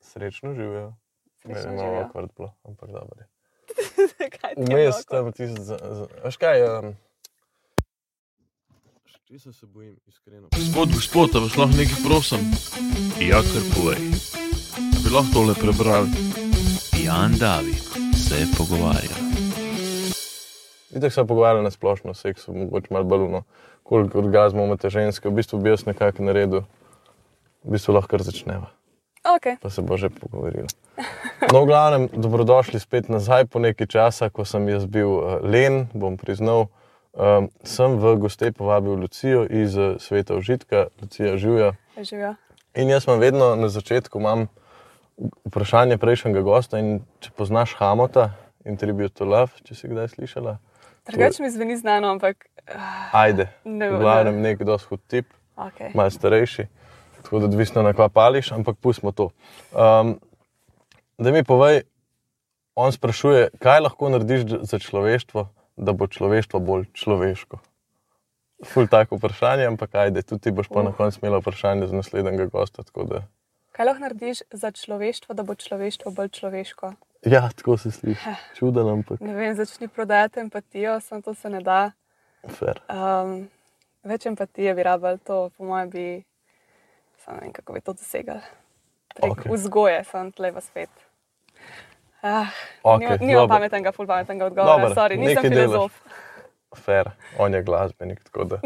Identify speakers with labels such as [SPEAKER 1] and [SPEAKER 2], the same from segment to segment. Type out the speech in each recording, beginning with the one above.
[SPEAKER 1] srečno živijo.
[SPEAKER 2] Srečno
[SPEAKER 1] Meni je malo
[SPEAKER 2] živijo.
[SPEAKER 1] akord bilo, ampak dobro. je.
[SPEAKER 2] Kaj ti je
[SPEAKER 1] Vmes
[SPEAKER 2] Ja, bilo
[SPEAKER 1] tam tisti, za- za- veš kaj. Um, Če se bojim, iskreno.
[SPEAKER 3] Gospod, gospod, a vas lahko nekaj prosim? Ja, kar povej. A bi lahko tole prebral? Jan David se pogovarja.
[SPEAKER 1] Vidite, se pogovarjamo na splošno o seksu, mogoče malo baluno, koliko orgazmov imate ženske. V bistvu bi jaz nekako naredil, v bistvu lahko kar začneva,
[SPEAKER 2] Okay.
[SPEAKER 1] pa se bo že pogovorila. No, v glavnem, dobrodošli spet nazaj po neki časa, ko sem jaz bil eh, len, bom priznal. Um, sem v goste povabil Lucijo iz eh, sveta užitka, Lucija Živja.
[SPEAKER 2] Živijo.
[SPEAKER 1] In jaz imam vedno na začetku imam vprašanje prejšnjega gosta. in Če poznaš Hamota in Tribute to Love, če si kdaj slišala,
[SPEAKER 2] Drugače mi zveni znano, ampak ah,
[SPEAKER 1] ajde.
[SPEAKER 2] ne
[SPEAKER 1] V
[SPEAKER 2] vem.
[SPEAKER 1] glavnem nek doshod tip,
[SPEAKER 2] Okay.
[SPEAKER 1] malo starejši, tako da odvisno na kva pališ, ampak pustimo to. Um, da mi povej, on sprašuje, kaj lahko narediš dž- za človeštvo, da bo človeštvo bolj človeško. Ful tako vprašanje, ampak ajde, tudi ti boš pa na koncu imela vprašanje za naslednjega gosta. tako Da...
[SPEAKER 2] Kaj lahko narediš za človeštvo, da bo človeštvo bolj človeško?
[SPEAKER 1] Ja, tako se sliši. Čuden, ampak
[SPEAKER 2] Ne vem, začni prodajati empatijo, samo to se ne da.
[SPEAKER 1] fer.
[SPEAKER 2] Um, več empatije bi rabili, to po mojem bi, samo ne vem, kako bi to dosegali. Prek
[SPEAKER 1] Okej.
[SPEAKER 2] okay. vzgoje, sem tle vas spet. Ah,
[SPEAKER 1] Okej,
[SPEAKER 2] okay, nimam
[SPEAKER 1] dobro.
[SPEAKER 2] pametnega, ful pametnega odgovora,
[SPEAKER 1] Dobro,
[SPEAKER 2] Sorry, nisem
[SPEAKER 1] nekaj delaš.
[SPEAKER 2] filozof.
[SPEAKER 1] fer. On je glasbenik, tako da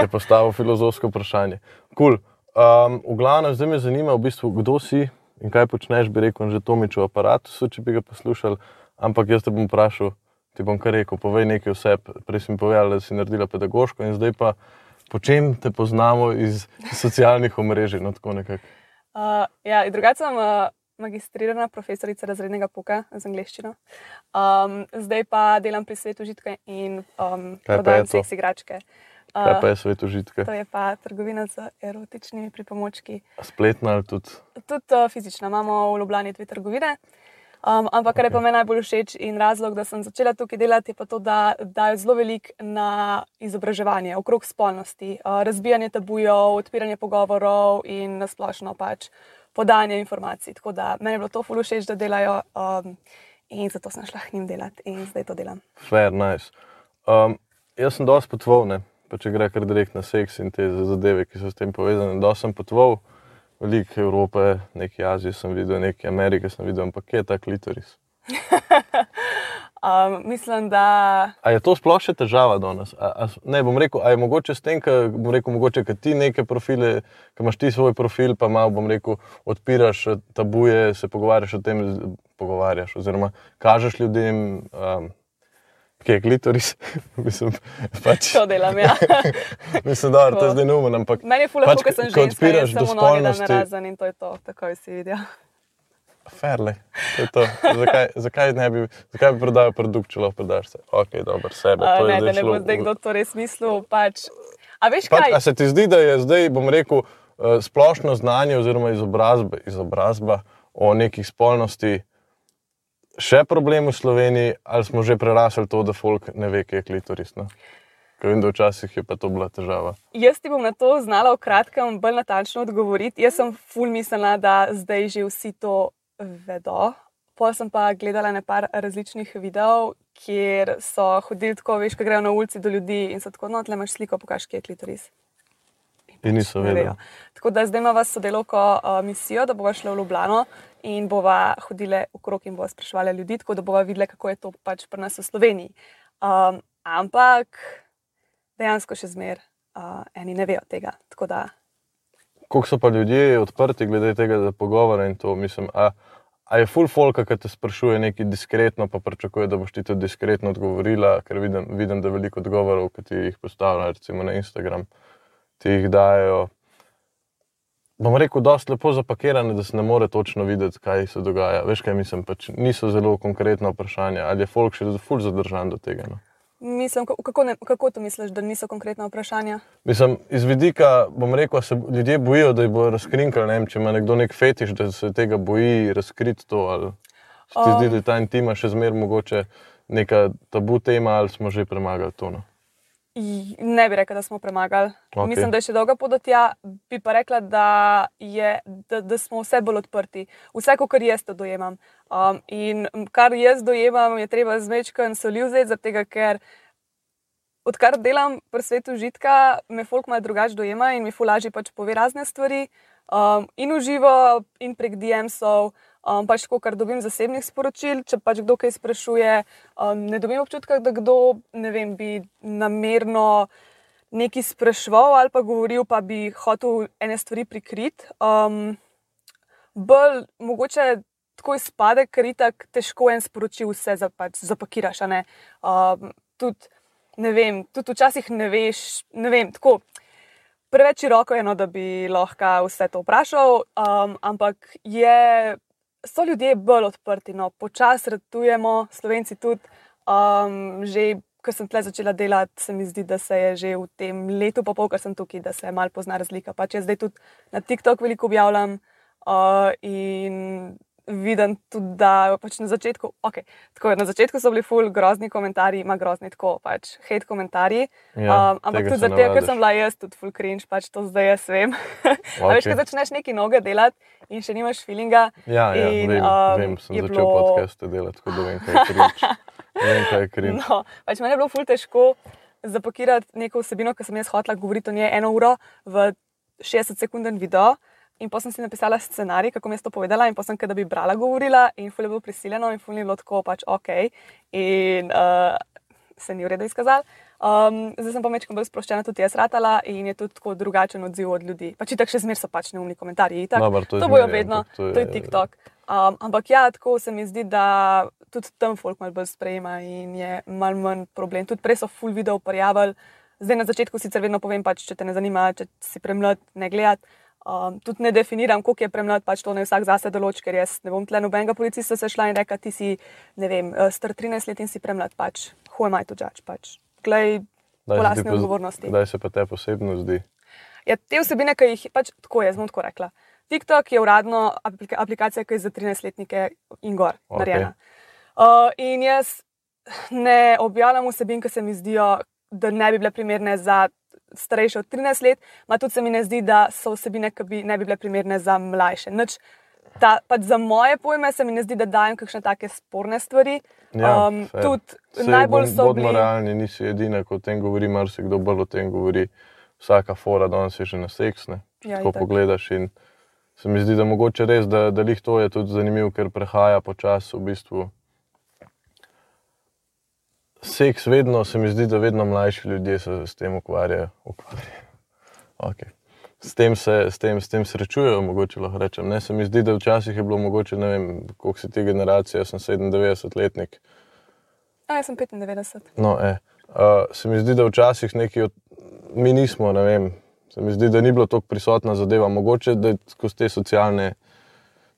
[SPEAKER 1] je postavil filozofsko vprašanje. Cool. Um, v glavnem, zdaj me zanima, v bistvu, kdo si in kaj počneš, bi rekel, že Tomiču aparatu, če bi ga poslušal, ampak jaz te bom vprašal, ti bom kar rekel, povej nekaj o sebi. Prej sem povedal, da si naredila pedagoško in zdaj pa. Po čem te poznamo iz socialnih omrežij? No, tako nekako.
[SPEAKER 2] Uh, ja, in drugače sem uh, magistrirana profesorica razrednega poka z angliščino. Um, zdaj pa delam pri svetu užitka in um,
[SPEAKER 1] pa je
[SPEAKER 2] prodajam
[SPEAKER 1] to?
[SPEAKER 2] seks igračke.
[SPEAKER 1] Kaj
[SPEAKER 2] Uh,
[SPEAKER 1] pa je svet užitka?
[SPEAKER 2] to je pa trgovina z erotičnimi pripomočki.
[SPEAKER 1] Spletna ali tudi
[SPEAKER 2] Tudi uh, fizična, imamo v Ljubljani dve trgovine. Um, ampak kar je pa meni najbolj všeč in razlog, da sem začela tukaj delati, je pa to, da dajo zelo veliko na izobraževanje okrog spolnosti, uh, razbijanje tabujev, odpiranje pogovorov in nasplošno pač podajanje informacij. Tako da meni je bilo to ful všeč, da delajo um, in zato sem šla k njim delati in zdaj to delam.
[SPEAKER 1] Fair, nice. Um, jaz sem dosti potoval, ne? pa če gre kar direkt na seks in te zadeve, ki so s tem povezane. Dosti sem potoval, veliko Evrope, nekaj Azije sem videl, nekaj Amerike sem videl, ampak kje je ta klitoris?
[SPEAKER 2] Um, mislim, da
[SPEAKER 1] A je to sploh še težava danes? A, a, s- ne bom rekel, a je mogoče s tem, ker bom rekel, mogoče, ker ti neke profile, ker imaš ti svoj profil, pa malo, bom rekel, odpiraš eh, tabuje, se pogovarjaš o tem, z- pogovarjaš, oziroma kažeš ljudem, um, kje je klitoris. Mislim, pač,
[SPEAKER 2] to delam. Ja.
[SPEAKER 1] Mislim, da
[SPEAKER 2] Tako.
[SPEAKER 1] je zdaj neumen, ampak
[SPEAKER 2] Meni je ful lepo,
[SPEAKER 1] Pač,
[SPEAKER 2] pač, ker sem
[SPEAKER 1] ko
[SPEAKER 2] ženska, in
[SPEAKER 1] odpiraš
[SPEAKER 2] jaz
[SPEAKER 1] do
[SPEAKER 2] sem unorjena
[SPEAKER 1] spolnosti-
[SPEAKER 2] razen in to je to, takoj si videl.
[SPEAKER 1] ferle. To je to. Zakaj, zakaj, ne bi, zakaj bi prodal produkt, če lahko prodaš se? Ok, dober, sebe.
[SPEAKER 2] Uh,
[SPEAKER 1] to je
[SPEAKER 2] ne, da
[SPEAKER 1] zdaj
[SPEAKER 2] ne
[SPEAKER 1] šlo
[SPEAKER 2] bo
[SPEAKER 1] v-
[SPEAKER 2] zdaj kdo to res mislil. Pač. A veš
[SPEAKER 1] Pač,
[SPEAKER 2] kaj?
[SPEAKER 1] a se ti zdi, da je zdaj, bom rekel, eh, splošno znanje oziroma izobrazba, izobrazba o nekih spolnosti še problem v Sloveniji, ali smo že prerasli to, da folk ne ve, kje je klitoris? No? Ker vem, da včasih je pa to bila težava.
[SPEAKER 2] Jaz ti bom na to znala v kratkem bolj natančno odgovoriti. Jaz sem ful mislila, da zdaj že vsi to vedo. Pol sem pa gledala na par različnih videov, kjer so hodili tako, veš, ko grejo na ulici do ljudi in so tako, no, tle imaš sliko, pokaž, kje je klitoris.
[SPEAKER 1] In niso
[SPEAKER 2] Ne ja.
[SPEAKER 1] vedeli.
[SPEAKER 2] vejo. Tako da zdaj imamo sodelovko uh, misijo, da bova šla v Ljubljano in bova hodila okrog in bova spraševala ljudi, tako da bova videla, kako je to pač pri nas v Sloveniji. Um, ampak dejansko še zmeraj uh, eni ne vejo tega. Tako da
[SPEAKER 1] Kako so pa ljudje odprti glede tega za pogovore in to, mislim, a, a je full folka, ki te sprašuje nekaj diskretno, pa pričakuje, da boš ti to diskretno odgovorila, ker vidim, vidim da veliko odgovorov, ki ti jih postavlja, recimo na Instagram, ti jih dajo. Bom rekel, da so lepo zapakirane, da se ne more točno videti, kaj se dogaja. Veš, kaj mislim, pač niso zelo konkretna vprašanja. Ali je folk še ful zadržan do tega? No?
[SPEAKER 2] mislim, ka- kako, ne, kako to misliš, da niso konkretna vprašanja?
[SPEAKER 1] Mislim, iz vidika, bom rekel, se ljudje bojijo, da jih bo razkrinkal. Ne vem, če ima nekdo nek fetiš, da se tega boji razkriti to. Ali se ti
[SPEAKER 2] Um.
[SPEAKER 1] zdi, da je ta intima še zmeraj mogoče neka tabu tema, ali smo že premagali to? No?
[SPEAKER 2] J- Ne bi rekla, da smo premagali.
[SPEAKER 1] Okej.
[SPEAKER 2] Okay. Mislim, da je še dolga pot do tja, bi pa rekla, da, je, da, da smo vse bolj odprti. Vse, kar jaz to dojemam. Um, in kar jaz dojemam, je treba zmečkati solil vzeti, zaradi tega, ker odkar delam pri svetu žitka, me folk malo drugače dojema in mi fulaži pač pove razne stvari. Um, in v živo, in prek DM-sov, um, pač tako, kar dobim zasebnih sporočil. Če pač kdo kaj sprašuje, um, ne dobim občutka, da kdo ne vem, bi namerno nekaj spraševal ali pa govoril, pa bi hotel ene stvari prikriti. Um, bolj mogoče tako izpade, ker itak težko en sporoči vse za, pač, zapakiraš. a ne. Um, tudi, ne vem, tudi včasih ne veš, ne vem, tako. Preveč široko je, no, da bi lahko vse to vprašal, um, ampak je, so ljudje bolj odprti. No. Počasi ratujemo, slovenci tudi. Um, že, ko sem tle začela delati, se mi zdi, da se je že v tem letu, pa pol, kar sem tukaj, da se malo pozna razlika. Pač jaz zdaj tudi na TikTok veliko objavljam uh, in vidim tudi, da pač na začetku, okay, tako, na začetku so bili ful grozni komentarji, ima grozni tako, pač hate komentarji.
[SPEAKER 1] Ja,
[SPEAKER 2] um, ampak
[SPEAKER 1] tega
[SPEAKER 2] tudi
[SPEAKER 1] se
[SPEAKER 2] zato, ker
[SPEAKER 1] navadiš.
[SPEAKER 2] sem bila jaz tudi full cringe, pač to zdaj jaz vem. Okay. Veš,
[SPEAKER 1] Okej.
[SPEAKER 2] ko začneš neki noge delati in še nimaš filinga.
[SPEAKER 1] Ja, ja
[SPEAKER 2] in,
[SPEAKER 1] vem,
[SPEAKER 2] um,
[SPEAKER 1] vem, sem
[SPEAKER 2] je
[SPEAKER 1] začel bilo...
[SPEAKER 2] bilo-
[SPEAKER 1] podcaste delati, tako da vem, kaj je krinč. vem, kaj je krinč.
[SPEAKER 2] No, pač meni je bilo ful težko zapakirati neko vsebino, ki sem jaz hotela govoriti o njej eno uro v 60-sekunden video. In potem sem si napisala scenarij, kako mi je to povedala, in potem, da bi brala, govorila, in ful je bilo prisiljeno, in ful je bilo tako pač ok. In uh, se ni v redu izkazal. Um, zdaj sem pa mečkam bolj sproščena, tudi jaz ratala in je tudi tako drugačen odziv od ljudi. Pač tako še zmeraj so pač neumni komentarji. Itak,
[SPEAKER 1] Dobar, to je
[SPEAKER 2] to bojo
[SPEAKER 1] zmeraj,
[SPEAKER 2] vedno,
[SPEAKER 1] ampak to
[SPEAKER 2] to
[SPEAKER 1] je-
[SPEAKER 2] je, to je TikTok. Um, ampak ja, tako se mi zdi, da tudi tam folk malo bolj sprejema in je malo manj problem. Tudi prej so full video prijavili, zdaj na začetku sicer vedno povem, pač, če te ne zanima, če si premlad, ne gledati. Um, tudi ne definiram, koliko je premlad, pač to ne vsak zase določi, ker jaz ne bom tle nobenega policista sešla in rekla, ti si, ne vem, eh, star 13 let in si premlad, pač, who am I to judge, pač, glej,
[SPEAKER 1] Kdaj
[SPEAKER 2] po
[SPEAKER 1] se ti
[SPEAKER 2] lastni
[SPEAKER 1] poz-
[SPEAKER 2] odgovornosti.
[SPEAKER 1] Kdaj se pa te posebno zdi?
[SPEAKER 2] Ja, te vsebine, ki jih pač tako je, zelo tako rekla. TikTok je uradno aplika aplikacija, ki je za 13-letnike in gor
[SPEAKER 1] Okej.
[SPEAKER 2] okay. narejena. Uh, in jaz ne objavljam vsebin, ki se mi zdijo, da ne bi bile primerne za starejše od 13 let, ma tudi se mi ne zdi, da so vsebine, ki bi ne bi bile primerne za mlajše. Nič, ta, pač za moje pojme se mi ne zdi, da dajem kakšne take sporne stvari.
[SPEAKER 1] Ja,
[SPEAKER 2] Um,
[SPEAKER 1] fair.
[SPEAKER 2] Ehm, tudi
[SPEAKER 1] Sej,
[SPEAKER 2] najbolj
[SPEAKER 1] bom-
[SPEAKER 2] so
[SPEAKER 1] Bodimo
[SPEAKER 2] bili.
[SPEAKER 1] realni, nisi edina, ko o tem govori, marsikdo bolj o tem govori. Vsaka fora danes je že na seksne.
[SPEAKER 2] Ja,
[SPEAKER 1] Ko
[SPEAKER 2] itak.
[SPEAKER 1] pogledaš in se mi zdi, da mogoče res, da, da lih to je tudi zanimivo, ker prehaja počasi v bistvu. Seks vedno, se mi zdi, da vedno mlajši ljudje se s tem ukvarjajo. ukvarjajo. Okay. S tem, se, s, tem, s tem srečujejo, mogoče lahko rečem. Ne, se mi zdi, da včasih je bilo mogoče, ne vem, koliko si ti generacija, jaz sem 97-letnik,
[SPEAKER 2] A, jaz sem 95.
[SPEAKER 1] No, eh. uh, se mi zdi, da včasih neki od mi nismo, ne vem. Se mi zdi, da ni bilo tako prisotna zadeva. Mogoče da je skozi te socialne,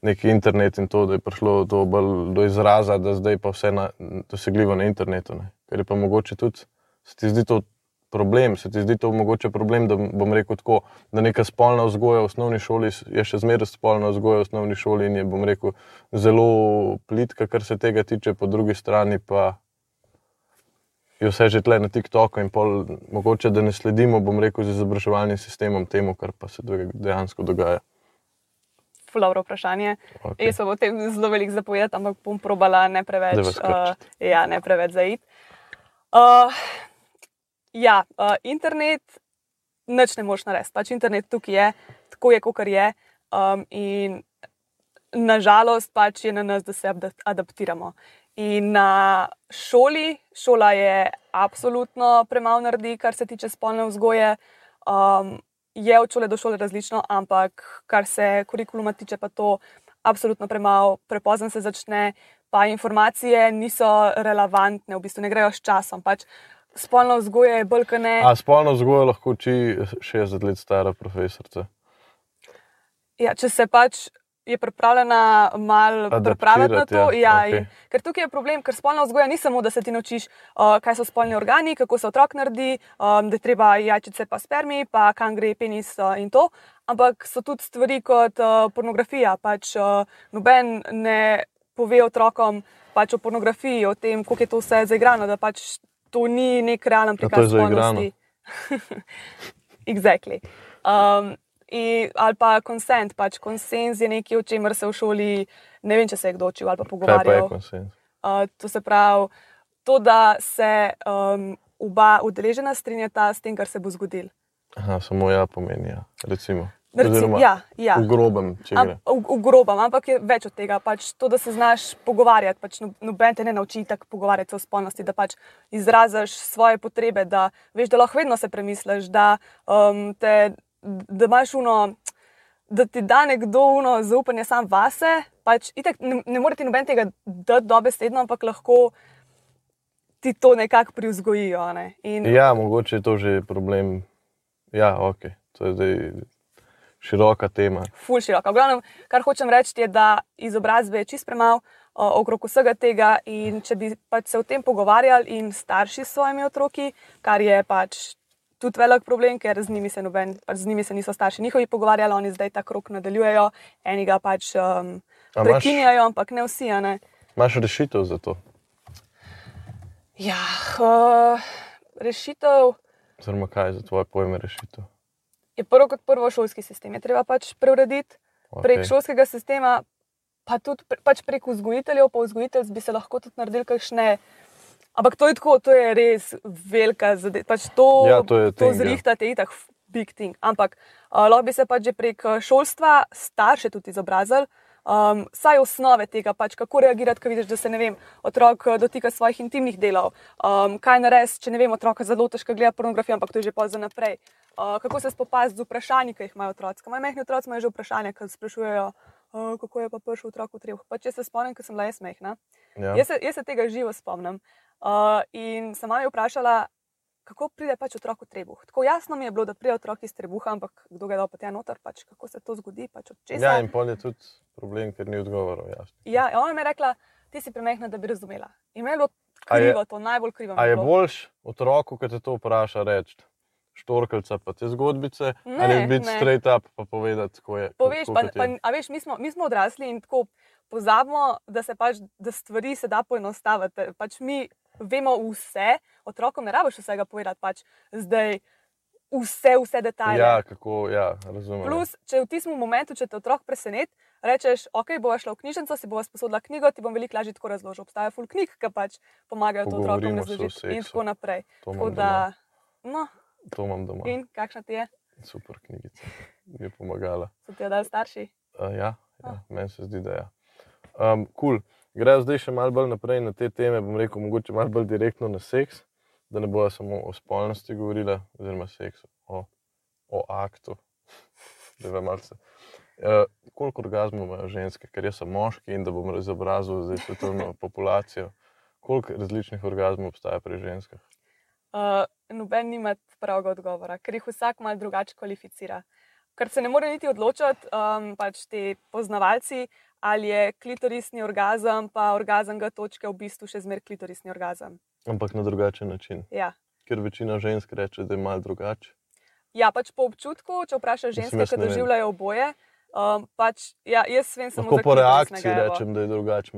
[SPEAKER 1] neki internet in to, da je prišlo to bolj do izraza, da zdaj pa vse na, dosegljivo na internetu. Ne. Ker je pa mogoče tudi, se ti zdi to problem, se ti zdi to mogoče problem, da bom rekel tako, da neka spolna vzgoja v osnovni šoli s- je še zmeraj spolna vzgoja v osnovni šoli in je, bom rekel, zelo plitka, kar se tega tiče, po drugi strani pa je vse že tle na TikToku in pol, mogoče da ne sledimo, bom rekel, z izobraževalnim sistemom temu, kar pa se doga- dejansko dogaja.
[SPEAKER 2] Fulovro vprašanje.
[SPEAKER 1] Okej.
[SPEAKER 2] Okay. Jaz sem o tem zelo veliko zapovedal, ampak bom probala ne preveč.
[SPEAKER 1] Da vas krčiti.
[SPEAKER 2] eh, ja, ne preveč zaid. Uh, ja, uh, internet, nič ne moš narediti. Pač internet tukaj je, tako je, kot je. Um, in nažalost pač je na nas, da se abda- adaptiramo. In na šoli, šola je absolutno premalo naredi, kar se tiče spolne vzgoje. Um, je od šole do šole različno, ampak kar se kurikuluma tiče, pa to absolutno premalo, prepozno se začne, pa informacije niso relevantne, v bistvu ne grejo s časom. Pač spolno vzgoje je bolj kot ne.
[SPEAKER 1] A spolno vzgojo lahko uči 60 let stara profesorica.
[SPEAKER 2] Ja, če se pač je pripravljena malo
[SPEAKER 1] Adaptirati,
[SPEAKER 2] pripraviti na to.
[SPEAKER 1] ja,
[SPEAKER 2] Ja,
[SPEAKER 1] okej.
[SPEAKER 2] ja, in, ker tukaj je problem, ker spolna vzgoja ni samo, da se ti naučiš, uh, kaj so spolni organi, kako se otrok naredi, um, da je treba jajčice, pa spermi, pa kam gre penis uh, in to. Ampak so tudi stvari kot uh, pornografija. Pač uh, noben ne pove otrokom pač o pornografiji, o tem, kako je to vse zaigrano, da pač to ni nek realen
[SPEAKER 1] Ja, to je
[SPEAKER 2] prikaz
[SPEAKER 1] zaigrano.
[SPEAKER 2] spolnosti. exactly. Um, in, ali pa konsent, pač konsenz je nekaj, o čemer se v šoli ne vem, če se je kdo učil ali pa
[SPEAKER 1] Kaj pa je
[SPEAKER 2] pogovarjal.
[SPEAKER 1] konsenz?
[SPEAKER 2] Uh, to se pravi, to, da se um, oba udeležena strinjata s tem, kar se bo zgodil.
[SPEAKER 1] Aha, samo ja pomeni. Ja. Recimo.
[SPEAKER 2] Recimo,
[SPEAKER 1] Oziroma,
[SPEAKER 2] ja, ja.
[SPEAKER 1] V grobem, če
[SPEAKER 2] Am-
[SPEAKER 1] gre.
[SPEAKER 2] V, v grobem, ampak je več od tega. Pač to, da se znaš pogovarjati, pač no- noben te ne nauči tako pogovarjati se o spolnosti, da pač izraziš svoje potrebe, da veš, da lahko vedno se premisliš, da, um, te, da imaš uno. Da ti da nekdo uno zaupanje sam vase, pač itak, ne, ne more ti noben tega dati dobesedno, ampak lahko ti to nekako privzgojijo. a Ne? In,
[SPEAKER 1] Ja, mogoče je to že problem. Ja, ok, to je zdaj široka tema.
[SPEAKER 2] ful široka. V glavnem, kar hočem reči, je, da izobrazbe je čist premalo o, okrog vsega tega. In če bi pač se o tem pogovarjali in starši s svojimi otroki, kar je pač tudi velik problem, ker z njimi se, noben, pač z njimi se niso starši njihovi pogovarjali, oni zdaj ta krok nadaljujejo, enega pač um,
[SPEAKER 1] A imaš-
[SPEAKER 2] prekinjajo, ampak ne vsi. a Ne?
[SPEAKER 1] Imáš rešitev za to?
[SPEAKER 2] Ja, uh, rešitev.
[SPEAKER 1] Oziroma, kaj je za tvoje pojme rešitev?
[SPEAKER 2] je prvo kot prvo šolski sistem. Je treba pač preurediti okay. prek
[SPEAKER 1] Okej.
[SPEAKER 2] šolskega sistema, pa tudi pre, pač prek vzgojiteljev, pa vzgojitelj bi se lahko tudi naredil kakšne. Ampak to je tako, to je res velika zadeva. Pač to,
[SPEAKER 1] Ja, to je
[SPEAKER 2] to
[SPEAKER 1] thing, ja.
[SPEAKER 2] zrihtate, je tako big thing. Ampak uh, lahko bi se pač že prek eh, šolstva starše tudi izobrazili. Um, saj osnove tega, pač, kako reagirati, ko vidiš, da se ne vem, otrok eh, dotika svojih intimnih delov, um, kaj narediti, če ne vem, otroka zelo težko gleda pornografijo, ampak to je že pozno naprej. Uh, kako se spopasti z vprašanji, ki jih imajo otroci. Moji mehki otroci imajo že vprašanja, ki sprašujejo, uh, kako je pa prišel otrok v trebuh. Pa če se spomnim, ker sem bila jaz mehna,
[SPEAKER 1] Ja.
[SPEAKER 2] Jaz se, jaz se tega živo spomnim. Uh, in sem mami vprašala, kako pride pač otrok v trebuh. Tako jasno mi je bilo, da pride otrok iz trebuha, ampak kdo ga je dal pa tja noter, pač kako se to zgodi, pač od česa.
[SPEAKER 1] ja, in pol je tudi problem, ker ni odgovorov. jasno.
[SPEAKER 2] ja, in ona mi je rekla, ti si premehna, da bi razumela. In meni je bilo
[SPEAKER 1] A je-
[SPEAKER 2] krivo, je, to najbolj krivo. mi
[SPEAKER 1] A je
[SPEAKER 2] bilo.
[SPEAKER 1] boljš otroku, ki te to vpraša, reči štorkelca, pa te zgodbice,
[SPEAKER 2] Ne,
[SPEAKER 1] ali biti
[SPEAKER 2] ne.
[SPEAKER 1] straight up pa povedati, kako je.
[SPEAKER 2] Poveš,
[SPEAKER 1] kako
[SPEAKER 2] pa,
[SPEAKER 1] kot je.
[SPEAKER 2] pa, a veš, mi smo, mi smo odrasli in tako pozabimo, da se pač, da stvari se da poenostaviti. Pač mi vemo vse, otrokom ne rabiš vsega povedati, pač zdaj vse, vse detajle.
[SPEAKER 1] ja, kako, ja, razumem.
[SPEAKER 2] Plus, če v tistem momentu, če te otrok preseneti, rečeš, ok, bova šla v knjižnico, si bova sposodila knjigo, ti bom veliko lažje tako razložil. Obstaja full knjig, ki pač pomagajo to otrokom
[SPEAKER 1] Pogovorimo se o
[SPEAKER 2] razložiti in
[SPEAKER 1] seksu.
[SPEAKER 2] tako naprej.
[SPEAKER 1] to,
[SPEAKER 2] Tako
[SPEAKER 1] imam doma,
[SPEAKER 2] da, no,
[SPEAKER 1] to imam doma.
[SPEAKER 2] in kakšna ti je,
[SPEAKER 1] Super knjigica, mi je pomagala.
[SPEAKER 2] so ti jo dali starši?
[SPEAKER 1] Uh, ja,
[SPEAKER 2] Ah.
[SPEAKER 1] ja meni se zdi, da je. Ja. Um, cool. Grejo zdaj še malo bolj naprej na te teme, bom rekel, mogoče malo bolj direktno na seks, da ne bojo samo o spolnosti govorila, oziroma seksu, o, o aktu. Da vem, ali se. Uh, koliko orgasmov imajo ženske, ker jaz sem moški in da bom izobrazil zdaj svetovno populacijo. Koliko različnih orgasmov obstaja pri ženskah?
[SPEAKER 2] Uh, noben nima pravega odgovora, ker jih vsak malo drugače kvalificira. Ker se ne more niti odločiti, um, pač ti poznavalci, ali je klitorisni orgazem, pa orgazem ga točke v bistvu še zmeraj klitorisni orgazem.
[SPEAKER 1] Ampak na drugačen način,
[SPEAKER 2] Ja.
[SPEAKER 1] ker večina žensk reče, da je malo drugače.
[SPEAKER 2] Ja, pač po občutku, če vprašaš
[SPEAKER 1] Mislim,
[SPEAKER 2] ženske,
[SPEAKER 1] jaz
[SPEAKER 2] ki
[SPEAKER 1] ne vem.
[SPEAKER 2] doživljajo oboje, um, pač ja, jaz vem samo
[SPEAKER 1] Lahko
[SPEAKER 2] za
[SPEAKER 1] po reakciji
[SPEAKER 2] klitorisnega, evo.
[SPEAKER 1] rečem, da je drugače.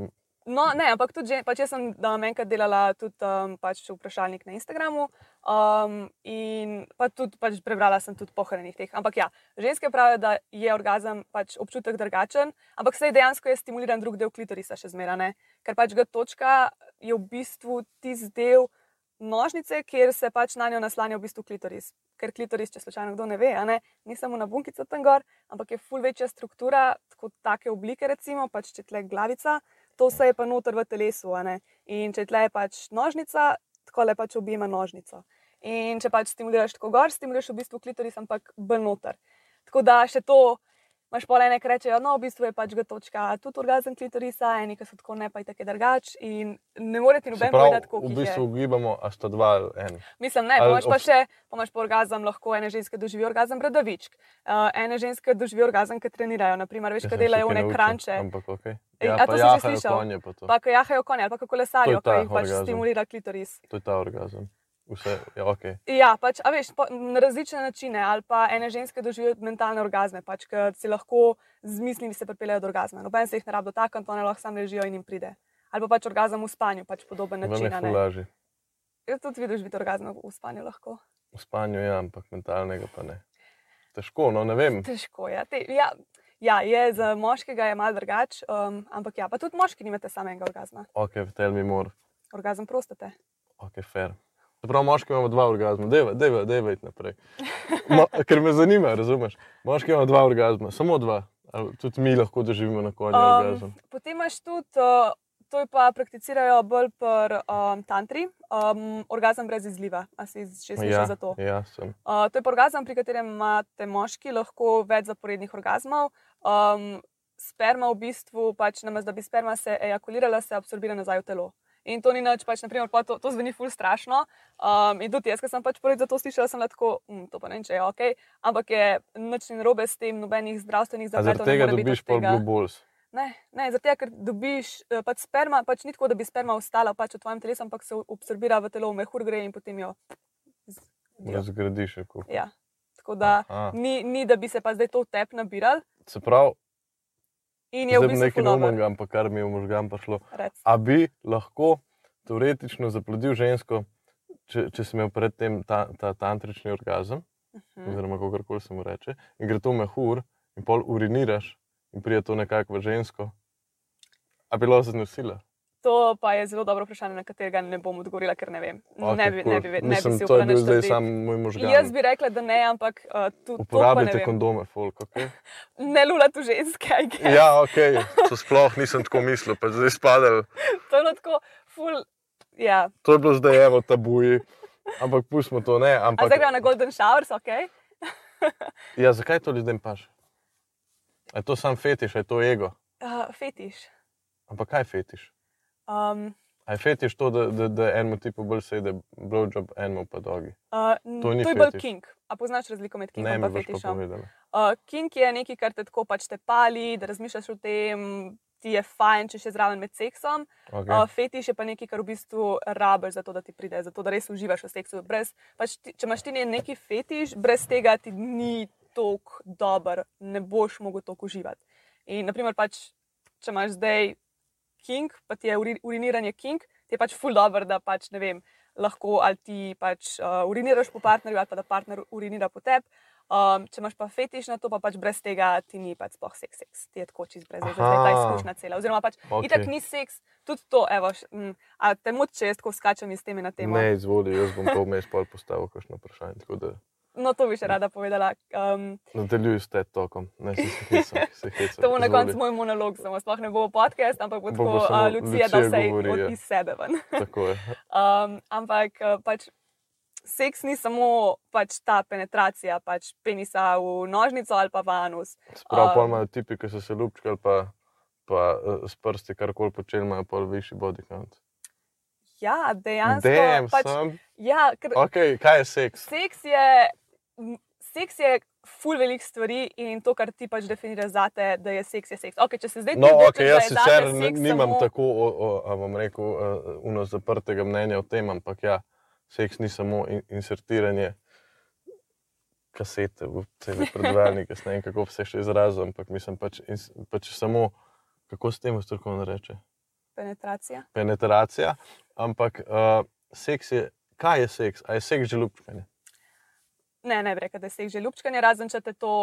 [SPEAKER 2] No, ne, ampak tudi, že- pač jaz sem um, enkrat delala tudi um, pač vprašalnik na Instagramu um, in pa tudi pač prebrala sem tudi pohranjenih teh. Ampak ja, ženske pravijo, da je orgazem pač občutek drugačen, ampak sej dejansko je stimuliran drug del klitorisa še zmeraj, ker pač ga točka je v bistvu tisti del nožnice, kjer se pač na njo naslanja v bistvu klitoris. Ker klitoris, če slučajno kdo ne ve, a ne, ni samo na bunkico tam gor, ampak je ful večja struktura, tako take oblike, recimo, pač če tle glavica, to vse je pa noter v telesu. a ne. In če tle je pač nožnica, tako le pač objema nožnico. In če pač stimuliraš tako gor, stimuliraš v bistvu klitoris, ampak bolj noter. Tako da še to. Maš pa ene, ki rečejo, no, v bistvu je pač ga točka, tudi orgazem klitorisa, eni, ki so tako ne, pa je tako drugač. In ne morete
[SPEAKER 1] Se
[SPEAKER 2] noben
[SPEAKER 1] pravi,
[SPEAKER 2] povedati, koliko
[SPEAKER 1] v
[SPEAKER 2] jih je.
[SPEAKER 1] bistvu ugibamo, a sta dva ali en.
[SPEAKER 2] Mislim, ne,
[SPEAKER 1] Ali
[SPEAKER 2] imaš pa
[SPEAKER 1] obst-
[SPEAKER 2] še, pa imaš pa orgazem, lahko ene ženske doživi orgazem bradavičk, uh, ene ženske doživi orgazem, ki trenirajo, naprimer, veš,
[SPEAKER 1] Jaz
[SPEAKER 2] ki
[SPEAKER 1] sem
[SPEAKER 2] delajo
[SPEAKER 1] še kaj
[SPEAKER 2] one
[SPEAKER 1] naučil,
[SPEAKER 2] kranče,
[SPEAKER 1] Ampak ok.
[SPEAKER 2] Ej,
[SPEAKER 1] Ja,
[SPEAKER 2] a
[SPEAKER 1] pa
[SPEAKER 2] to si že
[SPEAKER 1] jahajo
[SPEAKER 2] slišal?
[SPEAKER 1] konje, pa to.
[SPEAKER 2] pa ki jahajo konje ali pa kako
[SPEAKER 1] To
[SPEAKER 2] lesarijo, ki
[SPEAKER 1] je ta
[SPEAKER 2] jih pač
[SPEAKER 1] orgazem.
[SPEAKER 2] stimulira klitoris.
[SPEAKER 1] to je ta orgazem. Vse, ja, ok.
[SPEAKER 2] Ja, pač, a veš, po, na različne načine, ali pa ene ženske doživijo mentalne orgazme, pač, ki si lahko z mislimi se pripeljejo do orgazma. Noben se jih ne rabi dotakniti, one lahko sam ležijo in jim pride. Ali pa pač orgazem v spanju, pač podoben
[SPEAKER 1] Vam je
[SPEAKER 2] način. a ne.
[SPEAKER 1] fulaži.
[SPEAKER 2] Ja, tudi vidiš, biti orgazmo v spanju lahko.
[SPEAKER 1] V spanju je, ja, ampak mentalnega pa ne. Težko, no ne vem.
[SPEAKER 2] Težko je. Te, ja, ja, je za moškega je malo drugače, um, ampak ja, pa tudi moški nimate samega orgazma.
[SPEAKER 1] Ok, tell me more.
[SPEAKER 2] Orgazem prostate.
[SPEAKER 1] Ok, fair. Prav, moški imamo dva orgazma, deva, deva, deva, id naprej. Mo, ker me zanima, razumeš? Moški imamo dva orgazma, samo dva. Ali Tudi mi lahko doživimo na koncu um, orgazem.
[SPEAKER 2] potem imaš tudi, uh, to je pa prakticirajo bolj pri um, tantri, um, orgazem brez izliva. A si že slišal
[SPEAKER 1] Ja,
[SPEAKER 2] za to?
[SPEAKER 1] ja, sem.
[SPEAKER 2] Uh, to je pa orgazem, pri katerem imate moški lahko več zaporednih orgazmov. Um, sperma v bistvu, pač namesto da bi sperma se ejakulirala, se absorbira nazaj v telo. In to ni nič, pač, naprimer, pa to, to zveni ful strašno. Um, in tudi jaz, ki sem pač prvič za to slišala, sem bila tako, um, to pa ne vem, če je ok, ampak je nič ni robe s tem, nobenih zdravstvenih
[SPEAKER 1] A
[SPEAKER 2] zapletov.
[SPEAKER 1] Zaradi tega dobiš pol blue balls.
[SPEAKER 2] Ne, ne, zaradi tega, ker dobiš eh, pač sperma, pač ni tako, da bi sperma ostala pač v tvojem telesu, ampak se absorbira v telo, v mehur gre in potem jo. z-
[SPEAKER 1] Razgradiš. je kup.
[SPEAKER 2] Ja. Tako da
[SPEAKER 1] Aha.
[SPEAKER 2] ni, ni, da bi se pa zdaj to tep nabiral.
[SPEAKER 1] Se pravi,
[SPEAKER 2] In je
[SPEAKER 1] zdaj
[SPEAKER 2] v
[SPEAKER 1] bi
[SPEAKER 2] bistvu
[SPEAKER 1] nekaj
[SPEAKER 2] ful dobro,
[SPEAKER 1] novega, ampak kar mi je v možgan prišlo.
[SPEAKER 2] rec.
[SPEAKER 1] A bi lahko teoretično zaplodil žensko, če, če sem imel predtem ta, ta tantrični orgazem,
[SPEAKER 2] Mhm.
[SPEAKER 1] mm. oziroma kako koli se mu reče, in gre to mehur, in pol uriniraš, in pride to nekako v žensko. A bilo se nosila?
[SPEAKER 2] To pa je zelo dobro vprašanje, na katerega ne bom odgovorila, ker ne vem. ne bi, ne bi, ve- ne bi
[SPEAKER 1] Mislim,
[SPEAKER 2] si
[SPEAKER 1] to je
[SPEAKER 2] upala
[SPEAKER 1] bil
[SPEAKER 2] nič
[SPEAKER 1] zdaj
[SPEAKER 2] trditi.
[SPEAKER 1] sam moj možgan.
[SPEAKER 2] Jaz bi rekla, da ne, ampak uh, tudi to,
[SPEAKER 1] Uporabljate
[SPEAKER 2] ne, vem.
[SPEAKER 1] kondome, folk. Okay?
[SPEAKER 2] ne lula tu ženske. I guess.
[SPEAKER 1] Ja, ok, to sploh nisem tako mislil, pa zdaj spadal.
[SPEAKER 2] To je bilo tako, ful. Ja.
[SPEAKER 1] To je bilo zdaj eno tabuji, ampak pustimo to ne.
[SPEAKER 2] A
[SPEAKER 1] Ampak,
[SPEAKER 2] zdaj gremo na Golden Showers, ok?
[SPEAKER 1] ja, zakaj to ljudem paš? Je to sam fetiš, je to ego.
[SPEAKER 2] Uh, fetiš.
[SPEAKER 1] Ampak kaj je fetiš?
[SPEAKER 2] Um,
[SPEAKER 1] A je fetiš to, da, da, da enemu tipu bolj sedi blowjob, enemu pa dogi?
[SPEAKER 2] uh,
[SPEAKER 1] To ni
[SPEAKER 2] to je bolj
[SPEAKER 1] fetiš.
[SPEAKER 2] king. A poznaš razliko med kingom
[SPEAKER 1] Ne,
[SPEAKER 2] in
[SPEAKER 1] mi boš pa
[SPEAKER 2] fetišem?
[SPEAKER 1] povedala.
[SPEAKER 2] Uh, King je nekaj, kar te tako pač te pali, da razmišljaš o tem, ti je fajn, če še zraven med seksom.
[SPEAKER 1] Okay.
[SPEAKER 2] Okay. Uh, fetiš je pa nekaj, kar v bistvu rabiš, zato da ti pride, zato da res uživaš v seksu. Brez, pač ti, če imaš ti ne- neki fetiš, brez tega ti ni tako dober, ne boš mogel tako uživati. In naprimer, pač, če imaš zdaj king, pa ti je uri, uriniranje king, ti je pač ful dobr, da pač ne vem, lahko ali ti pač uh, uriniraš po partnerju ali pa da partner urinira po tebi. Um, če imaš pa fetiš na to, pa pač brez tega ti ni pač sploh seks, seks. ti je tako čist brez tega, da je ta
[SPEAKER 1] Aha.
[SPEAKER 2] izkušnja cela. Oziroma pač
[SPEAKER 1] Okej.
[SPEAKER 2] okay. itak ni seks, tudi to, evo, š, m, a te moč, če jaz tako skačem iz teme na temo.
[SPEAKER 1] Ne, izvoli, jaz bom to vmes pol postavil kakšno vprašanje. Tako da
[SPEAKER 2] No, to bi še rada povedala. Um,
[SPEAKER 1] nadaljuj s tem tokom. Ne, se se hecam, se hecam.
[SPEAKER 2] to bo na
[SPEAKER 1] Izvoli.
[SPEAKER 2] koncu moj monolog, samo sploh ne bo podcast, ampak
[SPEAKER 1] Bo
[SPEAKER 2] bo tako
[SPEAKER 1] pa samo
[SPEAKER 2] uh, Lucija, da
[SPEAKER 1] Lucija
[SPEAKER 2] vse
[SPEAKER 1] govori,
[SPEAKER 2] od
[SPEAKER 1] ja.
[SPEAKER 2] iz sebe ven.
[SPEAKER 1] Tako je.
[SPEAKER 2] Um, ampak eh, pač seks ni samo pač ta penetracija, pač penisa v nožnico ali pa v anus.
[SPEAKER 1] Prav,
[SPEAKER 2] Um,
[SPEAKER 1] pol imajo tipi, ki so se lupčkali, pa, pa eh, s prsti karkoli počeli, imajo pol višji body count.
[SPEAKER 2] Ja, dejansko.
[SPEAKER 1] Damn,
[SPEAKER 2] pač,
[SPEAKER 1] sam.
[SPEAKER 2] ja, ker
[SPEAKER 1] Ok, kaj je seks?
[SPEAKER 2] seks je, m, seks je ful velik stvari in to, kar ti pač definiraš zate, da je seks, je seks. Okay, če se zdaj
[SPEAKER 1] No,
[SPEAKER 2] ti
[SPEAKER 1] ok,
[SPEAKER 2] odločiš,
[SPEAKER 1] jaz
[SPEAKER 2] da je
[SPEAKER 1] sicer
[SPEAKER 2] zate
[SPEAKER 1] ne,
[SPEAKER 2] seks
[SPEAKER 1] nimam
[SPEAKER 2] samo-
[SPEAKER 1] tako, o, o, a bom rekel, eh, uno zaprtega mnenja o tem, ampak ja, seks ni samo in, insertiranje kasete v cele predvajalnike, jaz ne vem kako se še izrazim, ampak mislim pač, ins- pač samo, kako se temu strokovno reče,
[SPEAKER 2] Penetracija.
[SPEAKER 1] penetracija, ampak uh, seks je, kaj je seks, a je seks že ljubčkanje?
[SPEAKER 2] Ne, ne bi rekel, da je seks že ljubčkanje, razen če te to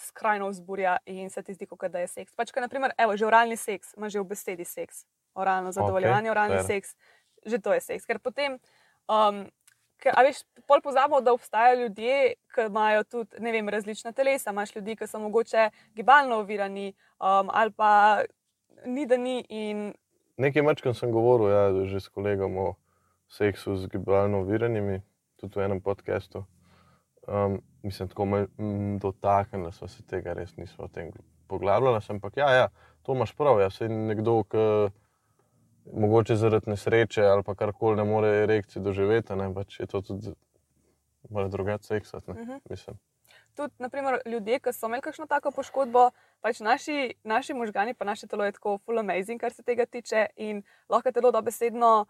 [SPEAKER 2] skrajno vzburja in se ti zdi, kot da je seks. Pač, kaj, naprimer, evo, že oralni seks, ima že v besedi seks, oralno zadovoljevanje, okay, oralni
[SPEAKER 1] fair.
[SPEAKER 2] seks, že to je seks. Ker potem, um, ker, a veš, pol pozabimo, da obstajajo ljudje, ki imajo tudi, ne vem, različna telesa. Imaš ljudi, ki so mogoče gibalno ovirani um, ali pa ni da ni in
[SPEAKER 1] Nekaj mačkam sem govoril, ja, že s kolegom o seksu z gibalno oviranimi, tudi v enem podkastu. Um, mislim, tako me mm, dotaknili smo se tega, res nismo o tem poglabljali. sem, Ampak ja, ja, to imaš prav. Ja, saj nekdo, ki mogoče zaradi nesreče ali pa karkoli ne more erekcije doživeti, ne, pač je to tudi malo drugače seksati. Uh
[SPEAKER 2] Mhm.
[SPEAKER 1] -huh. Mislim,
[SPEAKER 2] tudi naprimer, ljudje, ki so imeli kakšno tako poškodbo, pač naši, naši možgani, pa naše telo je tako full amazing, kar se tega tiče, in lahko telo dobesedno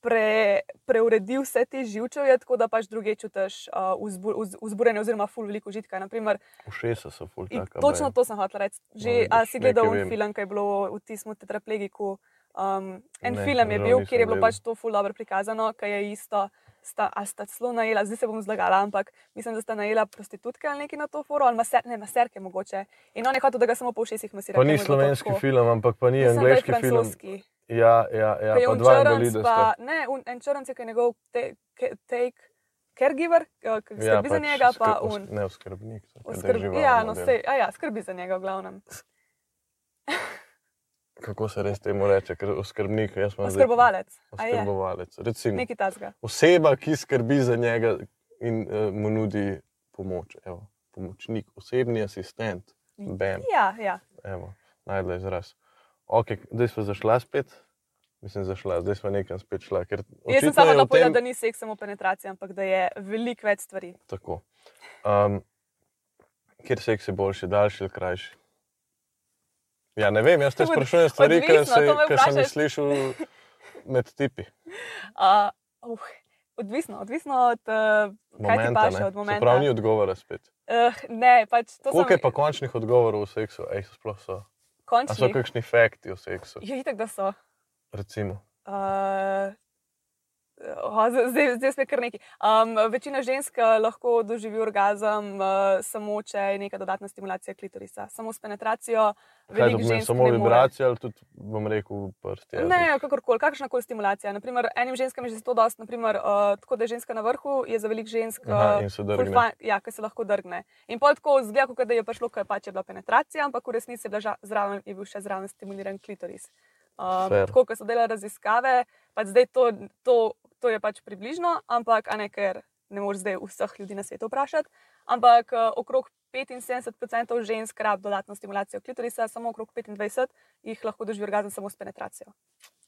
[SPEAKER 2] pre, preuredi vse te živčevje, tako da pač druge čutiš uh, vzbu, vz, vzburjenje oziroma full veliko užitka. Naprimer,
[SPEAKER 1] ušesa so ful
[SPEAKER 2] in
[SPEAKER 1] taka.
[SPEAKER 2] točno
[SPEAKER 1] baje.
[SPEAKER 2] to sem hotel reči. Že
[SPEAKER 1] No,
[SPEAKER 2] no,
[SPEAKER 1] vidiš,
[SPEAKER 2] si gledal
[SPEAKER 1] nekaj vem.
[SPEAKER 2] un film, ki je bilo v tistem tetraplegiku. Um, en
[SPEAKER 1] Ne,
[SPEAKER 2] ne, film je
[SPEAKER 1] žal
[SPEAKER 2] bil,
[SPEAKER 1] nisem
[SPEAKER 2] kjer je bilo
[SPEAKER 1] gledal.
[SPEAKER 2] pač to ful dobro prikazano, kaj je isto. Sta, a sta celo najela, zdaj se bom zlagala, ampak mislim, da sta najela prostitutke ali nekaj na to foro, ali maser, ne, maserke mogoče. In on je hotel, da ga samo po šestih masirah.
[SPEAKER 1] Pa ni slovenski film, ampak pa ni
[SPEAKER 2] Mislim, da je
[SPEAKER 1] angliški film.
[SPEAKER 2] francoski.
[SPEAKER 1] Ja, ja, ja
[SPEAKER 2] Ko je
[SPEAKER 1] pa
[SPEAKER 2] on
[SPEAKER 1] dva
[SPEAKER 2] črnc,
[SPEAKER 1] invalida sta.
[SPEAKER 2] pa- Ne, un, en črnc je, ki je njegov te, ke, take caregiver, eh, ki skrbi
[SPEAKER 1] Ja,
[SPEAKER 2] za
[SPEAKER 1] pač
[SPEAKER 2] njega, pa
[SPEAKER 1] skr- os-
[SPEAKER 2] un.
[SPEAKER 1] Ne, oskrbnik. to, ki drži
[SPEAKER 2] Oskrbi,
[SPEAKER 1] živalno
[SPEAKER 2] ja, no,
[SPEAKER 1] delo.
[SPEAKER 2] sej, a ja, skrbi za njega, v glavnem.
[SPEAKER 1] Kako se res temu reče, ker oskrbnik, jaz sem
[SPEAKER 2] Oskrbovalec. a je,
[SPEAKER 1] Oskrbovalec. Recimo,
[SPEAKER 2] Nekaj tazga.
[SPEAKER 1] oseba, ki skrbi za njega in uh, mu nudi pomoč. Evo, pomočnik, osebni asistent, BEM.
[SPEAKER 2] Ja, ja.
[SPEAKER 1] Evo, najdla izraz. Ok, zdaj smo zašla spet, mislim, zašla, zdaj smo nekam spet šla. ker
[SPEAKER 2] Jaz sem
[SPEAKER 1] očitno
[SPEAKER 2] samo
[SPEAKER 1] je v
[SPEAKER 2] napovedala,
[SPEAKER 1] tem-
[SPEAKER 2] da ni seks samo penetracija, ampak da je veliko več stvari.
[SPEAKER 1] Tako. Um, Ker seks je boljši, daljši ali krajši? Ja, ne vem, jaz te
[SPEAKER 2] Od-
[SPEAKER 1] sprašujem stvari, ki
[SPEAKER 2] odvisno,
[SPEAKER 1] se-
[SPEAKER 2] to me
[SPEAKER 1] ki sem jih
[SPEAKER 2] vprašaš.
[SPEAKER 1] slišal med tipi.
[SPEAKER 2] Uh, uh, odvisno, odvisno od uh, kaj ti
[SPEAKER 1] Momenta,
[SPEAKER 2] paše,
[SPEAKER 1] ne.
[SPEAKER 2] od
[SPEAKER 1] Se
[SPEAKER 2] momenta.
[SPEAKER 1] Prav ni odgovora spet.
[SPEAKER 2] Uh, ne, pač to
[SPEAKER 1] Koliko je
[SPEAKER 2] sem
[SPEAKER 1] pa končnih odgovorov o seksu? Ej, so sploh so. A so
[SPEAKER 2] končni.
[SPEAKER 1] kakšni fakti o seksu?
[SPEAKER 2] Je itak, da so. Eh,
[SPEAKER 1] Recimo.
[SPEAKER 2] Uh, oh, zdaj, zdaj smo kar neki. Um, večina žensk eh, lahko doživi orgazem uh, samo, če je neka dodatna stimulacija klitorisa. Samo s penetracijo,
[SPEAKER 1] Kaj to
[SPEAKER 2] veliko
[SPEAKER 1] pomeni?
[SPEAKER 2] žensk.
[SPEAKER 1] Samo
[SPEAKER 2] ne more.
[SPEAKER 1] vibracija ali tudi, bom rekel, prsti? jezik?
[SPEAKER 2] Ne, kakorkoli, kakršna koli stimulacija. Naprimer, enim ženskam je že to dosti, naprimer, uh, tako da je ženska na vrhu, je za velik žensk.
[SPEAKER 1] Aha,
[SPEAKER 2] eh,
[SPEAKER 1] in se
[SPEAKER 2] ful
[SPEAKER 1] drgne.
[SPEAKER 2] fajn- Ja, ki se lahko drgne. In pol tako zgleda, kot da je prišlo, ker pač je bila penetracija, ampak v resnici je, bila ža- zraven, je bil še zraven stimuliran klitoris. Um,
[SPEAKER 1] Fair.
[SPEAKER 2] tako, ko so delali raziskave, pač zdaj to, to, to je pač približno, ampak a ne, ker ne moreš zdaj vseh ljudi na svetu vprašati. Ampak uh, okrog 75% žensk rabi dodatno stimulacijo klitorisa, samo okrog 25% jih lahko doživi orgazem samo s penetracijo.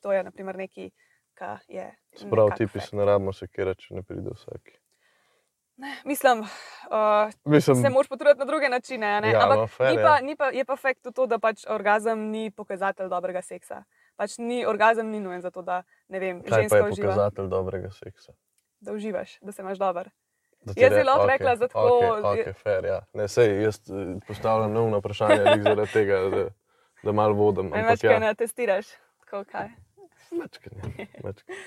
[SPEAKER 2] To je naprimer nekaj, kar je.
[SPEAKER 1] Se pravi,
[SPEAKER 2] nekak
[SPEAKER 1] tipi
[SPEAKER 2] fakt.
[SPEAKER 1] se ne rabimo sekirati, če ne pride vsak.
[SPEAKER 2] Mislim, uh,
[SPEAKER 1] Mislim,
[SPEAKER 2] se moraš potruditi na druge načine. a Ne?
[SPEAKER 1] Ja,
[SPEAKER 2] Ampak
[SPEAKER 1] no, fair,
[SPEAKER 2] ni
[SPEAKER 1] ja.
[SPEAKER 2] pa, ni pa, je pa fakt tudi to, da pač orgazem ni pokazatelj dobrega seksa. Pač ni, orgazem ni nujen za to, da ne vem,
[SPEAKER 1] kaj pa
[SPEAKER 2] ženska
[SPEAKER 1] je
[SPEAKER 2] uživa,
[SPEAKER 1] pokazatelj dobrega seksa?
[SPEAKER 2] da uživaš, da se imaš dober.
[SPEAKER 1] Da ti
[SPEAKER 2] Jaz
[SPEAKER 1] re-
[SPEAKER 2] bi lahko
[SPEAKER 1] okej,
[SPEAKER 2] rekla za tako-
[SPEAKER 1] okej, okej, fair, ja. ne, sej, jaz eh, postavljam neumno vprašanje glih zaradi tega, da, da malo vodim.
[SPEAKER 2] Ne
[SPEAKER 1] Ampak,
[SPEAKER 2] veš, kaj
[SPEAKER 1] ja,
[SPEAKER 2] ne testiraš. Tako kaj.
[SPEAKER 1] Mečkanje, mečkanje.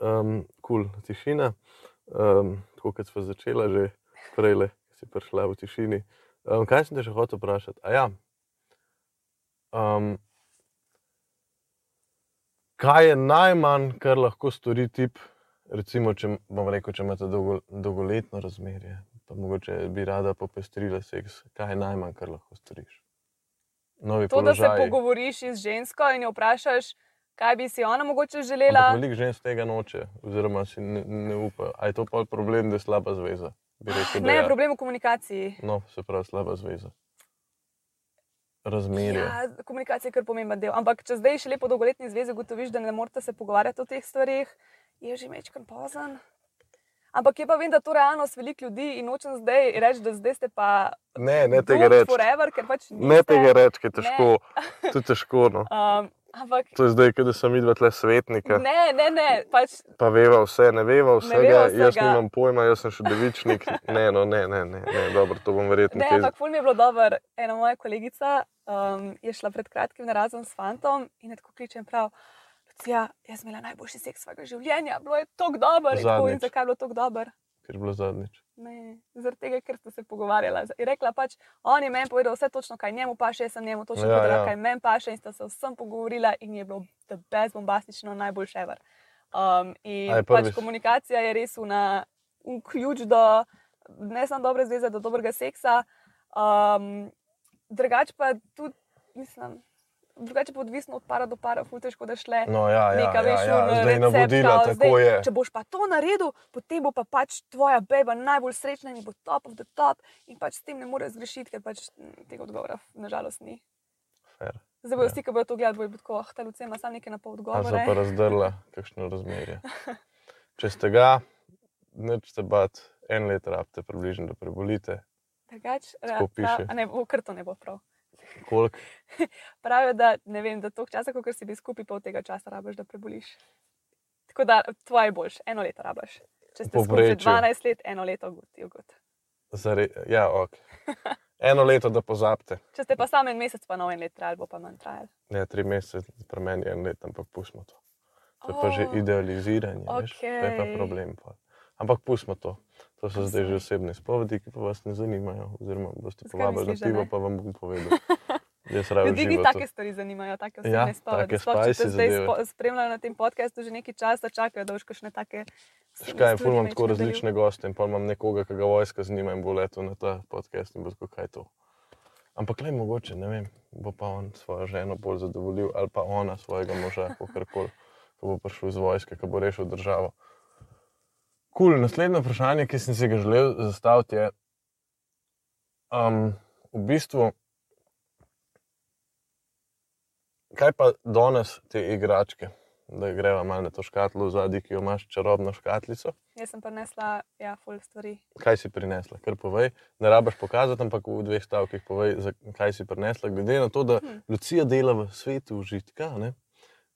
[SPEAKER 1] Um, ja, kul, cool, tišina. Um, tako kot smo začela že prej, le si prišla v tišini. Um, kaj sem te še hotel vprašati? A ja. Um, kaj je najmanj, kar lahko stori tip, recimo, če, bom rekel, če imate dolgo, dolgoletno razmerje, pa mogoče bi rada popestrila seks, kaj je najmanj, kar lahko storiš? Novi
[SPEAKER 2] To, da se
[SPEAKER 1] položaji.
[SPEAKER 2] pogovoriš z žensko in jo vprašaš, kaj bi si ona mogoče
[SPEAKER 1] Ampak
[SPEAKER 2] želela.
[SPEAKER 1] Veliko žensk tega noče, oziroma si ne, ne upa. A je to pa problem, da je slaba zveza? Bi Rekel, da
[SPEAKER 2] Ne,
[SPEAKER 1] ja.
[SPEAKER 2] problem je v komunikaciji.
[SPEAKER 1] No, se pravi, slaba zveza. Razmerje. Ja.
[SPEAKER 2] Ja, komunikacija je kar pomemben del. Ampak če zdaj še lepo dolgoletni zvezi gotoviš, da ne morete se pogovarjati o teh stvarih, je že mečkan pozen. Ampak je pa vem, da to realnost veliko ljudi in nočem zdaj reči, da zdaj ste pa
[SPEAKER 1] Ne, ne
[SPEAKER 2] doomed
[SPEAKER 1] tega reči.
[SPEAKER 2] Forever, ker pač
[SPEAKER 1] Ne
[SPEAKER 2] niste.
[SPEAKER 1] tega reči, ker je težko. To je težko. No.
[SPEAKER 2] Um, ampak
[SPEAKER 1] To je zdaj, ko da sem videla tle svetnika, ne.
[SPEAKER 2] ne, ne, ne, pač
[SPEAKER 1] pa veva vse, ne veva vsega, ne veva
[SPEAKER 2] veva
[SPEAKER 1] vsega. jaz
[SPEAKER 2] vsega.
[SPEAKER 1] nimam pojma, jaz sem še devičnik. Ne, no, ne, ne, ne, ne. dobro, to bom verjetno
[SPEAKER 2] Ne, ampak ful mi je bilo dobro. Ena moja kolegica um, je šla pred kratkim na razen s fantom in je tako kličem prav. Lucija, jaz sem imela najboljši seks svojega življenja, bilo je tako dobro. In tako, in
[SPEAKER 1] Zadnjič.
[SPEAKER 2] zakaj je bilo tako dobro?
[SPEAKER 1] ker je bilo zadnjič.
[SPEAKER 2] Ne, zaradi tega, ker ste se pogovarjali. Je rekla pač, on je meni povedal vse točno, kaj njemu paše, jaz sem njemu točno
[SPEAKER 1] Ja,
[SPEAKER 2] ja, povedala,
[SPEAKER 1] ja.
[SPEAKER 2] ja. kaj meni paše in sta se vsem pogovorila in je bilo the best, bombastično, najboljše ever. Um, in
[SPEAKER 1] A je
[SPEAKER 2] pač
[SPEAKER 1] prvič?
[SPEAKER 2] komunikacija je res una, un ključ do ne samo dobre zveze, do dobrega seksa. Um, drugač pa tudi, mislim, drugače pa odvisno od para do para, ful težko da šle
[SPEAKER 1] No, ja, ja,
[SPEAKER 2] neka
[SPEAKER 1] ja,
[SPEAKER 2] veš,
[SPEAKER 1] ja,
[SPEAKER 2] un
[SPEAKER 1] zdaj
[SPEAKER 2] recept,
[SPEAKER 1] navodila,
[SPEAKER 2] kao,
[SPEAKER 1] tako
[SPEAKER 2] zdaj,
[SPEAKER 1] je.
[SPEAKER 2] Če boš pa to naredil, potem bo pa pač tvoja beba najbolj srečna in bo top of the top, in pač s tem ne moreš zgrešiti, ker pač mm, tega odgovora nažalost ni.
[SPEAKER 1] Fair.
[SPEAKER 2] Zdaj bojo
[SPEAKER 1] Ja.
[SPEAKER 2] vsi, ki bodo to gledali, bojo tako, ah, ta Lucija ima sam nekaj na pol
[SPEAKER 1] A so
[SPEAKER 2] odgovora. eh."
[SPEAKER 1] pa razdrla kakšno razmerje. Če ste ga, neč se bat, en let rabite približno, da prebolite.
[SPEAKER 2] Drugač, ra-
[SPEAKER 1] Tako
[SPEAKER 2] ra-
[SPEAKER 1] piše.
[SPEAKER 2] eh, a ne, v krto ne bo prav.
[SPEAKER 1] Kolik,
[SPEAKER 2] Pravijo, da ne vem, da toliko časa, kot si bil skupaj, pol tega časa rabiš, da preboliš. Tako da tvoje je boljš, eno leto rabiš. Če ste skupaj
[SPEAKER 1] Povprečju.
[SPEAKER 2] 12 let, eno leto, gut, je gut.
[SPEAKER 1] zare, ja, ok. eno leto, da pozabite.
[SPEAKER 2] Če ste pa samo en mesec, pa nov en let trajal, bo pa manj trajal.
[SPEAKER 1] Ne, tri mesece, pri meni je en let, ampak pustimo to. To je pa že
[SPEAKER 2] Oh.
[SPEAKER 1] idealiziranje, veš, to je pa
[SPEAKER 2] Okej.
[SPEAKER 1] problem. Pa. Ampak pustimo to. To so zdaj že osebne spovedi, ki pa vas ne zanimajo. Oziroma, boste
[SPEAKER 2] Zakaj
[SPEAKER 1] povabili na
[SPEAKER 2] misliš, da
[SPEAKER 1] pivo,
[SPEAKER 2] ne?
[SPEAKER 1] pa vam bom povedal. Jaz raje
[SPEAKER 2] Ljudi
[SPEAKER 1] živim.
[SPEAKER 2] take stvari zanimajo, take vse
[SPEAKER 1] Ja,
[SPEAKER 2] ne
[SPEAKER 1] take
[SPEAKER 2] spadajo. Sploh če
[SPEAKER 1] spicy
[SPEAKER 2] te zdaj
[SPEAKER 1] zadeve.
[SPEAKER 2] spo- spremljajo na tem podkastu že nekaj časa, čakajo, da boš kakšne take.
[SPEAKER 1] Škaj, ful imam
[SPEAKER 2] stvari
[SPEAKER 1] tako
[SPEAKER 2] majčkeno
[SPEAKER 1] različne goste in pa imam nekoga, ki ga vojska zanima in bo letel na ta podcast in bo tako, kaj je to. Ampak le mogoče, ne vem, bo pa on svojo ženo bolj zadovoljil ali pa ona svojega moža, kakorkoli, ko bo prišel iz vojske, ko bo rešil državo. Kul, cool. naslednje vprašanje, ki sem si ga želel zastaviti, je um, v bistvu, kaj pa danes te igračke, da greva malo na to škatlo v zadnji, ki jo imaš čarobno škatlico
[SPEAKER 2] delil. Jaz sem prinesla, ja, full stvari.
[SPEAKER 1] kaj si prinesla, kar povej. Ne rabiš pokazati, ampak v dveh stavkih povej, za- kaj si prinesla. Glede na to, da
[SPEAKER 2] Hm.
[SPEAKER 1] Lucija dela v svetu užitka, ne,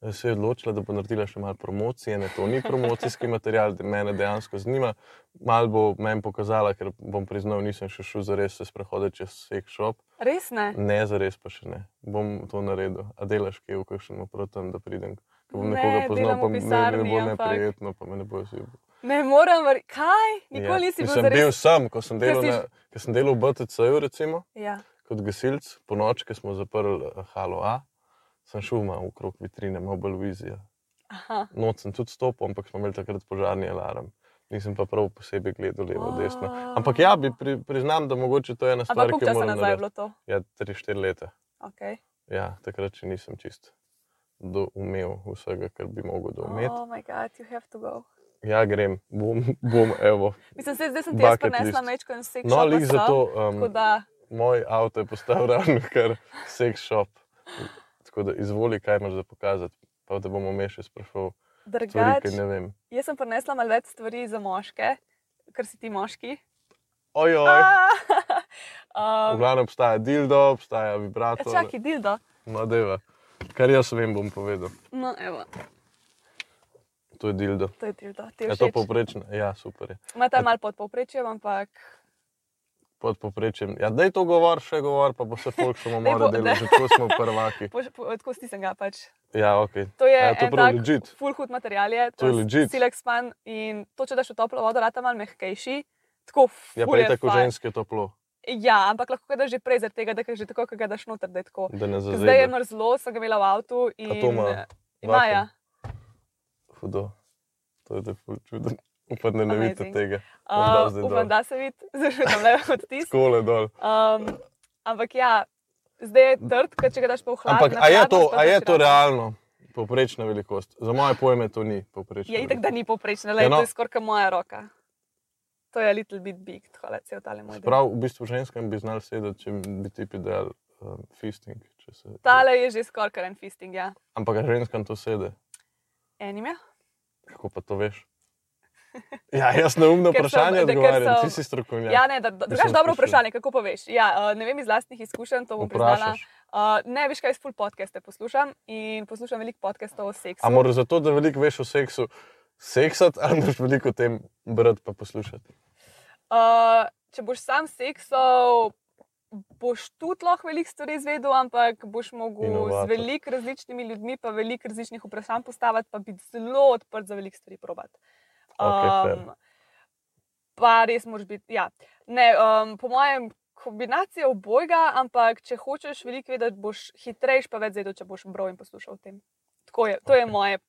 [SPEAKER 1] eh, se je odločila, da bo naredila še malo promocije. Ne, to ni promocijski material, da mene dejansko zanima. Mal bo meni pokazala, ker bom priznal, nisem še šel za res se sprehoditi čez vseh šop.
[SPEAKER 2] Res ne?
[SPEAKER 1] Ne, za res pa še ne. Bom to naredil. A delaš kje v kakšnem oprotem, da pridem. Ko bom
[SPEAKER 2] Ne,
[SPEAKER 1] nekoga poznal,
[SPEAKER 2] delam
[SPEAKER 1] pa
[SPEAKER 2] v
[SPEAKER 1] mi ne
[SPEAKER 2] pisarni,
[SPEAKER 1] bo
[SPEAKER 2] ampak-
[SPEAKER 1] neprijetno, pa me ne bo vsi.
[SPEAKER 2] Ne morem, ver... kaj? Nikoli
[SPEAKER 1] Ja.
[SPEAKER 2] nisi bil
[SPEAKER 1] Mislim,
[SPEAKER 2] zares.
[SPEAKER 1] bil sem, ko sem
[SPEAKER 2] Ker
[SPEAKER 1] delal,
[SPEAKER 2] si-
[SPEAKER 1] na, ko sem delal v BTC-ju, recimo,
[SPEAKER 2] Ja.
[SPEAKER 1] kot gasilc, po noči, ko smo zaprli eh, halo A, sem šel malo okrog vitrine, malo bolj vizija.
[SPEAKER 2] Aha.
[SPEAKER 1] Noč sem tudi stopil, ampak smo imeli takrat požarni alarm. Nisem pa prav posebej gledal levo, desno. Ampak ja, bi pri, priznam, da mogoče to je ena
[SPEAKER 2] Ampak
[SPEAKER 1] stvar,
[SPEAKER 2] koliko
[SPEAKER 1] ki jo
[SPEAKER 2] časa
[SPEAKER 1] moram
[SPEAKER 2] nazaj je bilo
[SPEAKER 1] narediti.
[SPEAKER 2] to?
[SPEAKER 1] Ja, 3-4 leta.
[SPEAKER 2] Okay.
[SPEAKER 1] Ja, takrat še nisem čist doumel vsega, kar bi mogel doumeti.
[SPEAKER 2] Oh, moj bog, you have to go.
[SPEAKER 1] Ja, grem, bom, bom evo.
[SPEAKER 2] Mislim, se, zdaj sem ti jaz
[SPEAKER 1] Bucket
[SPEAKER 2] prinesla
[SPEAKER 1] list.
[SPEAKER 2] mečko in vse.
[SPEAKER 1] No, lik za to.
[SPEAKER 2] Tako
[SPEAKER 1] Um,
[SPEAKER 2] da,
[SPEAKER 1] moj avto je postal ravno kar seks šop. Tako da izvoli, kaj imaš za pokazati. Pa da bomo me še sprašval, stvari,
[SPEAKER 2] drugače.
[SPEAKER 1] ki ne vem.
[SPEAKER 2] Jaz sem prinesla malo več stvari za moške, ker si ti moški.
[SPEAKER 1] Ojoj, v
[SPEAKER 2] Um,
[SPEAKER 1] glavnem obstaja dildo, obstaja vibrator.
[SPEAKER 2] e, Ja, čakaj, dildo.
[SPEAKER 1] No, deva. Kar jaz vem, bom povedal.
[SPEAKER 2] No, evo,
[SPEAKER 1] To je dildo.
[SPEAKER 2] to je dildo. Ti je
[SPEAKER 1] Je to
[SPEAKER 2] všeč?
[SPEAKER 1] povprečno? Ja, super je.
[SPEAKER 2] Ima ta mal pod povprečjem, ampak
[SPEAKER 1] Pod povprečjem. Ja, daj to govor, še govor, pa bo se folk še
[SPEAKER 2] Daj bo-
[SPEAKER 1] mora delati, že tako smo prvaki.
[SPEAKER 2] poš- po- tako stisnem ga pač.
[SPEAKER 1] Ja, ok.
[SPEAKER 2] To je,
[SPEAKER 1] Ja, to
[SPEAKER 2] en
[SPEAKER 1] prav
[SPEAKER 2] tak
[SPEAKER 1] legit.
[SPEAKER 2] Full hud material je,
[SPEAKER 1] To je legit.
[SPEAKER 2] Silek span in to, če daš v toplo vodo, rata mal mehkejši. Tako ful
[SPEAKER 1] Ja, pa je tako
[SPEAKER 2] fajn.
[SPEAKER 1] ženske toplo,
[SPEAKER 2] Ja, ampak lahko ga daš že prej, zaradi tega, da ga že tako, ko ga daš noter, da je tako.
[SPEAKER 1] da ne
[SPEAKER 2] Ker Zdaj je
[SPEAKER 1] zazebe.
[SPEAKER 2] mrzlo, sem ga imela v avtu in
[SPEAKER 1] to ima
[SPEAKER 2] ima
[SPEAKER 1] vakuum?
[SPEAKER 2] ja.
[SPEAKER 1] Hudo. To je tako čudno. Upam, da ne vidite
[SPEAKER 2] Amazing.
[SPEAKER 1] tega. Bom dal
[SPEAKER 2] Uh,
[SPEAKER 1] zdaj
[SPEAKER 2] upam,
[SPEAKER 1] dol.
[SPEAKER 2] da se vidi, zdaj že tam levo odtis.
[SPEAKER 1] Skole dol.
[SPEAKER 2] Um, ampak ja, zdaj je trd, ker če ga daš pa v hlad.
[SPEAKER 1] Ampak,
[SPEAKER 2] na
[SPEAKER 1] a je
[SPEAKER 2] hladno,
[SPEAKER 1] to,
[SPEAKER 2] pa
[SPEAKER 1] a je
[SPEAKER 2] daš
[SPEAKER 1] to
[SPEAKER 2] rad.
[SPEAKER 1] realno poprečna velikost? Za moje pojme to ni poprečna.
[SPEAKER 2] Je Ja, itak, da ni povprečna,
[SPEAKER 1] Ja,
[SPEAKER 2] le
[SPEAKER 1] no.
[SPEAKER 2] to je skoraj kot moja roka. To je little bit big, tako da se odale moj.
[SPEAKER 1] velikost.
[SPEAKER 2] del.
[SPEAKER 1] Prav, v bistvu ženskam bi znal sedeti, če bi ti pidal um, fisting. če se-
[SPEAKER 2] Tale je že skoraj kar en fisting, ja.
[SPEAKER 1] Ampak a ženskam to sede.
[SPEAKER 2] Enim je.
[SPEAKER 1] Kako pa to veš? Ja, jaz neumno
[SPEAKER 2] Ker so-
[SPEAKER 1] vprašanje
[SPEAKER 2] da- ker
[SPEAKER 1] odgovarjam,
[SPEAKER 2] so-
[SPEAKER 1] ti si strokovnjak.
[SPEAKER 2] Ja, ne, da, da, drugače
[SPEAKER 1] skušal.
[SPEAKER 2] dobro vprašanje, kako pa veš. Ja, uh, ne vem iz lastnih izkušenj, to bom priznala.
[SPEAKER 1] Vprašaš.
[SPEAKER 2] Uh, ne veš, kaj iz full podcaste poslušam in poslušam veliko podcastov o seksu.
[SPEAKER 1] A moraš zato, da veliko veš o seksu, seksati ali moraš veliko o tem brati pa poslušati?
[SPEAKER 2] Uh, če boš sam seksal, boš tudi lahko veliko stvari izvedel, ampak boš mogel
[SPEAKER 1] Inovator.
[SPEAKER 2] z veliko različnimi ljudmi, pa veliko različnih vprašanj postaviti, pa biti zelo odprt za veliko stvari probati.
[SPEAKER 1] Okej, fair.
[SPEAKER 2] pa res moraš biti. Ja. Ne, um, po mojem, kombinacija obojga, ampak če hočeš veliko vedeti, boš hitrejš, pa več zvedel, če boš bral in poslušal o tem. Tako je, to je
[SPEAKER 1] Okej.
[SPEAKER 2] moje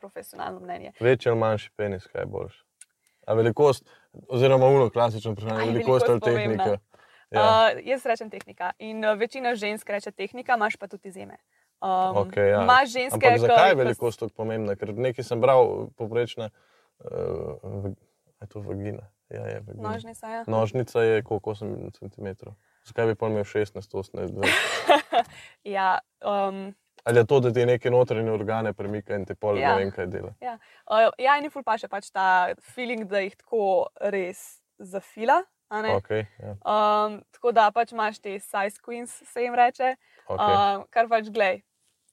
[SPEAKER 2] profesionalno mnenje.
[SPEAKER 1] Večji ali manjši penis, kaj boš? A velikost, oziroma uno klasično
[SPEAKER 2] A
[SPEAKER 1] vprašanje,
[SPEAKER 2] je
[SPEAKER 1] velikost ali
[SPEAKER 2] velikost pomembna?
[SPEAKER 1] tehnika. Ja.
[SPEAKER 2] Uh, jaz rečem tehnika. In uh, večina žensk reče tehnika, imaš pa tudi izjeme. Um,
[SPEAKER 1] Okej, ja.
[SPEAKER 2] Imaš ženske,
[SPEAKER 1] Ampak zakaj je
[SPEAKER 2] ko-
[SPEAKER 1] velikost tako pomembna? Ker nekaj sem bral, poprečna uh, je to vagina. Ja, je
[SPEAKER 2] ko-
[SPEAKER 1] vagina.
[SPEAKER 2] Nožnica, ja.
[SPEAKER 1] Nožnica je koliko 8 cm. Zakaj bi pol imel 16, 18, 20?
[SPEAKER 2] ja um,
[SPEAKER 1] Ali je to, da ti neke notranje organe premika in te pol ja.
[SPEAKER 2] Ja.
[SPEAKER 1] ne vem, kaj dela?
[SPEAKER 2] uh, ja, in ful pa še pač ta feeling, da jih tako res zafila. a ne.
[SPEAKER 1] Okay, ja,
[SPEAKER 2] Um, tako da pač imaš te size queens, se jim reče.
[SPEAKER 1] okay.
[SPEAKER 2] Okay. Um, kar pač glej.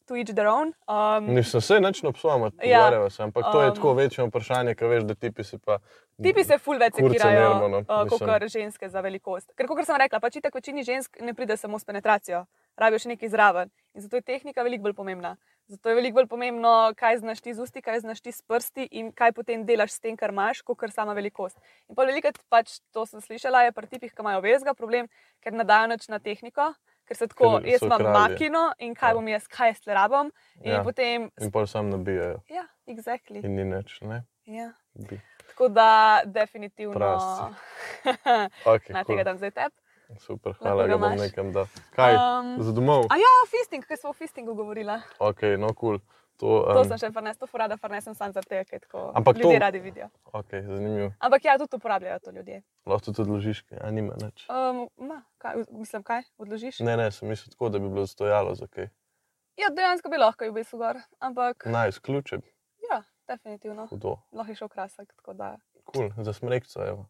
[SPEAKER 2] to each their own. Um,
[SPEAKER 1] Nisem se nič obsomal,
[SPEAKER 2] Ja.
[SPEAKER 1] pogovarjal se, ampak to je
[SPEAKER 2] Um.
[SPEAKER 1] tako večje vprašanje, ker veš, da tipi si pa.
[SPEAKER 2] Tipi se ful več
[SPEAKER 1] Kurca
[SPEAKER 2] sekirajo,
[SPEAKER 1] nervo, no,
[SPEAKER 2] uh,
[SPEAKER 1] mislim.
[SPEAKER 2] kot ženske za velikost. Ker, kot sem rekla, pač tako večini žensk ne pride samo s penetracijo, rabijo še nekaj zraven. In zato je tehnika veliko bolj pomembna. Zato je veliko bolj pomembno, kaj znaš ti z usti, kaj znaš ti s prsti in kaj potem delaš s tem, kar imaš, kot kar sama velikost. In pa velikrat, pač to sem slišala, je pri tipih, ki imajo vezga problem, ker ne dajo nič na tehniko, ker se tako,
[SPEAKER 1] Ker
[SPEAKER 2] jaz
[SPEAKER 1] so
[SPEAKER 2] imam
[SPEAKER 1] kralji.
[SPEAKER 2] makino in kaj
[SPEAKER 1] Ja.
[SPEAKER 2] bom jaz, kaj jaz tle rabim. In
[SPEAKER 1] Ja.
[SPEAKER 2] potem,
[SPEAKER 1] In pa sam nabijajo
[SPEAKER 2] ja, exactly.
[SPEAKER 1] in ni nič. Ne?
[SPEAKER 2] Ja.
[SPEAKER 1] Bi.
[SPEAKER 2] Tako da, definitivno.
[SPEAKER 1] Prasci. Okay,
[SPEAKER 2] Na
[SPEAKER 1] cool.
[SPEAKER 2] tega dam zdaj tep.
[SPEAKER 1] Super, hvala,
[SPEAKER 2] Lepega
[SPEAKER 1] da bom
[SPEAKER 2] imaš.
[SPEAKER 1] nekam dal. Kaj?
[SPEAKER 2] Um,
[SPEAKER 1] Um, Za domov?
[SPEAKER 2] A ja, fisting, kaj smo o fistingu govorila.
[SPEAKER 1] Ok, no kul. Cool.
[SPEAKER 2] To
[SPEAKER 1] To, um,
[SPEAKER 2] sem še prenesla, to furada prenesem sam za te, ki tako
[SPEAKER 1] Ampak to-
[SPEAKER 2] ljudje radi vidijo.
[SPEAKER 1] Ok, zanimivo.
[SPEAKER 2] Ampak ja, tudi uporabljajo to ljudje.
[SPEAKER 1] Lahko tudi odložiš, a nima nič.
[SPEAKER 2] Um, ma, kaj, mislim, kaj odložiš?
[SPEAKER 1] Ne, ne, sem mislil tako, da bi bilo stojalo za kaj.
[SPEAKER 2] Ja, dejansko bi lahko bil gor, ampak
[SPEAKER 1] Naj izključim,
[SPEAKER 2] ja, definitivno.
[SPEAKER 1] hudo.
[SPEAKER 2] Lahko je šel krasek, tako da.
[SPEAKER 1] Kul, cool. za smrekco, evo.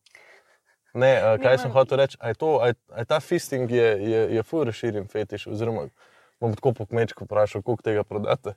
[SPEAKER 1] Ne, a, kaj
[SPEAKER 2] Nima-
[SPEAKER 1] sem hotel reči, a je, to, a je, a je ta fisting je, je, je ful razširjen fetiš, oziroma bom tako po kmečku vprašal, koliko tega prodate.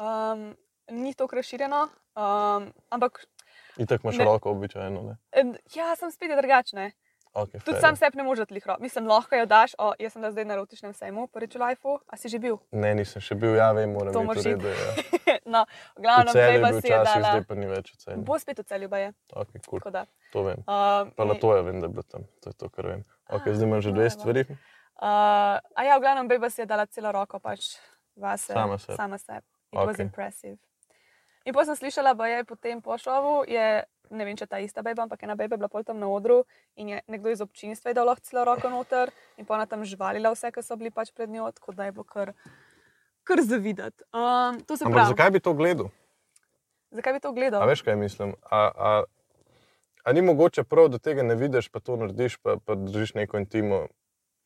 [SPEAKER 2] Um, ni to razširjeno, um, ampak
[SPEAKER 1] In tako imaš
[SPEAKER 2] Ne.
[SPEAKER 1] roko običajno, ne?
[SPEAKER 2] en, ja, sem spet drugačne.
[SPEAKER 1] Okay,
[SPEAKER 2] Tudi sam sebi ne moreš dati lihro. Mislim, lahko jo daš, o, jaz sem bila zdaj na rotičnem sejmu, prvič v lifeu, a si že bil?
[SPEAKER 1] Ne, nisem še bil, ja vem, moram
[SPEAKER 2] To
[SPEAKER 1] biti
[SPEAKER 2] moraš
[SPEAKER 1] v redu. Ja.
[SPEAKER 2] no, v
[SPEAKER 1] V
[SPEAKER 2] glavnem,
[SPEAKER 1] Celju
[SPEAKER 2] zdaj
[SPEAKER 1] je
[SPEAKER 2] pa
[SPEAKER 1] bil
[SPEAKER 2] si je
[SPEAKER 1] včasih,
[SPEAKER 2] dala.
[SPEAKER 1] zdaj pa ni več v celju.
[SPEAKER 2] Bo spet v celju, pa je.
[SPEAKER 1] Okay, cool.
[SPEAKER 2] tako da.
[SPEAKER 1] To vem.
[SPEAKER 2] Um,
[SPEAKER 1] Pa
[SPEAKER 2] in-
[SPEAKER 1] na to je, vem, da je bilo tam. To je to, kar vem. Okay, zdaj imam že dve
[SPEAKER 2] evo.
[SPEAKER 1] stvari.
[SPEAKER 2] Uh, a ja, v glavnem, Beba si je dala celo roko, pač vase.
[SPEAKER 1] Sama sebi.
[SPEAKER 2] Sama sebi. It okay. was
[SPEAKER 1] Okej.
[SPEAKER 2] impressive. In potem sem slišala, da je potem po šovu, je, ne vem, če ta ista beba, ampak ena beba je bila pol tam na odru in je nekdo iz občinstva je dal lahko celo roko noter in pa ona tam žvalila vse, ki so bili pač pred njo, tako da je bilo kar, kar zavidati. Um, to se
[SPEAKER 1] Ampak
[SPEAKER 2] pravi, zakaj?
[SPEAKER 1] zakaj bi to gledal?
[SPEAKER 2] zakaj bi to
[SPEAKER 1] A
[SPEAKER 2] gledal?
[SPEAKER 1] veš, kaj mislim? A, a, a ni mogoče prav, da tega ne vidiš, pa to narediš, pa, pa držiš neko intimo,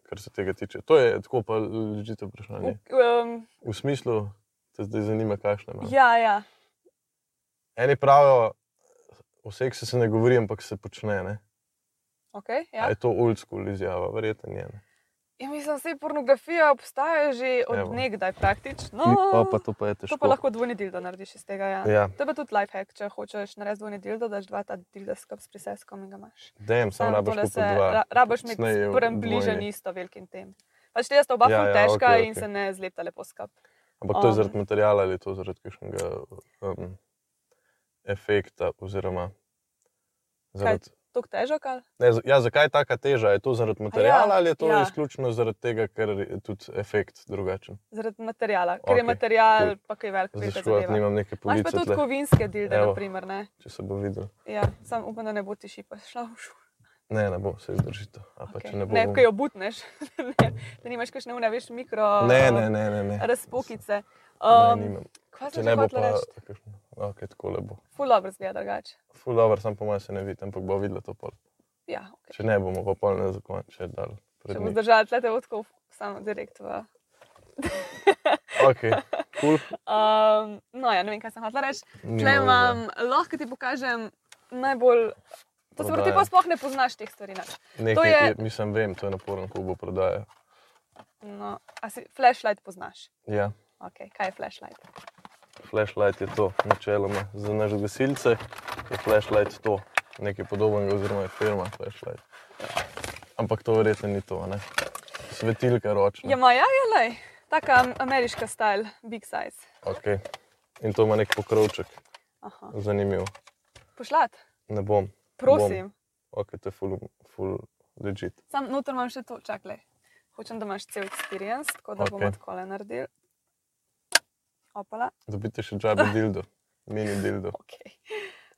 [SPEAKER 1] kar se tega tiče? To je tako pa ležite vprašanje.
[SPEAKER 2] Um,
[SPEAKER 1] V smislu, te zdaj zanima, kakšne imaš.
[SPEAKER 2] ja, ja.
[SPEAKER 1] Eni pravijo, o seksu se ne govori, ampak se počne. Ne?
[SPEAKER 2] Okay,
[SPEAKER 1] Ja.
[SPEAKER 2] ja.
[SPEAKER 1] Je to old school izjava, verjetno je. ne.
[SPEAKER 2] Ja, mislim, da pornografija obstaja že od
[SPEAKER 1] Evo.
[SPEAKER 2] nekdaj praktično.
[SPEAKER 1] O, pa to pa je
[SPEAKER 2] To
[SPEAKER 1] težko.
[SPEAKER 2] pa lahko dvojni dildo narediš iz tega. Ja.
[SPEAKER 1] Ja,
[SPEAKER 2] To je pa tudi life hack, če hočeš narediti dvojni dildo, daš dva ta dilda skup s priseskom in ga imaš.
[SPEAKER 1] dejem, sam
[SPEAKER 2] Samo
[SPEAKER 1] rabiš
[SPEAKER 2] tole
[SPEAKER 1] kupiti dva.
[SPEAKER 2] ra- rabiš imeti
[SPEAKER 1] Kasneje je
[SPEAKER 2] prvem
[SPEAKER 1] dvojni.
[SPEAKER 2] bližen isto velikim tem. Pač te sta oba
[SPEAKER 1] Ja,
[SPEAKER 2] ja,
[SPEAKER 1] ja,
[SPEAKER 2] težka
[SPEAKER 1] okej,
[SPEAKER 2] okay, in
[SPEAKER 1] okej.
[SPEAKER 2] se ne zlepta lepo skup.
[SPEAKER 1] Ampak to je
[SPEAKER 2] Um.
[SPEAKER 1] zaradi materijala ali je to zaradi kakšnega um, efekta. Oziroma, zaradi,
[SPEAKER 2] Tok težak ali?
[SPEAKER 1] ne, z- ja, zakaj je taka teža? Je to zaradi materijala ali je to
[SPEAKER 2] ja.
[SPEAKER 1] ja. izključno zaradi tega, ker je tudi efekt drugačen?
[SPEAKER 2] Zaradi materijala, ker okay, je
[SPEAKER 1] Okej,
[SPEAKER 2] material
[SPEAKER 1] cool.
[SPEAKER 2] pa kaj velik,
[SPEAKER 1] Zdaj
[SPEAKER 2] velika
[SPEAKER 1] škoda, da
[SPEAKER 2] zadeva.
[SPEAKER 1] nimam neke
[SPEAKER 2] Imaš pa
[SPEAKER 1] police,
[SPEAKER 2] tudi
[SPEAKER 1] tle,
[SPEAKER 2] kovinske dilde,
[SPEAKER 1] Evo.
[SPEAKER 2] naprimer, ne?
[SPEAKER 1] če se bo videl.
[SPEAKER 2] Ja, sam upam, da ne bo ti šipa šla v šul.
[SPEAKER 1] Ne, ne bo, se izdržite. Okay.
[SPEAKER 2] Okay.
[SPEAKER 1] Ne,
[SPEAKER 2] Ne,
[SPEAKER 1] bom-
[SPEAKER 2] ko jo butneš, ne, da nimaš kakšne une, veš, mikro
[SPEAKER 1] ne, ne, ne, ne, ne.
[SPEAKER 2] razpokice.
[SPEAKER 1] ne,
[SPEAKER 2] Um,
[SPEAKER 1] nimam.
[SPEAKER 2] kaj
[SPEAKER 1] Če
[SPEAKER 2] sem
[SPEAKER 1] ne bo
[SPEAKER 2] lahko
[SPEAKER 1] pa,
[SPEAKER 2] reči?
[SPEAKER 1] kakšno, okay, tako lepo.
[SPEAKER 2] Ful dobro zgleda drugače.
[SPEAKER 1] Ful dobro, sam po mojem se ne vidi, ampak bo videla to pol.
[SPEAKER 2] Ja, okay.
[SPEAKER 1] Če ne bomo pa pol na zakon, če dal.
[SPEAKER 2] Če boš držal tle odkov, samo direkt v.
[SPEAKER 1] Okay, cool.
[SPEAKER 2] Um, no, ja, ne vem, kaj sem hotel reči. Tle
[SPEAKER 1] Nimam veze.
[SPEAKER 2] imam, lahko ti pokažem najbolj. To se pravi, ti
[SPEAKER 1] Prodaja.
[SPEAKER 2] pa sploh ne poznaš teh stvari. nič.
[SPEAKER 1] Nekaj,
[SPEAKER 2] je-
[SPEAKER 1] je... mislim, vem, to je naporen, ko bo prodaja.
[SPEAKER 2] No, a si flashlight poznaš?
[SPEAKER 1] Ja,
[SPEAKER 2] Okay, kaj je flashlight?
[SPEAKER 1] flashlight je to, načeloma. Za naš gasilce je flashlight to, nekaj podobnega, oziroma je firma flashlight. Ampak to verjetno ni to, ne? Svetilka ročna.
[SPEAKER 2] Ja, ma, ja, ja, lej. Taka ameriška style, big size.
[SPEAKER 1] Okay. In to ima nek pokrovček,
[SPEAKER 2] Aha.
[SPEAKER 1] zanimiv.
[SPEAKER 2] Pošlat,
[SPEAKER 1] Ne bom.
[SPEAKER 2] prosim.
[SPEAKER 1] Ok, to je full, full legit.
[SPEAKER 2] Sam noter imam še to, čakaj. Hočem, da imaš cel experience, tako da okay. bomo
[SPEAKER 1] Okej.
[SPEAKER 2] tako le naredili. Opala,
[SPEAKER 1] Dobite še džabe dildo, mini dildo.
[SPEAKER 2] ok.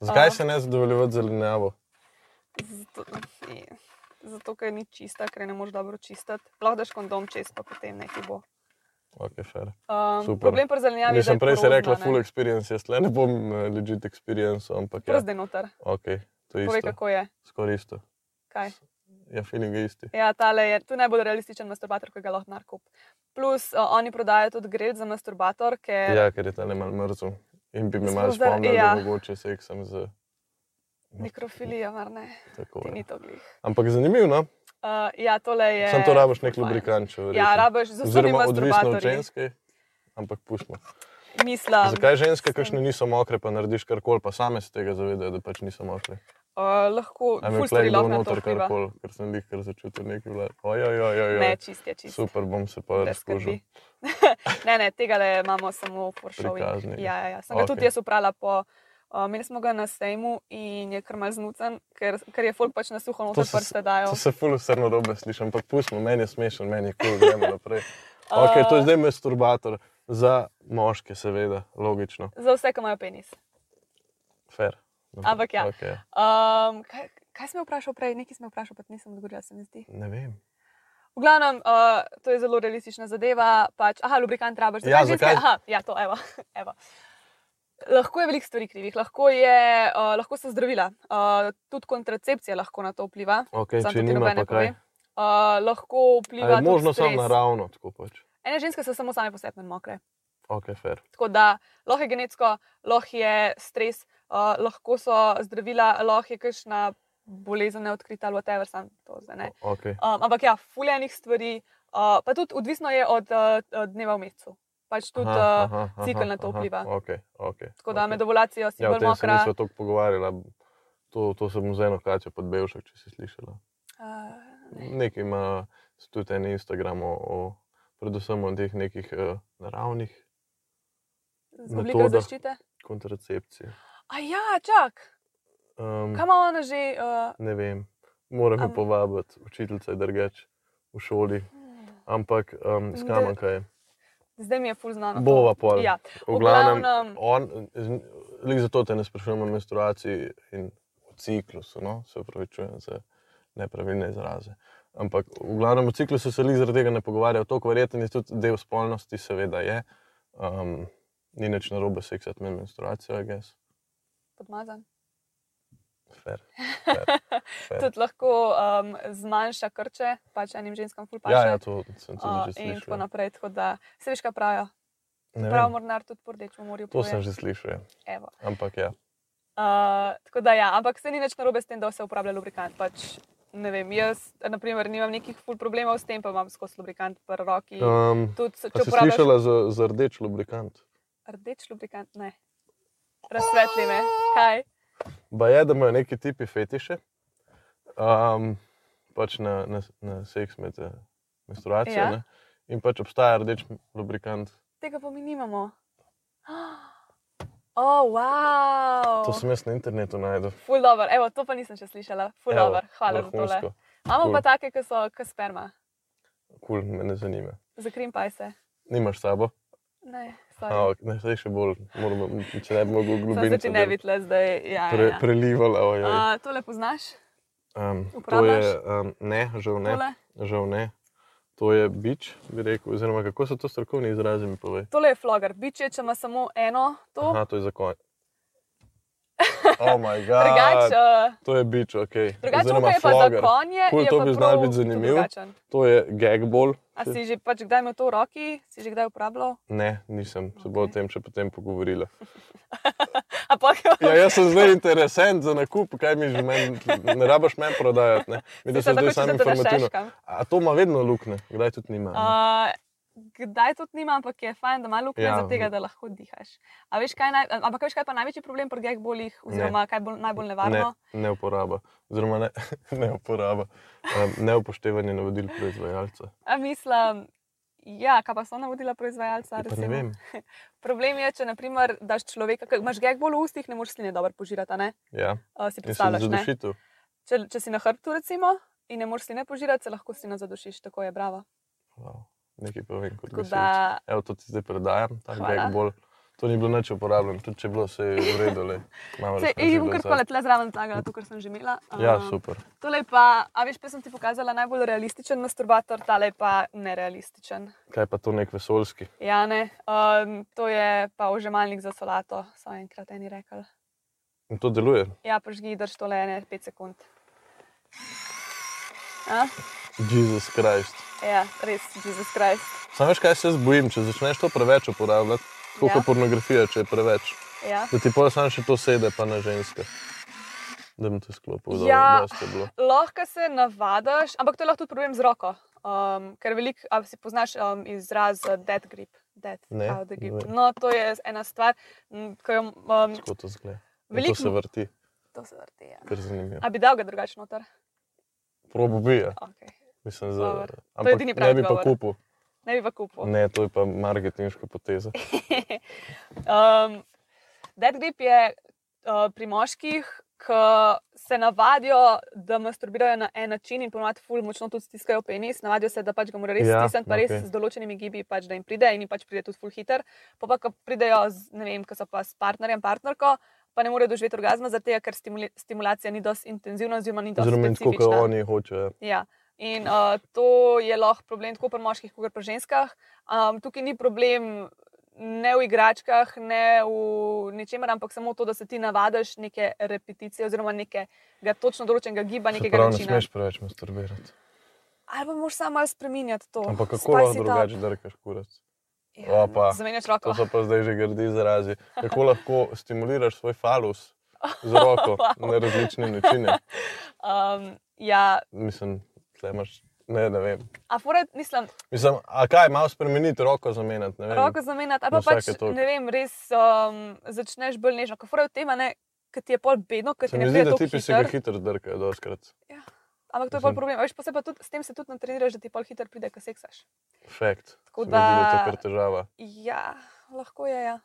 [SPEAKER 1] Zakaj
[SPEAKER 2] Ah.
[SPEAKER 1] se ne zadovoljevati z zelenjavo?
[SPEAKER 2] Zato, je, zato ker ni čista, ker je ne moreš dobro čistiti. Lahko daš kondom čez, pa potem nekaj bo.
[SPEAKER 1] Ok, fair.
[SPEAKER 2] Um,
[SPEAKER 1] Super.
[SPEAKER 2] problem pri zelenjavi je, da
[SPEAKER 1] Nisem
[SPEAKER 2] je
[SPEAKER 1] prej se
[SPEAKER 2] porozna,
[SPEAKER 1] rekla
[SPEAKER 2] ne.
[SPEAKER 1] full experience, jaz le ne bom eh, legit experience, ampak ja.
[SPEAKER 2] Prozdaj noter.
[SPEAKER 1] Okay, to je
[SPEAKER 2] Povej,
[SPEAKER 1] isto.
[SPEAKER 2] kako je.
[SPEAKER 1] Skoraj isto.
[SPEAKER 2] Kaj?
[SPEAKER 1] Ja, feeling je isti.
[SPEAKER 2] Ja, tale je, to je najbolj realističen masturbator, ki ga lahko narkup. Plus, uh, oni prodajajo tudi grel za masturbator, ker
[SPEAKER 1] Ja, ker je tam malo mrzel in bi me
[SPEAKER 2] Smo
[SPEAKER 1] malo
[SPEAKER 2] zdaj-
[SPEAKER 1] spomnil,
[SPEAKER 2] ja.
[SPEAKER 1] da mogoče seksam z
[SPEAKER 2] mikrofilija, mar ne,
[SPEAKER 1] tako.
[SPEAKER 2] ti
[SPEAKER 1] ja.
[SPEAKER 2] ni to glih.
[SPEAKER 1] Ampak zanimivo, no?
[SPEAKER 2] Uh, ja, tole je.
[SPEAKER 1] Sam to rabiš nek
[SPEAKER 2] fajn.
[SPEAKER 1] lubrikant, če verjamem.
[SPEAKER 2] Ja, rabiš z vsemi
[SPEAKER 1] Oziroma, odvisno od
[SPEAKER 2] masturbatorji.
[SPEAKER 1] ženske. ampak pustimo.
[SPEAKER 2] Mislim,
[SPEAKER 1] Zakaj ženske, kakšne niso mokre, pa narediš karkoli, pa same se tega zavedajo, da pač niso mokre?
[SPEAKER 2] Uh, lahko
[SPEAKER 1] Aj,
[SPEAKER 2] ful
[SPEAKER 1] mi klej
[SPEAKER 2] stvari
[SPEAKER 1] dol
[SPEAKER 2] lahko na to
[SPEAKER 1] noter
[SPEAKER 2] vpliva.
[SPEAKER 1] karkoli, ker sem jih kar začutil neki vlad. Ojojojoj,
[SPEAKER 2] Ne, čist je čist.
[SPEAKER 1] super bom se pa
[SPEAKER 2] brez
[SPEAKER 1] razkužil.
[SPEAKER 2] skrbi. ne, ne, tega le imamo samo v Foršovi.
[SPEAKER 1] Prikazni.
[SPEAKER 2] Ja, ja, ja. Sem ga okay.
[SPEAKER 1] Okej.
[SPEAKER 2] tudi jaz uprala po. Uh, imeli smo ga na sejmu in je kar mal znucen, ker, ker je folk pač na suho
[SPEAKER 1] To
[SPEAKER 2] noter
[SPEAKER 1] se-
[SPEAKER 2] prste dajo.
[SPEAKER 1] To se ful vse narobe slišim, ampak pustimo, meni je smešen, meni je kul, cool, gremo naprej. Ok, to je zdaj masturbator, za moške seveda, logično,
[SPEAKER 2] Za vse, ki imajo penis.
[SPEAKER 1] fair. No,
[SPEAKER 2] Ampak ja.
[SPEAKER 1] Okay.
[SPEAKER 2] Um, kaj, kaj sem jo vprašal prej? Nekaj sem jo vprašal, pa nisem odgovorila, se mi zdi.
[SPEAKER 1] Ne vem.
[SPEAKER 2] V glavnem, uh, to je zelo realistična zadeva. Pač, aha, lubrikant rabaš.
[SPEAKER 1] Ja, zakaj?
[SPEAKER 2] Aha, ja, to, evo, evo. Lahko je veliko stvari krivih, lahko, je, uh, lahko so zdravila, uh, tudi kontracepcija lahko na to vpliva.
[SPEAKER 1] Okay,
[SPEAKER 2] Samo
[SPEAKER 1] če
[SPEAKER 2] to ti
[SPEAKER 1] nima
[SPEAKER 2] noben
[SPEAKER 1] pa
[SPEAKER 2] ne
[SPEAKER 1] kaj.
[SPEAKER 2] pove. Uh, lahko
[SPEAKER 1] A
[SPEAKER 2] vpliva
[SPEAKER 1] je
[SPEAKER 2] tudi
[SPEAKER 1] možno
[SPEAKER 2] stres.
[SPEAKER 1] samo naravno, tako pač.
[SPEAKER 2] Ene ženske so samo same posebne mokre.
[SPEAKER 1] Ok, fair.
[SPEAKER 2] Tako da lahko je genetsko, lahko je stres, uh, lahko so zdravila, lahko je kakšna bolezen neodkrita, ali whatever, sam to zdaj ne.
[SPEAKER 1] Okay.
[SPEAKER 2] Um, ampak ja, fuljenih stvari, uh, pa tudi odvisno je od uh, dneva v mesecu. Pač tudi uh, cikel na to vpliva.
[SPEAKER 1] Okay, okay,
[SPEAKER 2] tako da
[SPEAKER 1] okay.
[SPEAKER 2] okay. med ovulacijo si
[SPEAKER 1] Ja, o
[SPEAKER 2] bolj
[SPEAKER 1] tem se
[SPEAKER 2] mokra.
[SPEAKER 1] nismo tako pogovarjali. To, to sem z eno kačo pod Bevšek, če si slišala.
[SPEAKER 2] Uh,
[SPEAKER 1] Nekaj ima tudi na Instagramu, o, predvsem o teh nekih eh, naravnih
[SPEAKER 2] Oblika
[SPEAKER 1] Metoda.
[SPEAKER 2] zaščite.
[SPEAKER 1] kontracepcij.
[SPEAKER 2] A ja, čak,
[SPEAKER 1] Um,
[SPEAKER 2] kaj ima ona že? Uh,
[SPEAKER 1] ne vem, moram jo
[SPEAKER 2] Am-
[SPEAKER 1] povabiti, učiteljica je drugač v šoli. Ampak um,
[SPEAKER 2] Da-
[SPEAKER 1] skamanka je.
[SPEAKER 2] zdaj mi je ful znano. to.
[SPEAKER 1] Bova pol.
[SPEAKER 2] Ja.
[SPEAKER 1] V
[SPEAKER 2] V
[SPEAKER 1] glavnem,
[SPEAKER 2] glavnem-
[SPEAKER 1] on, z- glih zato te ne sprašujemo o menstruaciji in o ciklusu, no? se upravičujem za nepravilne izraze. Ampak v glavnem o ciklusu se lih zaradi tega ne pogovarjajo, to verjetno je tudi del spolnosti, seveda je. Um, ni nič narobe seksati med menstruacijo, je gess.
[SPEAKER 2] Podmazan.
[SPEAKER 1] Fair. Ja.
[SPEAKER 2] Tudi lahko um, zmanjša krče, pač enim ženskam ful paše.
[SPEAKER 1] Ja, ja, to sem tudi
[SPEAKER 2] uh,
[SPEAKER 1] že
[SPEAKER 2] in tako
[SPEAKER 1] slišal. ja.
[SPEAKER 2] naprej. Tako da se veš, kaj pravijo.
[SPEAKER 1] Ne
[SPEAKER 2] Prav
[SPEAKER 1] vem,
[SPEAKER 2] mornar tudi po rdečem morju.
[SPEAKER 1] To
[SPEAKER 2] pluje.
[SPEAKER 1] sem že slišal, ja.
[SPEAKER 2] Evo.
[SPEAKER 1] ampak ja.
[SPEAKER 2] Uh, tako da ja, ampak se ni nič narobe s tem, da se uporablja lubrikant. Pač, ne vem, jaz, naprimer, nimam nekih ful problemov s tem, pa imam skozi lubrikant v roki.
[SPEAKER 1] Um,
[SPEAKER 2] Tudi,
[SPEAKER 1] a
[SPEAKER 2] če
[SPEAKER 1] si
[SPEAKER 2] uporabljaš
[SPEAKER 1] slišala za, za rdeč lubrikant?
[SPEAKER 2] rdeč lubrikant, ne. Razsvetli me, kaj.
[SPEAKER 1] Ba je, da imajo neki tipi fetiše, um, pač na, na, na seks med eh, menstruacijo.
[SPEAKER 2] Ja.
[SPEAKER 1] Ja. In pač obstaja rdeč lubrikant.
[SPEAKER 2] Tega pa mi nimamo. Oh, wow.
[SPEAKER 1] To sem jaz na internetu najdel.
[SPEAKER 2] Ful dobro, evo, to pa nisem še slišala. Ful
[SPEAKER 1] Evo,
[SPEAKER 2] dobro, hvala za tole.
[SPEAKER 1] Vrhunsko.
[SPEAKER 2] Imamo pa
[SPEAKER 1] Ful.
[SPEAKER 2] take, ki so kot sperma,
[SPEAKER 1] Kul, cool, me ne zanima.
[SPEAKER 2] zakrim pa se.
[SPEAKER 1] Nimaš s sabo,
[SPEAKER 2] Ne,
[SPEAKER 1] A,
[SPEAKER 2] sorry.
[SPEAKER 1] ok, ne zdaj še bolj, moramo, če ne bi mogel
[SPEAKER 2] Sem
[SPEAKER 1] globino.
[SPEAKER 2] se ti ne videla zdaj. Ja,
[SPEAKER 1] Pre,
[SPEAKER 2] ja, ja.
[SPEAKER 1] prelivala. ojoj.
[SPEAKER 2] Uh, tole poznaš?
[SPEAKER 1] Um, to je,
[SPEAKER 2] uporabljaš?
[SPEAKER 1] um, ne, žal ne,
[SPEAKER 2] Tole?
[SPEAKER 1] žal ne. To je bič, bi rekel, oziroma kako so to strokovni izrazi, mi povej.
[SPEAKER 2] Tole je flogar. Biče, če ima samo eno, to
[SPEAKER 1] Aha, to je za konj. Oh my god.
[SPEAKER 2] drugače. Uh,
[SPEAKER 1] To je bič, ok.
[SPEAKER 2] drugače
[SPEAKER 1] Oziroma
[SPEAKER 2] ukaj je pa
[SPEAKER 1] flogger.
[SPEAKER 2] za konje.
[SPEAKER 1] Kul,
[SPEAKER 2] je
[SPEAKER 1] to
[SPEAKER 2] pa
[SPEAKER 1] bi
[SPEAKER 2] prav
[SPEAKER 1] znal biti zanimiv.
[SPEAKER 2] drugačen.
[SPEAKER 1] To je gagball.
[SPEAKER 2] A si že pač kdaj imel to v roki, si že kdaj uporabljal?
[SPEAKER 1] Ne, nisem, se bo o
[SPEAKER 2] Ok.
[SPEAKER 1] tem še potem pogovorila.
[SPEAKER 2] A pa kaj?
[SPEAKER 1] Ja, jaz sem zdaj interesent za nakup, kaj mi že meni, ne rabaš meni prodajati. Ne? Mi da se zdaj samo informativno. A to ima vedno luknje, kdaj tudi nima. ne?
[SPEAKER 2] Uh, Kdaj tudi nima, ampak je fajn, da malo luknje
[SPEAKER 1] Ja.
[SPEAKER 2] ja. za tega, da lahko dihaš. A veš, kaj, naj, ampak veš, kaj je pa največji problem pri gejih bolih, oziroma ne. kaj je bolj, najbolj nevarno?
[SPEAKER 1] Ne, ne uporaba, oziroma ne, ne uporaba, um, neupoštevanje navodil proizvajalca.
[SPEAKER 2] Ne. Mislim, ja, kaj pa so navodila
[SPEAKER 1] Ja, pa
[SPEAKER 2] proizvajalca?
[SPEAKER 1] Ne
[SPEAKER 2] recimo?
[SPEAKER 1] vem.
[SPEAKER 2] Problem je, če naprimer, daš človeka, ki imaš gejih bolj v ustih, ne moreš sline dobro požirati, a ne?
[SPEAKER 1] Ja,
[SPEAKER 2] Uh, si
[SPEAKER 1] in sem
[SPEAKER 2] predstavljaš, ne?
[SPEAKER 1] zadušitev.
[SPEAKER 2] Če, če si na hrbtu, recimo, in ne moreš sline požirati, se lahko sline zadušiš, tako je bravo.
[SPEAKER 1] Wow. No, Nekaj pa vem kot
[SPEAKER 2] Tako
[SPEAKER 1] gasilec.
[SPEAKER 2] da,
[SPEAKER 1] Evo, to ti zdaj predajam, ta
[SPEAKER 2] Hvala.
[SPEAKER 1] gag bolj. To ni bilo nič uporabljeno, tudi če je bilo, se je v redu. le. Imam
[SPEAKER 2] se,
[SPEAKER 1] razkažljivo
[SPEAKER 2] ej, bom kar
[SPEAKER 1] za-
[SPEAKER 2] tole tle zraven tagala, to, kar sem že imela.
[SPEAKER 1] Ja,
[SPEAKER 2] Ehm,
[SPEAKER 1] super.
[SPEAKER 2] Tole je pa, a veš, prej sem ti pokazala najbolj realističen masturbator, tale je pa nerealističen.
[SPEAKER 1] Kaj pa to nek vesolski?
[SPEAKER 2] Ja, ne, um, to je pa ožemalnik za solato, so enkrat eni rekli.
[SPEAKER 1] In to deluje.
[SPEAKER 2] Ja, prižgi, drž tole ene 5 sekund. A?
[SPEAKER 1] Jezus Krist.
[SPEAKER 2] Ja, res, Jezus Krist.
[SPEAKER 1] Sam veš, kaj se jaz bojim, če začneš to preveč uporabljati, tako
[SPEAKER 2] Ja.
[SPEAKER 1] kot pornografija, če je preveč.
[SPEAKER 2] Ja.
[SPEAKER 1] Da ti pa sam še to sede, pa na ženske. Da bi te sklopil, da
[SPEAKER 2] Ja.
[SPEAKER 1] ja. je bilo.
[SPEAKER 2] Lahko se navadaš, ampak to je lahko tudi problem z roko. Um, ker veliko, a si poznaš um, izraz eh, dead grip, That's
[SPEAKER 1] Ne,
[SPEAKER 2] how the gift.
[SPEAKER 1] ne.
[SPEAKER 2] No, to je ena stvar, m, ko jo um,
[SPEAKER 1] Tako to zgleda. In To
[SPEAKER 2] veliko
[SPEAKER 1] se vrti,
[SPEAKER 2] To se vrti. Ja.
[SPEAKER 1] ker zanimivo.
[SPEAKER 2] A bi dal ga drugače noter?
[SPEAKER 1] Probo bi, ja.
[SPEAKER 2] Okay.
[SPEAKER 1] mislim, za,
[SPEAKER 2] Dobro. To je
[SPEAKER 1] ampak
[SPEAKER 2] edini
[SPEAKER 1] ne
[SPEAKER 2] pravi
[SPEAKER 1] bi pa
[SPEAKER 2] odgovor.
[SPEAKER 1] kupil.
[SPEAKER 2] Ne bi pa kupil.
[SPEAKER 1] Ne, to je pa marketinška poteza.
[SPEAKER 2] Um, dead grip je uh, pri moških, ki se navadijo, da masturbirajo na en način in ponovadi ful močno tudi stiskajo penis, navadijo se, da pač ga morajo res
[SPEAKER 1] Ja,
[SPEAKER 2] ja, stisniti, pa res
[SPEAKER 1] okej.
[SPEAKER 2] okay. z določenimi gibi, pač, da jim pride in jim pač pride tudi ful hiter. Pa pa, ko pridejo, z, ne vem, ko so pa s partnerjem, partnerko, pa ne morejo doživeti orgasma, zaradi tega, ker stimuli, stimulacija ni dosti intenzivna oziroma ni dosti
[SPEAKER 1] Oziroma, ni tako kot
[SPEAKER 2] specifična.
[SPEAKER 1] oni hočejo.
[SPEAKER 2] Ja. In uh, to je lahko problem tako pri moških, kot pri ženskah. Um, tukaj ni problem ne v igračkah, ne v ničemer, ampak samo to, da se ti navadiš neke repeticije oziroma nekega točno določenega giba,
[SPEAKER 1] Se
[SPEAKER 2] nekega
[SPEAKER 1] pravi, ne
[SPEAKER 2] načina.
[SPEAKER 1] smeš preveč masturbirati.
[SPEAKER 2] Ali pa moraš samo malo spremenjati to.
[SPEAKER 1] Ampak kako
[SPEAKER 2] Spice
[SPEAKER 1] lahko
[SPEAKER 2] it up.
[SPEAKER 1] drugače drkaš kurac?
[SPEAKER 2] Ja,
[SPEAKER 1] Opa.
[SPEAKER 2] Zamenjaš
[SPEAKER 1] To
[SPEAKER 2] roko.
[SPEAKER 1] so pa zdaj že grdi izrazi. Kako lahko stimuliraš svoj falus z roko na različne načine?
[SPEAKER 2] Um, ja,
[SPEAKER 1] Mislim, tle imaš, ne, ne vem.
[SPEAKER 2] a furat, mislim,
[SPEAKER 1] Mislim, a kaj, malo spremeniti roko zamenjati, ne vem.
[SPEAKER 2] roko zamenjati, ali
[SPEAKER 1] Na
[SPEAKER 2] pa pač,
[SPEAKER 1] no, vsake toliko.
[SPEAKER 2] ne vem, res um, začneš bolj nežno. Kako furat tema, ne, ki ti je pol bedno, ki
[SPEAKER 1] Se
[SPEAKER 2] ti ne
[SPEAKER 1] mi zdi, da
[SPEAKER 2] pride toliko
[SPEAKER 1] tipi se ga
[SPEAKER 2] hitro.
[SPEAKER 1] hitro drkajo, doskrat.
[SPEAKER 2] Ampak to je bolj
[SPEAKER 1] Mislim-
[SPEAKER 2] problem. A Veš, pa se pa tudi, s tem se tudi natreniraš, da ti pol hitro pride, ko seksaš.
[SPEAKER 1] Fakt.
[SPEAKER 2] Tako
[SPEAKER 1] Se mi zdi, da je
[SPEAKER 2] da-
[SPEAKER 1] to kar težava.
[SPEAKER 2] Ja, lahko je. Ja.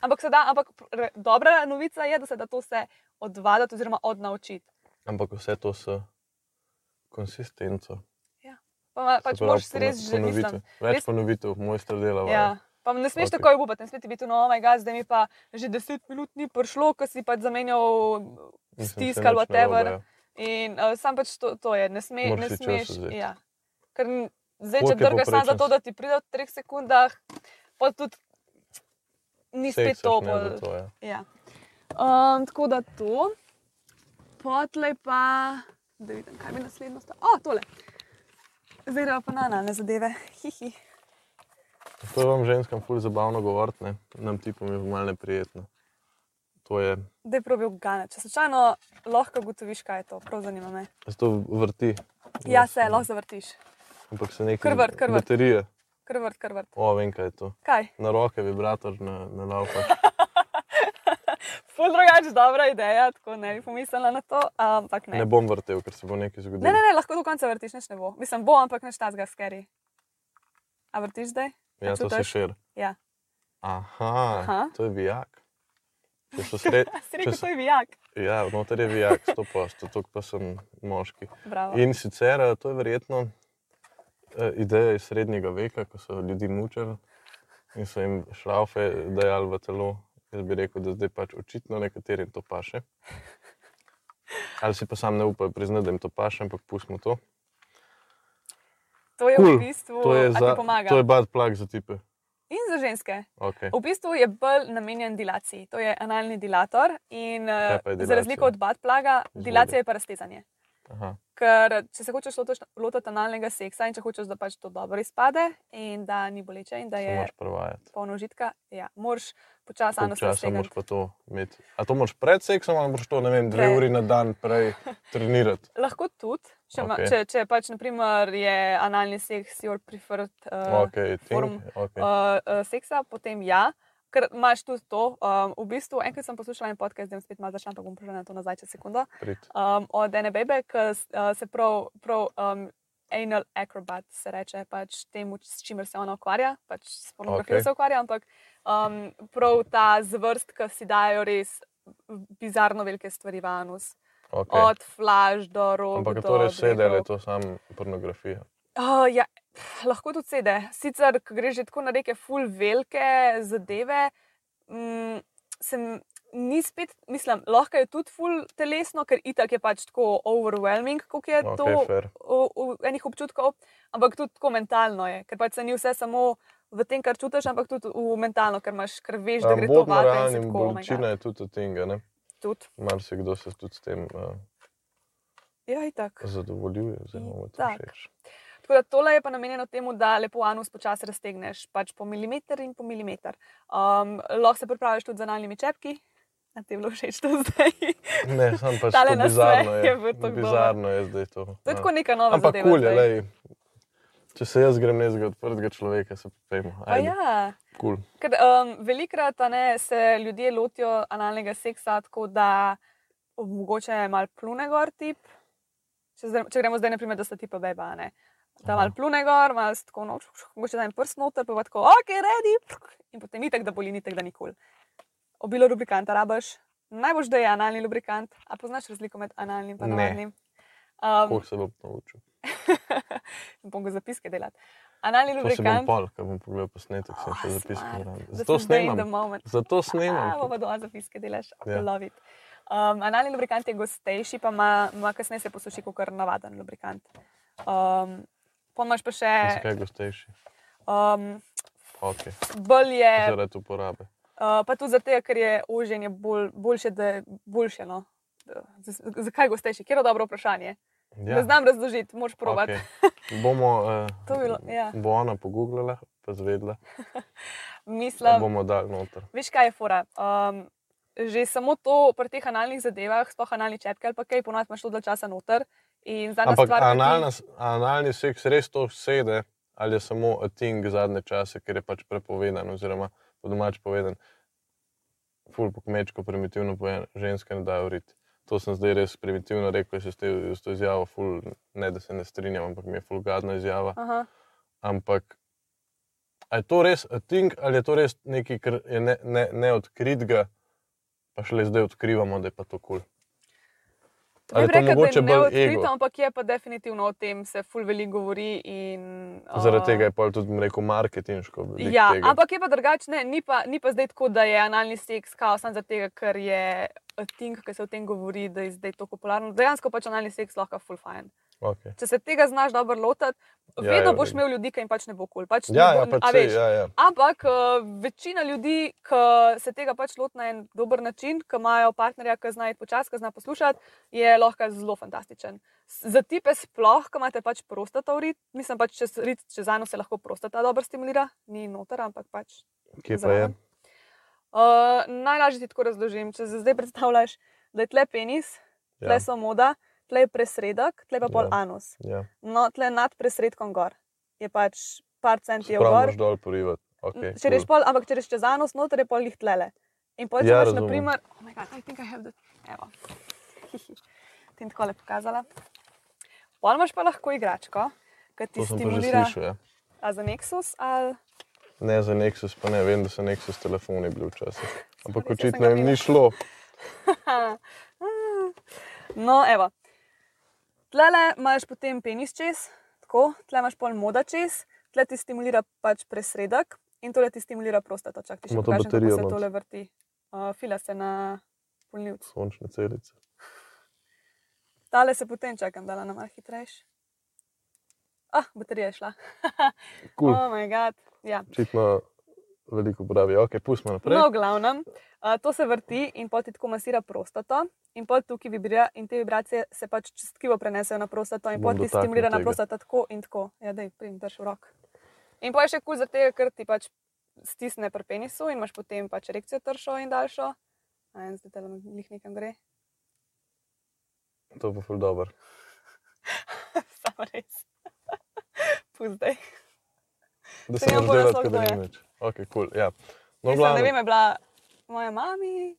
[SPEAKER 2] Ampak, se da, ampak pr- re- dobra novica je, da se da to vse odvaditi oziroma odnaučiti.
[SPEAKER 1] Ampak vse to s konsistenco.
[SPEAKER 2] Pa, ma-
[SPEAKER 1] Se
[SPEAKER 2] pač
[SPEAKER 1] pravi,
[SPEAKER 2] moraš si
[SPEAKER 1] pono-
[SPEAKER 2] res že
[SPEAKER 1] ponovitev.
[SPEAKER 2] mislim.
[SPEAKER 1] Več
[SPEAKER 2] Res-
[SPEAKER 1] ponovitev, mojster dela.
[SPEAKER 2] Ja. Pa ne smeš
[SPEAKER 1] Ok.
[SPEAKER 2] okay. tako obupati, ne smeš ti biti, no, oh moj bog, zdaj mi pa že 10 minut ni prišlo, ko si pač zamenjal stisk ali whatever. In uh, sam pač to, to je, ne, sme,
[SPEAKER 1] Moraš
[SPEAKER 2] ne
[SPEAKER 1] si čas
[SPEAKER 2] smeš.
[SPEAKER 1] vzeti.
[SPEAKER 2] Ja. Ker n- zdaj, če
[SPEAKER 1] Koliko je
[SPEAKER 2] drgaš samo
[SPEAKER 1] povprečen
[SPEAKER 2] zato, da ti pride v 3 sekundah, pa tudi ni spet to. pol-
[SPEAKER 1] To, ja.
[SPEAKER 2] Ja. Um, tako da to, potlej pa, da vidim, kaj mi naslednjo sta. O, tole. Zdaj gremo pa na nane zadeve. Hihi.
[SPEAKER 1] To je vam ženskam ful zabavno govoriti, ne? nam tipom je malo neprijetno. To je,
[SPEAKER 2] Da je probil gane. Če slučajno lahko ugotoviš, kaj je to, prav zanima me.
[SPEAKER 1] zato vrti.
[SPEAKER 2] Ja, se lahko zavrtiš.
[SPEAKER 1] Ampak se nekaj.
[SPEAKER 2] Kar vrt, kar vrt.
[SPEAKER 1] Baterije.
[SPEAKER 2] Krvrt, krvrt.
[SPEAKER 1] O, vem kaj je to.
[SPEAKER 2] Kaj?
[SPEAKER 1] Na roke vibrator, na, na laupa.
[SPEAKER 2] Ful drugače, dobra ideja, tako ne bi pomislila na to, ampak ne.
[SPEAKER 1] ne bom vrtel, ker se bo nekaj
[SPEAKER 2] Ne,
[SPEAKER 1] zgodilo.
[SPEAKER 2] ne, ne, lahko do konca vrtiš, nič ne bo. Mislim, bo, ampak ne štazga skeri. A vrtiš zdaj?
[SPEAKER 1] ja, to se
[SPEAKER 2] čutiš?
[SPEAKER 1] šir.
[SPEAKER 2] Ja.
[SPEAKER 1] Aha, Aha,
[SPEAKER 2] Aha.
[SPEAKER 1] to je vijak. Če so sred...
[SPEAKER 2] A si
[SPEAKER 1] če
[SPEAKER 2] rekel,
[SPEAKER 1] so...
[SPEAKER 2] to je vijak.
[SPEAKER 1] Ja, noter je vijak, sto posto, to pa sem moški.
[SPEAKER 2] Bravo.
[SPEAKER 1] In sicer eh, to je verjetno eh, ideja iz srednjega veka, ko so ljudi mučili in so jim šraufe dajali v telo. Jaz bi rekel, da zdaj pač očitno nekaterim to paše. Ali si pa sam ne upajo priznati, da jim to paše, ampak pustimo to.
[SPEAKER 2] To je
[SPEAKER 1] Cool.
[SPEAKER 2] v bistvu,
[SPEAKER 1] To je,
[SPEAKER 2] a ti
[SPEAKER 1] za,
[SPEAKER 2] pomaga.
[SPEAKER 1] to je bad plug za tipe.
[SPEAKER 2] In za ženske.
[SPEAKER 1] Okay.
[SPEAKER 2] V bistvu je bolj namenjen dilaciji, to je analni dilator. In, eh,
[SPEAKER 1] Kaj pa je
[SPEAKER 2] za
[SPEAKER 1] dilacija?
[SPEAKER 2] razliko od batplaga,
[SPEAKER 1] Izvoli.
[SPEAKER 2] dilacija je pa raztezanje.
[SPEAKER 1] Aha.
[SPEAKER 2] Ker če se hočeš lotaš- lotiti analnega seksa in če hočeš, da pač to dobro izpade in da ni boleče in da
[SPEAKER 1] Se
[SPEAKER 2] je
[SPEAKER 1] moraš prevajati.
[SPEAKER 2] polno užitka, ja, moraš počasi
[SPEAKER 1] Koliko
[SPEAKER 2] anus
[SPEAKER 1] časa moraš
[SPEAKER 2] raztegati.
[SPEAKER 1] pa to imeti? A to moraš pred seksom ali moraš to, ne vem, dve
[SPEAKER 2] Prej.
[SPEAKER 1] uri na dan prej trenirati?
[SPEAKER 2] Lahko tudi, če, okay.
[SPEAKER 1] Okej.
[SPEAKER 2] če, če pač naprimer, je analni seks your preferred uh,
[SPEAKER 1] Okay,
[SPEAKER 2] form,
[SPEAKER 1] think, okay.
[SPEAKER 2] uh, uh, seksa, potem ja. Ker imaš tudi to. Um, v bistvu, enkrat sem poslušala en podcast, zdaj bom spet malo začela, pa bom prišla na to nazaj čez sekundo.
[SPEAKER 1] Prid.
[SPEAKER 2] Um, od ene bebe, ki s- uh, se prav, prav um, anal acrobat se reče, pač temu, s čimer se ona ukvarja, pač s pornografijo
[SPEAKER 1] Okej.
[SPEAKER 2] okay. se ukvarja, ampak um, prav ta zvrst, ki si dajo res bizarno velike stvari v anus.
[SPEAKER 1] Okay.
[SPEAKER 2] Okay. Od flaž do roba.
[SPEAKER 1] Ampak je to res vse, da je to samo pornografija.
[SPEAKER 2] Uh, ja, pff, lahko tudi sede. Sicer, ko greš že tako na reke, full velike zadeve, mm, sem, ni spet, mislim, lahko je tudi full telesno, ker itak je pač tako overwhelming, kot je
[SPEAKER 1] Okay,
[SPEAKER 2] to
[SPEAKER 1] fair.
[SPEAKER 2] v, v enih občutkov, ampak tudi tako mentalno je, ker pač se ni vse samo v tem, kar čutiš, ampak tudi v mentalno, ker imaš, ker veš, da gre to
[SPEAKER 1] Ampak na
[SPEAKER 2] vate in si
[SPEAKER 1] realnem
[SPEAKER 2] tako, oh my
[SPEAKER 1] bolečina
[SPEAKER 2] God,
[SPEAKER 1] je tudi od tega, ne?
[SPEAKER 2] tudi.
[SPEAKER 1] Marsikdo se tudi s tem uh,
[SPEAKER 2] Ja, itak.
[SPEAKER 1] zadovoljuje, zelo to
[SPEAKER 2] Itak.
[SPEAKER 1] všeč.
[SPEAKER 2] Tako da tole je pa namenjeno temu, da lepo anus počasi raztegneš, pač po milimeter in po milimeter. Um, lahko se pripraviš tudi z analnimi čepki, a ti je bilo všeč to zdaj.
[SPEAKER 1] Ne, sam pač
[SPEAKER 2] Tale
[SPEAKER 1] to
[SPEAKER 2] nasmeh
[SPEAKER 1] bizarno je.
[SPEAKER 2] je bil tako dober.
[SPEAKER 1] bizarno je zdaj to.
[SPEAKER 2] to je
[SPEAKER 1] ja.
[SPEAKER 2] tako neka nova
[SPEAKER 1] Ampak
[SPEAKER 2] zadeva.
[SPEAKER 1] kul je,
[SPEAKER 2] zdaj.
[SPEAKER 1] lej. Če se jaz grem nezga odprtega človeka, se pojmo.
[SPEAKER 2] Pa ja.
[SPEAKER 1] Cool.
[SPEAKER 2] Ker, um, velikrat a ne, se ljudje lotijo analnega seksa tako, da mogoče malo plune gor tip. Če, zdaj, če gremo zdaj, naprimer, da sta tipa beba, a ne. Da
[SPEAKER 1] Aha.
[SPEAKER 2] malo plune gor, malo se tako noč, mogoče da en prst noter, pa je pa tako, ok, redi. In potem ni tako, da boli, ni tako, da nikoli. Obilo lubrikanta rabaš. Najbolj da je analni lubrikant. A poznaš razliko med analnim in
[SPEAKER 1] Ne.
[SPEAKER 2] navadnim? Um,
[SPEAKER 1] Koliko se bom naučil?
[SPEAKER 2] bom ga zapiske delati. Analni
[SPEAKER 1] To se bom
[SPEAKER 2] lubrikant.
[SPEAKER 1] pol, ko bom pogledal posnetek, sem
[SPEAKER 2] Oh,
[SPEAKER 1] še
[SPEAKER 2] smart.
[SPEAKER 1] zapiskal. zraven.
[SPEAKER 2] Da
[SPEAKER 1] Zato
[SPEAKER 2] smo zdaj in the
[SPEAKER 1] snemam.
[SPEAKER 2] moment.
[SPEAKER 1] Zato
[SPEAKER 2] A,
[SPEAKER 1] snemam.
[SPEAKER 2] bomo doma zapiske delaš,
[SPEAKER 1] Ja.
[SPEAKER 2] lovit. Um, analni lubrikant je gostejši, pa ima, ima kasneje se posuši kot navaden lubrikant. Um, Pomaž pa še,
[SPEAKER 1] In Zakaj je gostejši?
[SPEAKER 2] um,
[SPEAKER 1] Okay.
[SPEAKER 2] bolj je,
[SPEAKER 1] Zaradi uporabe.
[SPEAKER 2] uh, pa tudi zato, ker je oženje bolj, boljše, da je boljše. No? Da- z- z- Zakaj je gostejši? Ker je dobro vprašanje. Ja. Ne znam razložiti, moraš provat. Okay.
[SPEAKER 1] Okay. Bomo, eh,
[SPEAKER 2] To bi bilo- ja.
[SPEAKER 1] Bo ona pogooglala, pa zvedla, da
[SPEAKER 2] Mislim,
[SPEAKER 1] bomo dali noter.
[SPEAKER 2] Veš, kaj je fora? Um, že samo to pri teh analnih zadevah, sploh analni čepke ali pa kaj, ponovadi imaš to dal časa noter. In zadnja
[SPEAKER 1] Ampak
[SPEAKER 2] stvar, ki ti-
[SPEAKER 1] analna, s- analni seks res to sede, ali je samo ting zadnje čase, ker je pač prepovedan, oziroma po domač povedan, ful po kmečko, primitivno povedan, ženske ne dajo riti. To sem zdaj res primitivno rekel, se s te- s to izjavo, ful, ne da se ne strinjam, ampak mi je fulgadna izjava.
[SPEAKER 2] Aha.
[SPEAKER 1] Ampak a je to res ting ali je to res nekaj, kar je ne, ne, neodkritega, pa šele zdaj odkrivamo, da je pa to kul. Cool.
[SPEAKER 2] Ne
[SPEAKER 1] Ali je
[SPEAKER 2] bi
[SPEAKER 1] to
[SPEAKER 2] rekel, da
[SPEAKER 1] mogoče
[SPEAKER 2] je
[SPEAKER 1] bolj
[SPEAKER 2] neodkrito,
[SPEAKER 1] ego?
[SPEAKER 2] ampak je pa definitivno o tem se ful veliko govori. In, uh,
[SPEAKER 1] Zaradi tega je pa tudi bom rekel marketinško. veliko
[SPEAKER 2] Ja,
[SPEAKER 1] tega.
[SPEAKER 2] ampak je pa drugačne, ni pa, ni pa zdaj tako, da je analni seks kaos, samo zato, ker je ting, ki se o tem govori, da je zdaj to popularno. Dejansko pač analni seks lahko ful fajn.
[SPEAKER 1] Okay.
[SPEAKER 2] Če se tega znaš dobro lotiti,
[SPEAKER 1] Ja,
[SPEAKER 2] ja, vedno
[SPEAKER 1] ja,
[SPEAKER 2] boš
[SPEAKER 1] vedno.
[SPEAKER 2] imel ljudi, ki jim pač ne bo kul. Cool. Pač
[SPEAKER 1] Ja,
[SPEAKER 2] ne
[SPEAKER 1] ja,
[SPEAKER 2] bo,
[SPEAKER 1] pač
[SPEAKER 2] a
[SPEAKER 1] sej,
[SPEAKER 2] veš,
[SPEAKER 1] ja, ja.
[SPEAKER 2] Ampak eh, večina ljudi, ki se tega pač loti na en dober način, ki imajo partnerja, ki zna iti počasi, ki zna poslušati, je lahko zelo fantastičen. S- Za tipe sploh, ki imate pač prostata v rit, mislim pač, če, s- rit, če za eno se lahko prostata dobro stimulira, ni noter, ampak pač.
[SPEAKER 1] Kje pa je?
[SPEAKER 2] zraven. Eh, najlažje ti tako razložim, če se zdaj predstavljaš, da je tle penis, tle
[SPEAKER 1] Ja,
[SPEAKER 2] so moda, tle je presredek, tle pa pol
[SPEAKER 1] Ja.
[SPEAKER 2] anus.
[SPEAKER 1] ja.
[SPEAKER 2] No, tle nad presredkom gor je pač par centijev
[SPEAKER 1] Prav,
[SPEAKER 2] gor.
[SPEAKER 1] moraš dol porivati. Okay,
[SPEAKER 2] Če rečeš pol, ampak če rečeš čez anus, noter je pol jih tlele. In pol, če
[SPEAKER 1] Ja,
[SPEAKER 2] imaš, na
[SPEAKER 1] razumem.
[SPEAKER 2] primer, oh my god, I think I have the, evo, ti jim tako lepo pokazala. Pol imaš pa lahko igračko, ki ti
[SPEAKER 1] to sem pa že
[SPEAKER 2] stimulira,
[SPEAKER 1] slišal. Ja.
[SPEAKER 2] a za Nexus ali
[SPEAKER 1] Ne za Nexus, pa ne vem, da so Nexus telefoni bili včasih. Ampak
[SPEAKER 2] Sorry, saj sem
[SPEAKER 1] očitno
[SPEAKER 2] ga
[SPEAKER 1] jim
[SPEAKER 2] imela.
[SPEAKER 1] ni šlo.
[SPEAKER 2] No, evo. Tlele imaš potem penis čez, tako, tle imaš pol moda čez, tle ti stimulira pač presredek in tole ti stimulira prostata. Čak, ti še
[SPEAKER 1] Ima to
[SPEAKER 2] pokažem, kako
[SPEAKER 1] baterijo
[SPEAKER 2] se
[SPEAKER 1] not.
[SPEAKER 2] tole vrti. Uh, fila se na polnilcu.
[SPEAKER 1] Sončne celice.
[SPEAKER 2] Tale se potem čakam, da je malo hitrejši. Ah, baterija je šla.
[SPEAKER 1] Kul, cool.
[SPEAKER 2] Oh, moj bog. Ja.
[SPEAKER 1] očitno veliko pravi. Ok, pustimo naprej.
[SPEAKER 2] No, v glavnem, a, to se vrti in pol ti tako masira prostato, in pol tukaj vibrira, in te vibracije se pač čez tkivo prenesejo na prostato, in
[SPEAKER 1] Bom
[SPEAKER 2] pol ti
[SPEAKER 1] dotaknil
[SPEAKER 2] stimulira na
[SPEAKER 1] tega.
[SPEAKER 2] prostato tako in tako. Ja, da jim drž v rok. In pol je še kul, zato ker ti pač stisne pri penisu in imaš potem pač erekcijo tršo in daljšo. A en zdaj tam njih nekam gre.
[SPEAKER 1] To bo ful dobro.
[SPEAKER 2] Samo res. Puzdaj.
[SPEAKER 1] Da
[SPEAKER 2] Če
[SPEAKER 1] se ne
[SPEAKER 2] ne bo
[SPEAKER 1] zdaj, kot
[SPEAKER 2] naslov,
[SPEAKER 1] da
[SPEAKER 2] kdo
[SPEAKER 1] ni
[SPEAKER 2] ja, je.
[SPEAKER 1] več. Ok, kul. Cool. Ja. No,
[SPEAKER 2] Mislim, ne
[SPEAKER 1] glavno,
[SPEAKER 2] vem, je bila moja mami,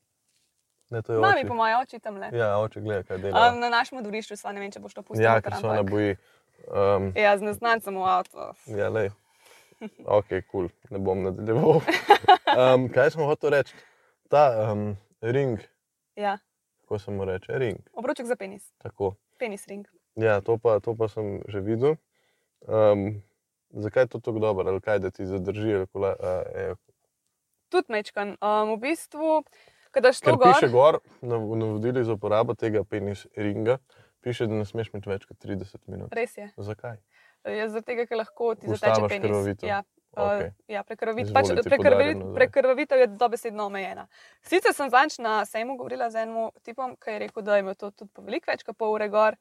[SPEAKER 1] ne, to je
[SPEAKER 2] Mami,
[SPEAKER 1] oči.
[SPEAKER 2] po mojem, oči tam le.
[SPEAKER 1] Ja, oče gleda, kaj dela.
[SPEAKER 2] Um, na našem dvorišču sva, ne vem, če boš to pustil.
[SPEAKER 1] Ja, ker se ona boji. Um,
[SPEAKER 2] Ja, z neznancem v avtu.
[SPEAKER 1] ja, lej. Ok, kul, cool. ne bom nadaljeval. Um, kaj smo hotel reči? Ta um, ring,
[SPEAKER 2] Ja,
[SPEAKER 1] kako se mu reče, ring.
[SPEAKER 2] obroček za penis,
[SPEAKER 1] Tako.
[SPEAKER 2] penis ring.
[SPEAKER 1] Ja, to pa, to pa sem že videl. Um, zakaj je to tako dobro, ali kaj, da ti zadrži? ali kola- a, e,
[SPEAKER 2] Tudi mečkan. Um, v bistvu, kada šlo
[SPEAKER 1] Ker
[SPEAKER 2] gor,
[SPEAKER 1] piše gor, na v navodili za uporabo tega penis ringa, piše, da ne smeš imeti več kot 30 minut.
[SPEAKER 2] res je.
[SPEAKER 1] Zakaj?
[SPEAKER 2] je Zato, ker lahko ti zateče
[SPEAKER 1] Ustaviš
[SPEAKER 2] penis.
[SPEAKER 1] krvavitev.
[SPEAKER 2] Ja.
[SPEAKER 1] Okej.
[SPEAKER 2] Okay. Ja, prekrvavit, pač,
[SPEAKER 1] Izvoli, ti
[SPEAKER 2] prekrvavi,
[SPEAKER 1] podarim nazaj.
[SPEAKER 2] prekrvavitev je dobesedno omejena. Sicer sem zadnjič na sejmu govorila z enim tipom, ki je rekel, da je imel to tudi po veliko več kot pol ure gor.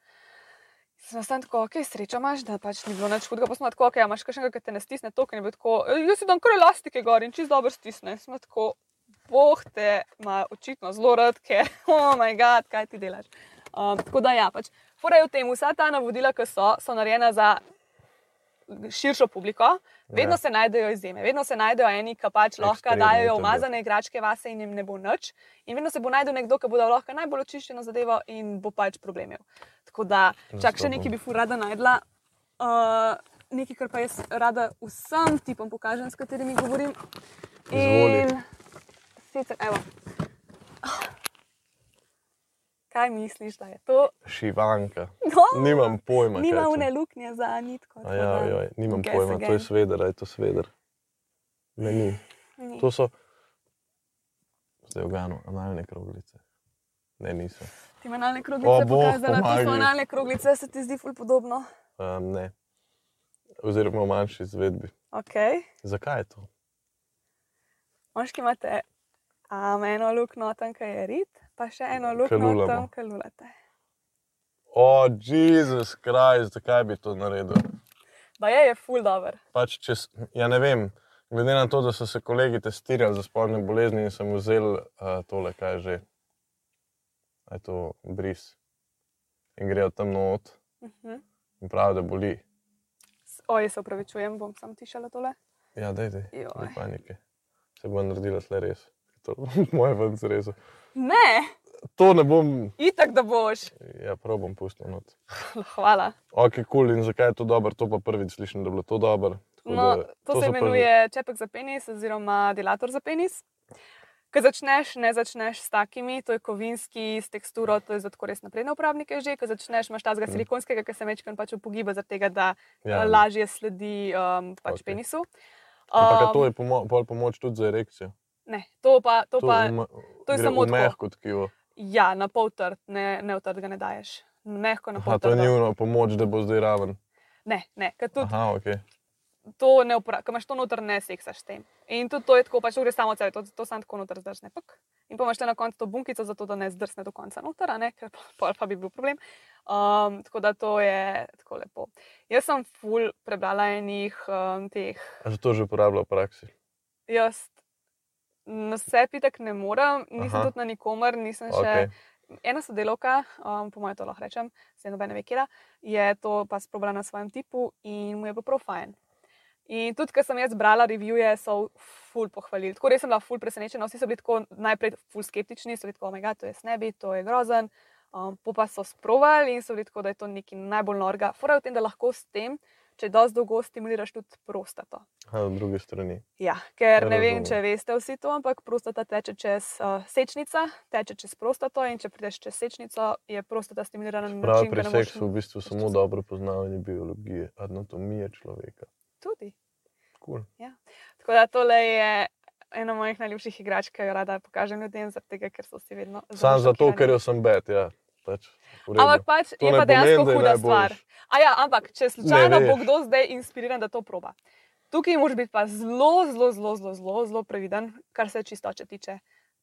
[SPEAKER 2] Sem jaz tam tako, ok, sreča imaš, da pač ni bilo nič hudega, pa smo tako, ok, a imaš kakšnega, ki te ne stisne, to, ker je bilo tako, "E, jaz si dam kar elastike gor in čist dobro stisne. Smo tako, boh te ima očitno zelo rad, ker, oh moj bog, kaj ti delaš. Um, tako da ja, pač, fora je v tem, vsa ta navodila, ki so, so narejena za širšo publiko, vedno
[SPEAKER 1] Ja.
[SPEAKER 2] ja. se najdejo izjeme, vedno se najdejo eni, ki pač lahko
[SPEAKER 1] Ekstremni
[SPEAKER 2] dajo
[SPEAKER 1] to je
[SPEAKER 2] umazane igračke vase in jim ne bo nič. In vedno se bo najdel nekdo, ki bo dal lahko najbolj očiščeno zadevo in bo pač problem. imel. Tako da, čak še
[SPEAKER 1] Zastopu.
[SPEAKER 2] nekaj bi fu rada najdla. Uh, nekaj, kar pa jaz rada vsem tipom pokažem, s katerimi govorim.
[SPEAKER 1] Izvoli.
[SPEAKER 2] In sicer, evo. Kaj misliš, da je to?
[SPEAKER 1] Šivanka.
[SPEAKER 2] No,
[SPEAKER 1] Nimam pojma. kaj je
[SPEAKER 2] Nima
[SPEAKER 1] to.
[SPEAKER 2] une luknje za nitko. tako
[SPEAKER 1] Aja,
[SPEAKER 2] da-
[SPEAKER 1] joj, nimam
[SPEAKER 2] Guess
[SPEAKER 1] pojma, to je
[SPEAKER 2] again.
[SPEAKER 1] sveder, aj to sveder. Ne, ni.
[SPEAKER 2] Ni.
[SPEAKER 1] To so, zdaj v Ganu, analne kroglice. Ne, niso.
[SPEAKER 2] Ti manalne kroglice
[SPEAKER 1] O,
[SPEAKER 2] oh,
[SPEAKER 1] bog
[SPEAKER 2] pokazala, ti
[SPEAKER 1] pomagaj.
[SPEAKER 2] manalne kroglice se ti zdi ful podobno.
[SPEAKER 1] Um, ne. Oziroma v manjši izvedbi.
[SPEAKER 2] Okay.
[SPEAKER 1] Zakaj je to?
[SPEAKER 2] Moški imate um, eno luknjo tam, kjer je rit, pa še eno luknjo
[SPEAKER 1] Kalulamo.
[SPEAKER 2] tam, kjer lulate.
[SPEAKER 1] O, Jezus Krist, zakaj bi to naredil?
[SPEAKER 2] Ba je, je ful dobr.
[SPEAKER 1] Pač, če, s- ja ne vem, glede na to, da so se kolegi testirali za spolne bolezni in sem vzel uh, tole, kaj je že, A je to bris. In grejo tam not
[SPEAKER 2] Uh -huh.
[SPEAKER 1] in pravijo, da boli.
[SPEAKER 2] Oje, se upravičujem, bom sam tišala tole.
[SPEAKER 1] Ja, dej, dej,
[SPEAKER 2] Joj.
[SPEAKER 1] ni panike. Se bo naredila tle res. To moje ven zrezo.
[SPEAKER 2] Ne,
[SPEAKER 1] To ne bom,
[SPEAKER 2] itak da boš.
[SPEAKER 1] ja, prav bom pustil not.
[SPEAKER 2] Hvala.
[SPEAKER 1] Ok, kul cool. in zakaj je to dobro, to pa prvič slišim, da je bilo to dobro. Tako
[SPEAKER 2] No,
[SPEAKER 1] da,
[SPEAKER 2] to, to
[SPEAKER 1] so
[SPEAKER 2] se
[SPEAKER 1] prvi-
[SPEAKER 2] imenuje čepek za penis oziroma delator za penis. Ko začneš, ne začneš s takimi, to je kovinski, s teksturo, to je za tako res napredne uporabnike že. Ko začneš, imaš tazga silikonskega, ki se mečkan pač upogiba, zaradi tega, da ja.
[SPEAKER 1] Mhm. Ja,
[SPEAKER 2] lažje sledi um, pač
[SPEAKER 1] Okej.
[SPEAKER 2] okay. penisu.
[SPEAKER 1] Ampak a to
[SPEAKER 2] Em,
[SPEAKER 1] je pomo pol pomoč tudi za erekcijo.
[SPEAKER 2] ne, to pa, to pa
[SPEAKER 1] uma-
[SPEAKER 2] to je
[SPEAKER 1] gre
[SPEAKER 2] samo
[SPEAKER 1] v
[SPEAKER 2] tako.
[SPEAKER 1] mehko tkivo.
[SPEAKER 2] ja, na pol trd, ne, ne v trd ga ne daješ. Mehko na
[SPEAKER 1] Aha,
[SPEAKER 2] pol
[SPEAKER 1] to je
[SPEAKER 2] trd.
[SPEAKER 1] njihova pomoč, da bo zdaj raven.
[SPEAKER 2] Ne, ne, ker tudi
[SPEAKER 1] Aha, ok.
[SPEAKER 2] to ne uporabiš, ko imaš to noter, ne seksaš s tem. In tudi to je tako, pač to gre samo od sebe, to, to samo tako noter zdrsne. Pk. In pa imaš le na koncu to bunkico, zato da ne zdrsne do konca noter, a ne, ker pa, pol pa bi bil problem. Um, tako da to je tako lepo. Jaz sem full prebrala enih um, teh.
[SPEAKER 1] A se to že uporablja v praksi?
[SPEAKER 2] Jaz na sebi tako ne morem, nisem
[SPEAKER 1] Aha.
[SPEAKER 2] Aha. tudi na nikomer, nisem Ja, še.
[SPEAKER 1] Okay.
[SPEAKER 2] Ena sodelovka, um, po mojem to lahko rečem, se nobene ve, kje je to pa sprobala na svojem tipu in mu je bilo prav fajn. In tudi, ker sem jaz brala revije, so ful pohvalili. Tako res sem bila ful presenečena, vsi so bili tako najprej ful skeptični, so bili tako, omega, to je snebi, to je grozen. Um, po pa so sprovali in so bili tako, da je to nekaj najbolj norga. Fora je v tem, da lahko s tem, če dosti dolgo stimuliraš tudi prostato.
[SPEAKER 1] Aha, na druge strani.
[SPEAKER 2] Ja, ker ne
[SPEAKER 1] Razumem.
[SPEAKER 2] vem, če veste vsi to, ampak prostata teče čez uh, sečnica, teče čez prostato in če prideš čez sečnico, je prostata stimulirana na
[SPEAKER 1] Prav
[SPEAKER 2] način,
[SPEAKER 1] pri
[SPEAKER 2] da ne moreš
[SPEAKER 1] seksu v bistvu samo dobro poznavanje biologije, anatomije človeka.
[SPEAKER 2] tudi.
[SPEAKER 1] Cool.
[SPEAKER 2] Tako da tole je ena mojih najljubših igrač, ki jo rada pokažem ljudem, zaradi tega, ker so vsi vedno zelo
[SPEAKER 1] Sam zato,
[SPEAKER 2] šokirani.
[SPEAKER 1] ker jo sem bet, ja. Pač, v redu.
[SPEAKER 2] Ampak pač
[SPEAKER 1] To
[SPEAKER 2] je
[SPEAKER 1] ne
[SPEAKER 2] pa dejansko
[SPEAKER 1] pomeni, da je
[SPEAKER 2] huda
[SPEAKER 1] najboljši.
[SPEAKER 2] stvar. A ja, ampak če slučajno bo
[SPEAKER 1] veš.
[SPEAKER 2] kdo zdaj inspiriran, da to proba. Tukaj moraš biti pa zelo, zelo, zelo, zelo, zelo, zelo previden, kar se čistoče tiče.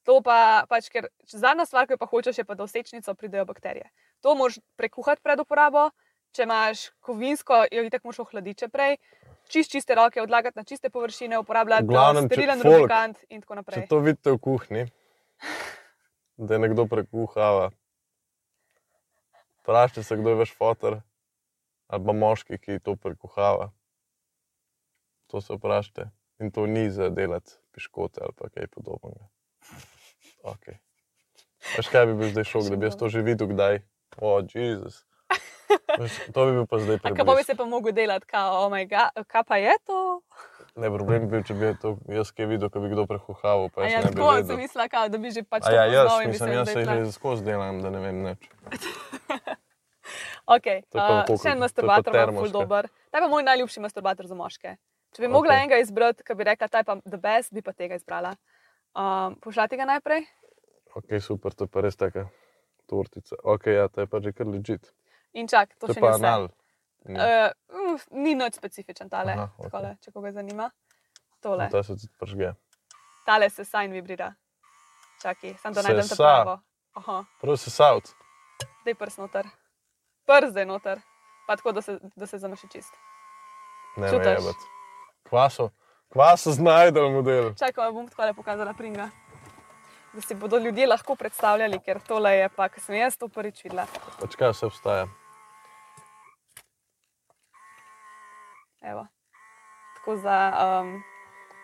[SPEAKER 2] To pa pač, ker zadnja stvar, ki jo pa hočeš, je pa da v sečnico pridejo bakterije. To moraš prekuhati pred uporabo, če imaš kovinsko, jo itek moraš ohladiti še prej, čist čiste roke, odlagati na čiste površine, uporabljati
[SPEAKER 1] V
[SPEAKER 2] glavnem,
[SPEAKER 1] glavnem, če-
[SPEAKER 2] sterilen
[SPEAKER 1] folk,
[SPEAKER 2] lubrikant in tako naprej.
[SPEAKER 1] Če to vidite v kuhinji, da je nekdo prekuhava, vprašajte se, kdo je vaš fotor ali pa moški, ki to prekuhava. To se vprašajte. In to ni za delati piškote ali pa kaj podobnega. Okay. Veš, kaj bi bil zdaj šok, da bi jaz to že videl kdaj? O, oh, Jezus. Veš, To bi bil pa zdaj
[SPEAKER 2] A kako bi
[SPEAKER 1] preblisk.
[SPEAKER 2] se pa mogel delati, kao, oh moj bog, kaj pa je to?
[SPEAKER 1] Ne, problem bi bil, če bi to jaz kaj videl, ko bi kdo prekuhaval.
[SPEAKER 2] A
[SPEAKER 1] Pa jaz
[SPEAKER 2] Ja,
[SPEAKER 1] ne bi
[SPEAKER 2] tako
[SPEAKER 1] vedel.
[SPEAKER 2] sem mislila, kao, da bi že pač
[SPEAKER 1] A ja,
[SPEAKER 2] to
[SPEAKER 1] jaz,
[SPEAKER 2] poznal in bi
[SPEAKER 1] mislim,
[SPEAKER 2] se
[SPEAKER 1] jaz se
[SPEAKER 2] zdaj tule-
[SPEAKER 1] že skozi delam, da ne vem nič.
[SPEAKER 2] Okay,
[SPEAKER 1] To je pa
[SPEAKER 2] uh,
[SPEAKER 1] pokoj-
[SPEAKER 2] še
[SPEAKER 1] to
[SPEAKER 2] en
[SPEAKER 1] je pa
[SPEAKER 2] masturbator je
[SPEAKER 1] termoška.
[SPEAKER 2] zelo dober. Ta je pa moj najljubši masturbator za moške. Če bi mogla
[SPEAKER 1] Okej.
[SPEAKER 2] enega izbrati, ki bi rekla, ta je pa the best, bi pa tega izbrala. Um, Pošljati ga najprej?
[SPEAKER 1] Ok, super, to je pa res taka tortica. Ok, ja, to je pa že kar ležit.
[SPEAKER 2] In čak, to,
[SPEAKER 1] To
[SPEAKER 2] še
[SPEAKER 1] je
[SPEAKER 2] ni
[SPEAKER 1] pa
[SPEAKER 2] vse.
[SPEAKER 1] anal. Ne,
[SPEAKER 2] Uh, uf, ni nič specifičen tale,
[SPEAKER 1] Aha,
[SPEAKER 2] Aha,
[SPEAKER 1] okej. No
[SPEAKER 2] takole, če koga zanima. Tole,
[SPEAKER 1] ta se tudi pržge.
[SPEAKER 2] tale se sajn vibrira. Čakaj, sam da
[SPEAKER 1] Se
[SPEAKER 2] najdem ta
[SPEAKER 1] sa.
[SPEAKER 2] pravo. Aha,
[SPEAKER 1] Prav se savt.
[SPEAKER 2] daj prst noter. Prst zdaj noter, pa tako, da se, da se zamaši čist.
[SPEAKER 1] Ne, ne,
[SPEAKER 2] Čutaš?
[SPEAKER 1] ne. Kvaso, kvaso znajdel model.
[SPEAKER 2] Čakaj, vam bom tako le pokazala pringa. Da si bodo ljudje lahko predstavljali, ker tole je pa, ki sem jaz to prvič videla.
[SPEAKER 1] Pač kaj vse obstaja.
[SPEAKER 2] Evo. Tako za, um,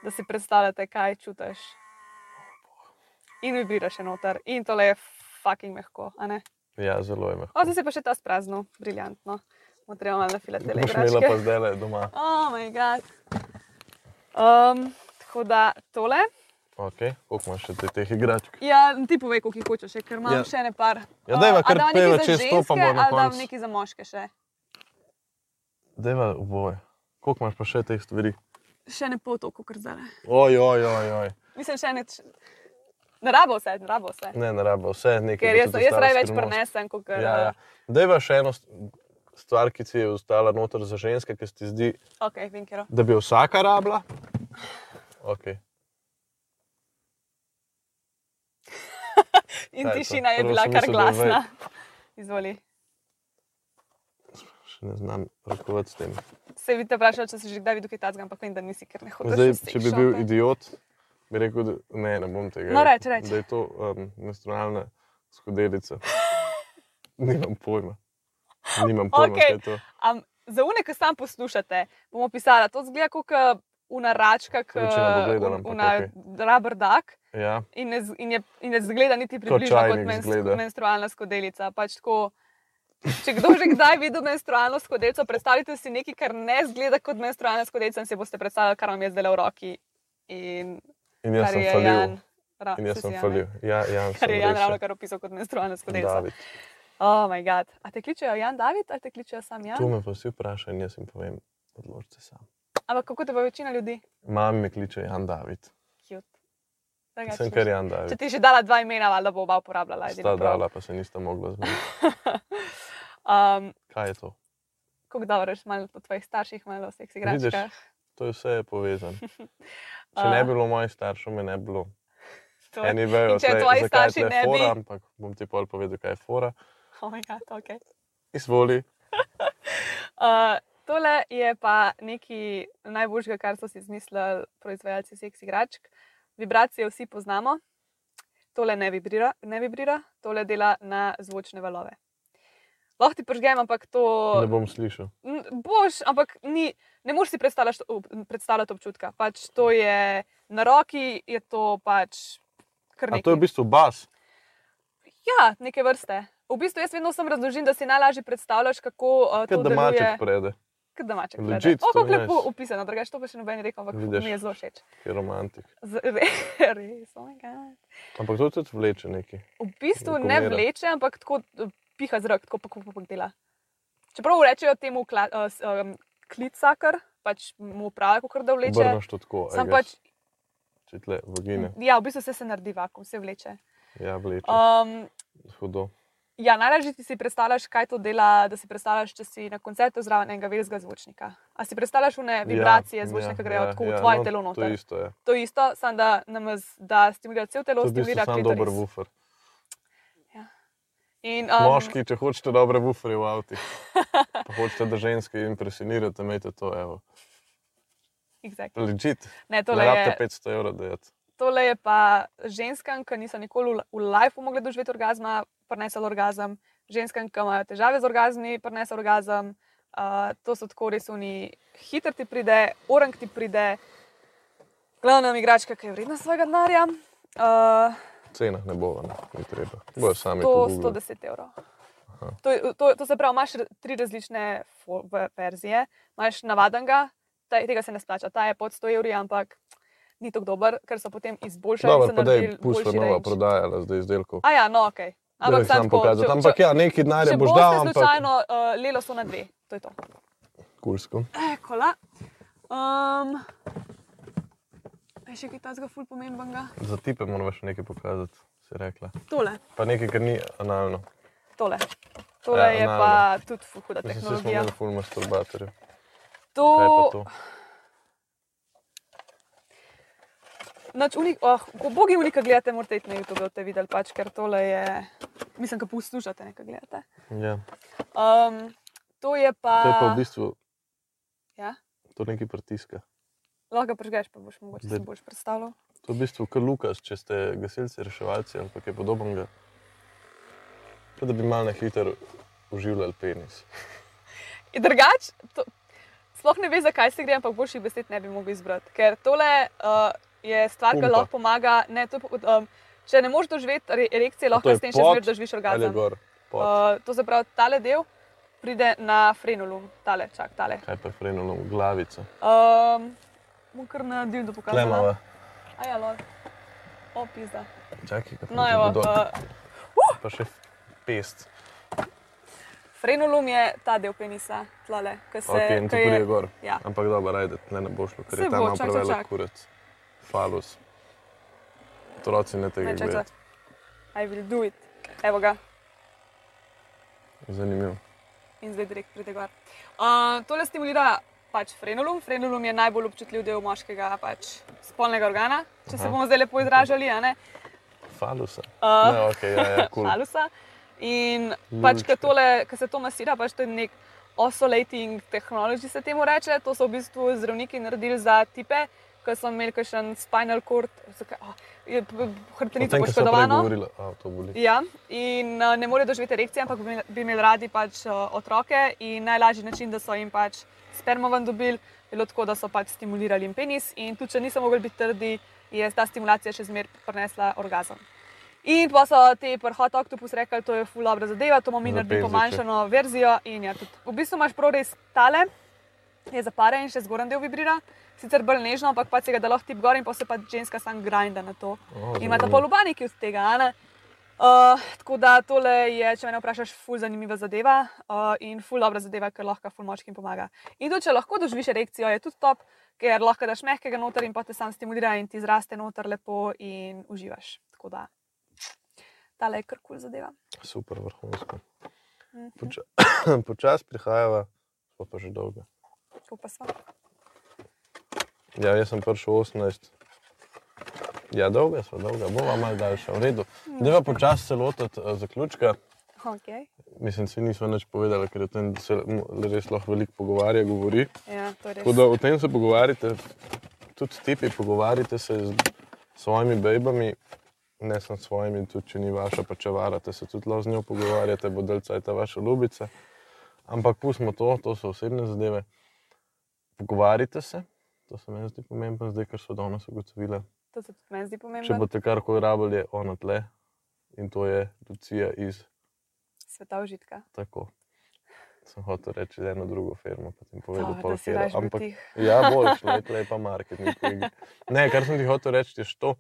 [SPEAKER 2] da si predstavljate, kaj čutiš. In vibriraš še noter, in tole je fucking mehko. a ne?
[SPEAKER 1] Ja, zelo je mehko.
[SPEAKER 2] O, zdaj se pa še ta sprazno, briljantno. Mu Treba malo nafilati
[SPEAKER 1] Ti boš imela pa
[SPEAKER 2] telegrafe.
[SPEAKER 1] zdaj le doma.
[SPEAKER 2] Oh, moj bog. Um, tako da tole.
[SPEAKER 1] Okay. Koliko imaš še te, teh igračk?
[SPEAKER 2] Ja, ti povej, koliko jih hočeš, še, ker imam
[SPEAKER 1] Ja.
[SPEAKER 2] ja. še ne par.
[SPEAKER 1] Ja, dajva
[SPEAKER 2] A, a
[SPEAKER 1] kar
[SPEAKER 2] dava nekaj
[SPEAKER 1] peva
[SPEAKER 2] za
[SPEAKER 1] čez to, pa bo
[SPEAKER 2] ženske
[SPEAKER 1] na
[SPEAKER 2] ali dam
[SPEAKER 1] koncu.
[SPEAKER 2] nekaj za moške še.
[SPEAKER 1] Deva oboje. Koliko imaš pa še teh stvari?
[SPEAKER 2] Še ne pol toliko, kot zdaj.
[SPEAKER 1] Ojoj, ojoj.
[SPEAKER 2] Mislim, še ne. Ne rabo vse, ne rabo vse.
[SPEAKER 1] Ne, ne rabimo vse, nekaj.
[SPEAKER 2] Ker
[SPEAKER 1] bo
[SPEAKER 2] jaz,
[SPEAKER 1] tudi
[SPEAKER 2] jaz
[SPEAKER 1] ostala
[SPEAKER 2] raje več
[SPEAKER 1] skrivnost.
[SPEAKER 2] prenesem, kot kar. eh,
[SPEAKER 1] Ja, ja. Deva še eno st- stvar, ki ti je ostala noter za ženske, ki se ti zdi,
[SPEAKER 2] Ok, vem, kjer.
[SPEAKER 1] da bi jo vsaka rabila. Okay.
[SPEAKER 2] In
[SPEAKER 1] Kaj je to?
[SPEAKER 2] tišina je
[SPEAKER 1] Prvo
[SPEAKER 2] bila
[SPEAKER 1] sem
[SPEAKER 2] kar
[SPEAKER 1] mislil, da je
[SPEAKER 2] glasna. Izvoli.
[SPEAKER 1] Še ne znam rokovati s tem.
[SPEAKER 2] Se vi te vprašali, če si že kdaj videl kaj takega, ampak vem, da nisi, ker ne hodiš.
[SPEAKER 1] Zdaj,
[SPEAKER 2] v sex
[SPEAKER 1] če bi bil
[SPEAKER 2] shope.
[SPEAKER 1] idiot, bi rekel, da ne, ne bom tega.
[SPEAKER 2] No,
[SPEAKER 1] rekel,
[SPEAKER 2] reč, reč.
[SPEAKER 1] Da je to um, menstrualna skodelica. Nimam pojma. Nimam pojma,
[SPEAKER 2] Okej.
[SPEAKER 1] okay. kaj je to.
[SPEAKER 2] Am, za une, ki sam poslušate, bomo pisala, to zgleda kot eh, unaračka, kot
[SPEAKER 1] Večina bo gledala, ampak
[SPEAKER 2] una rubber duck.
[SPEAKER 1] Ja,
[SPEAKER 2] In ne, z- in, je, in ne zgleda niti približno kot
[SPEAKER 1] čajnik
[SPEAKER 2] mens,
[SPEAKER 1] zgleda.
[SPEAKER 2] menstrualna skodelica. Pač tako, če kdo že kdaj vidi menstrualno skodelico, predstavljajte si nekaj, kar ne zgleda kot menstrualna skodelica, in si boste predstavljali, kar vam je zdaj v roki. In
[SPEAKER 1] in jaz
[SPEAKER 2] kar
[SPEAKER 1] sem
[SPEAKER 2] je
[SPEAKER 1] falil.
[SPEAKER 2] Jan, ra,
[SPEAKER 1] In jaz
[SPEAKER 2] saj si
[SPEAKER 1] sem
[SPEAKER 2] Jan, ne?
[SPEAKER 1] falil. Ja, ja,
[SPEAKER 2] Kar je Jan ravno kar opisal kot menstrualna skodelica.
[SPEAKER 1] David.
[SPEAKER 2] Oh, moj bog. A te kličejo Jan David ali te kličejo sam Jan?
[SPEAKER 1] Tu me pa vsi vprašajo in jaz jim povem, odločite sam.
[SPEAKER 2] Ampak kako te pa večina ljudi?
[SPEAKER 1] Mami me kliče Jan David.
[SPEAKER 2] Cute. Drugače
[SPEAKER 1] Sem
[SPEAKER 2] nič.
[SPEAKER 1] kar Jan
[SPEAKER 2] Če
[SPEAKER 1] David.
[SPEAKER 2] ti že dala dva imena, valjda bo oba uporabljala. edino
[SPEAKER 1] Sta
[SPEAKER 2] prav.
[SPEAKER 1] dala, pa se nista mogla zmeniti.
[SPEAKER 2] um,
[SPEAKER 1] Kaj je to?
[SPEAKER 2] kako dobro je malo po tvojih starših, malo o vseh
[SPEAKER 1] Vidiš.
[SPEAKER 2] igračkah.
[SPEAKER 1] To je vse povezano. Če
[SPEAKER 2] A.
[SPEAKER 1] ne bi bilo mojih staršev, me ne bi bilo.
[SPEAKER 2] To je-
[SPEAKER 1] Eni vejo,
[SPEAKER 2] In če
[SPEAKER 1] zdaj,
[SPEAKER 2] tvoji
[SPEAKER 1] zakaj
[SPEAKER 2] starši
[SPEAKER 1] tule
[SPEAKER 2] ne bi-
[SPEAKER 1] fora, ampak bom ti pol povedal, kaj je fora.
[SPEAKER 2] Oh my God, okay.
[SPEAKER 1] Izvoli.
[SPEAKER 2] uh, tole je pa nekaj najboljšega, kar so si izmislili proizvajalci seks igračk. Vibracije vsi poznamo, tole ne vibrira, ne vibrira tole dela na zvočne valove. Lahko ti pržgem, ampak to
[SPEAKER 1] Ne bom slišal.
[SPEAKER 2] N- boš, ampak ni, ne moreš si predstavljati, ob- predstavljati občutka. Pač to je na roki, je to pač kar
[SPEAKER 1] A
[SPEAKER 2] nekaj.
[SPEAKER 1] to je v bistvu bas.
[SPEAKER 2] Ja, neke vrste. V bistvu jaz vedno sem razložil, da si najlažje predstavljaš, kako uh, to
[SPEAKER 1] Kot da
[SPEAKER 2] deluje.
[SPEAKER 1] maček prede,
[SPEAKER 2] Kot da maček.
[SPEAKER 1] Legit,
[SPEAKER 2] gleda. O,
[SPEAKER 1] to
[SPEAKER 2] kako
[SPEAKER 1] je
[SPEAKER 2] lepo
[SPEAKER 1] nice.
[SPEAKER 2] opisano, drugače to pa še noben ni rekel, ampak
[SPEAKER 1] Vidiš.
[SPEAKER 2] mi je zelo všeč.
[SPEAKER 1] ki je romantik.
[SPEAKER 2] Z, re- res, oh my god.
[SPEAKER 1] Ampak to tudi vleče neki.
[SPEAKER 2] v bistvu
[SPEAKER 1] Neko
[SPEAKER 2] ne
[SPEAKER 1] mero.
[SPEAKER 2] vleče, ampak tako eh, piha zrak, tako pa kako dela. Čeprav rečejo temu kla, uh, um, klicakar, pač mu pravijo, kako da vleče.
[SPEAKER 1] Obrneš to tako. I
[SPEAKER 2] Sam
[SPEAKER 1] guess.
[SPEAKER 2] pač,
[SPEAKER 1] Če tle vagine,
[SPEAKER 2] ja, v bistvu se, se naredi vakum, se vleče.
[SPEAKER 1] ja, vleče.
[SPEAKER 2] Um,
[SPEAKER 1] Hudo.
[SPEAKER 2] Ja, najlažje ti si predstavljaš, kaj to dela, da si predstavljaš, če si na koncertu zraven enega velikega zvočnika. A si predstavljaš vne vibracije
[SPEAKER 1] ja,
[SPEAKER 2] ja, zvočne,
[SPEAKER 1] ja,
[SPEAKER 2] ki grejo
[SPEAKER 1] ja,
[SPEAKER 2] ja, tako v
[SPEAKER 1] ja,
[SPEAKER 2] tvoje
[SPEAKER 1] no,
[SPEAKER 2] no, telo
[SPEAKER 1] To je
[SPEAKER 2] noter?
[SPEAKER 1] isto, ja.
[SPEAKER 2] To je isto, samo da nam z- da stimulira cel telo,
[SPEAKER 1] To je v bistvu
[SPEAKER 2] stimulira
[SPEAKER 1] sam dober
[SPEAKER 2] klitoris.
[SPEAKER 1] bufer.
[SPEAKER 2] In,
[SPEAKER 1] Um,
[SPEAKER 2] um,
[SPEAKER 1] Moški, če hočete dobre buferje v avtu, pa hočete, da ženske impresionirate, imejte to, evo.
[SPEAKER 2] um, Exactly.
[SPEAKER 1] Legit.
[SPEAKER 2] Ne,
[SPEAKER 1] Ne
[SPEAKER 2] tole,
[SPEAKER 1] rabite
[SPEAKER 2] je,
[SPEAKER 1] 500 evrov, da je to.
[SPEAKER 2] tole je pa ženskam, ki niso nikoli v- v lifeu mogli doživeti orgasma, prenesel orgasm. Ženskam, ki imajo težave z orgazmi, prenesel orgasm. Uh, to so tako resuni, hiter ti pride, orang ti pride, glavna igračka, ki je vredna svojega denarja. Uh,
[SPEAKER 1] Cena ne bo, ne, ni treba. Bojo sami.
[SPEAKER 2] 100,
[SPEAKER 1] pogooglali.
[SPEAKER 2] 110 evrov. To, je- to, to se pravi, imaš r- tri različne fo- v- verzije. Imáš navadenega, ta, tega se ne splača, ta je pod 100 evri, ampak ni tako dober, ker so potem izboljšali
[SPEAKER 1] Dobro,
[SPEAKER 2] in
[SPEAKER 1] pa
[SPEAKER 2] so
[SPEAKER 1] da
[SPEAKER 2] naredili
[SPEAKER 1] je
[SPEAKER 2] boljši
[SPEAKER 1] Pusva nova
[SPEAKER 2] range.
[SPEAKER 1] prodajala zdaj izdelkov.
[SPEAKER 2] A ja, no, ok. Ampak
[SPEAKER 1] Ampak,
[SPEAKER 2] sam
[SPEAKER 1] sam
[SPEAKER 2] tako,
[SPEAKER 1] pokazati.
[SPEAKER 2] če-
[SPEAKER 1] ampak
[SPEAKER 2] če-
[SPEAKER 1] ja, nekaj denarja
[SPEAKER 2] Če
[SPEAKER 1] boš dal,
[SPEAKER 2] boste
[SPEAKER 1] ampak
[SPEAKER 2] slučajno uh, lelo so na dve, to je to.
[SPEAKER 1] kulsko.
[SPEAKER 2] Ekola. Um, je še kaj tazga ful pomembnega?
[SPEAKER 1] Za tipe moraš še nekaj pokazati, si rekla.
[SPEAKER 2] Tole,
[SPEAKER 1] Pa nekaj, kar ni analno.
[SPEAKER 2] tole. Tole
[SPEAKER 1] Ja,
[SPEAKER 2] je
[SPEAKER 1] na,
[SPEAKER 2] pa tudi ful huda
[SPEAKER 1] Mislim, da smo
[SPEAKER 2] tehnologija.
[SPEAKER 1] imeli full masturbatorjev. Kaj pa
[SPEAKER 2] To,
[SPEAKER 1] to?
[SPEAKER 2] Nač, unik, oh, bogi unika gledate, morate iti na YouTube, da boste videli, pač, ker tole je, mislim, da poslušate, nekaj gledate.
[SPEAKER 1] Ja.
[SPEAKER 2] Um, to je pa,
[SPEAKER 1] To je pa v bistvu
[SPEAKER 2] ja,
[SPEAKER 1] to nekaj pritiska.
[SPEAKER 2] lahko ga prežgeš, pa boš mogoče
[SPEAKER 1] Zdaj-
[SPEAKER 2] si boš predstavljal.
[SPEAKER 1] To je v bistvu kar Lukas, če ste gasilci, reševalci, ampak je podobnega. Kot da bi mal na hitro uživljali penis.
[SPEAKER 2] In drugač, to, sploh ne ve, zakaj se gre, ampak boljših besed ne bi mogel izbrati. Ker tole uh, je stvar, ki
[SPEAKER 1] Pumpa.
[SPEAKER 2] lahko pomaga. Ne, to, je po- um, če ne moreš doživeti re- erekcije, lahko
[SPEAKER 1] je
[SPEAKER 2] s tem še
[SPEAKER 1] pot
[SPEAKER 2] zmeraj doživiš
[SPEAKER 1] ali je
[SPEAKER 2] orgazem.
[SPEAKER 1] gor. Pot.
[SPEAKER 2] Uh, to se pravi, tale del pride na frenulum, tale, čak, tale.
[SPEAKER 1] Kaj pa je frenulo v glavico?
[SPEAKER 2] Um, Mu kar na dildo pokazala.
[SPEAKER 1] Klemava.
[SPEAKER 2] Aja, lol. O, pizda.
[SPEAKER 1] Čakaj, kako
[SPEAKER 2] No,
[SPEAKER 1] je
[SPEAKER 2] evo,
[SPEAKER 1] to.
[SPEAKER 2] uh,
[SPEAKER 1] Pa še pest.
[SPEAKER 2] frenulum je ta del penisa, tlale, ki se
[SPEAKER 1] Ok, in to
[SPEAKER 2] ke je-
[SPEAKER 1] pride gor.
[SPEAKER 2] Ja.
[SPEAKER 1] Ampak dobro, ajde, tle ne bo šlo, ker
[SPEAKER 2] Se
[SPEAKER 1] je tam
[SPEAKER 2] bo,
[SPEAKER 1] malo
[SPEAKER 2] čak, čak,
[SPEAKER 1] prevelik
[SPEAKER 2] čak.
[SPEAKER 1] kurec. Falus. Otroci ne tega
[SPEAKER 2] Ne, čak, čak.
[SPEAKER 1] gledajo.
[SPEAKER 2] I will do it. Evo ga.
[SPEAKER 1] Zanimivo.
[SPEAKER 2] in zdaj direkt pride gor. Uh, tole stimulira pač frenulum. Frenulum je najbolj občutljiv del moškega pač, spolnega organa, če se
[SPEAKER 1] Aha.
[SPEAKER 2] bomo zdaj lepo izražali, a ne
[SPEAKER 1] Falusa.
[SPEAKER 2] A.
[SPEAKER 1] Ne, ok, ja, ja, kul. Cool.
[SPEAKER 2] alusa. In pač,
[SPEAKER 1] Ljubička.
[SPEAKER 2] ko se to masira, pač to je nek oscillating technology, se temu reče. To so v bistvu zdravniki naredili za tipe, ki so imeli kakšen spinal cord, zakaj- oh, je p- p-
[SPEAKER 1] O
[SPEAKER 2] hrbtenico
[SPEAKER 1] tem, kar sem prej
[SPEAKER 2] poškodovano.
[SPEAKER 1] govorila, a to boli.
[SPEAKER 2] Ja, in uh, ne morejo doživeti erekcije, ampak bi, bi imeli radi pač uh, otroke. In najlažji način, da so jim pač spermo ven dobili, je bilo tako, da so pač stimulirali jim penis. In tudi, če niso mogli biti trdi, je ta stimulacija še zmeraj prinesla orgazem. In pa so ti prhot oktopus rekli, to je ful dobro zadeva, to bomo mi
[SPEAKER 1] Za
[SPEAKER 2] naredili
[SPEAKER 1] penziče.
[SPEAKER 2] pomanjšano verzijo. In ja, tudi, v bistvu imaš prav res tale, je zaparen in še zgornji del vibrira. Sicer bolj nežno, ampak pa se ga da lahko tip gor in pa se pa ženska sam grinda na to.
[SPEAKER 1] O,
[SPEAKER 2] In imata
[SPEAKER 1] zanimivo.
[SPEAKER 2] pa lubaniki od tega. a ne. Uh, tako da tole je, če me ne vprašaš, ful zanimiva zadeva uh, in ful dobra zadeva, ker lahko ful močkim pomaga. In tudi, če lahko doživiš erekcijo, je tudi top, ker lahko daš mehkega noter in pa te sam stimulira in ti zraste noter lepo in uživaš. Tako da, tale je kar kul zadeva.
[SPEAKER 1] Super, vrhunsko.
[SPEAKER 2] Mhm.
[SPEAKER 1] Poča, počas prihajava, smo pa že dolgo.
[SPEAKER 2] Tako pa smo.
[SPEAKER 1] Ja, jaz sem prišel 18. Ja, dolga smo, dolga, bova malo daljša, v redu. Deva počasi se lotiti eh, zaključka.
[SPEAKER 2] Okay.
[SPEAKER 1] Mislim, se nismo nič povedali, ker o tem se m, res lahko veliko pogovarja, govori.
[SPEAKER 2] Ja, to je res.
[SPEAKER 1] Tako da o tem se pogovarjate, tudi tipi, pogovarjate se z svojimi bejbami, ne samo s svojimi, tudi če ni vaša, pa če varate se tudi lahko z njo pogovarjate, bo delca je ta vaša ljubica. Ampak pustimo to, to so osebne zadeve. Pogovarjate se, to se meni zdi pomembno, zdaj ker so danes ugotovile.
[SPEAKER 2] To se tudi meni zdi
[SPEAKER 1] Če
[SPEAKER 2] pomembno.
[SPEAKER 1] boste karkoli rabili, je ona tle in to je Lucija iz
[SPEAKER 2] Sveta užitka.
[SPEAKER 1] tako. Sem hotel reči za eno drugo firmo, pa sem
[SPEAKER 2] To,
[SPEAKER 1] povedal,
[SPEAKER 2] da
[SPEAKER 1] pol
[SPEAKER 2] si
[SPEAKER 1] katero,
[SPEAKER 2] daš bil
[SPEAKER 1] ampak-
[SPEAKER 2] tih.
[SPEAKER 1] Ja, boš, lepo je pa marketing. v igri. Ne, kar sem ti hotel reči, je to.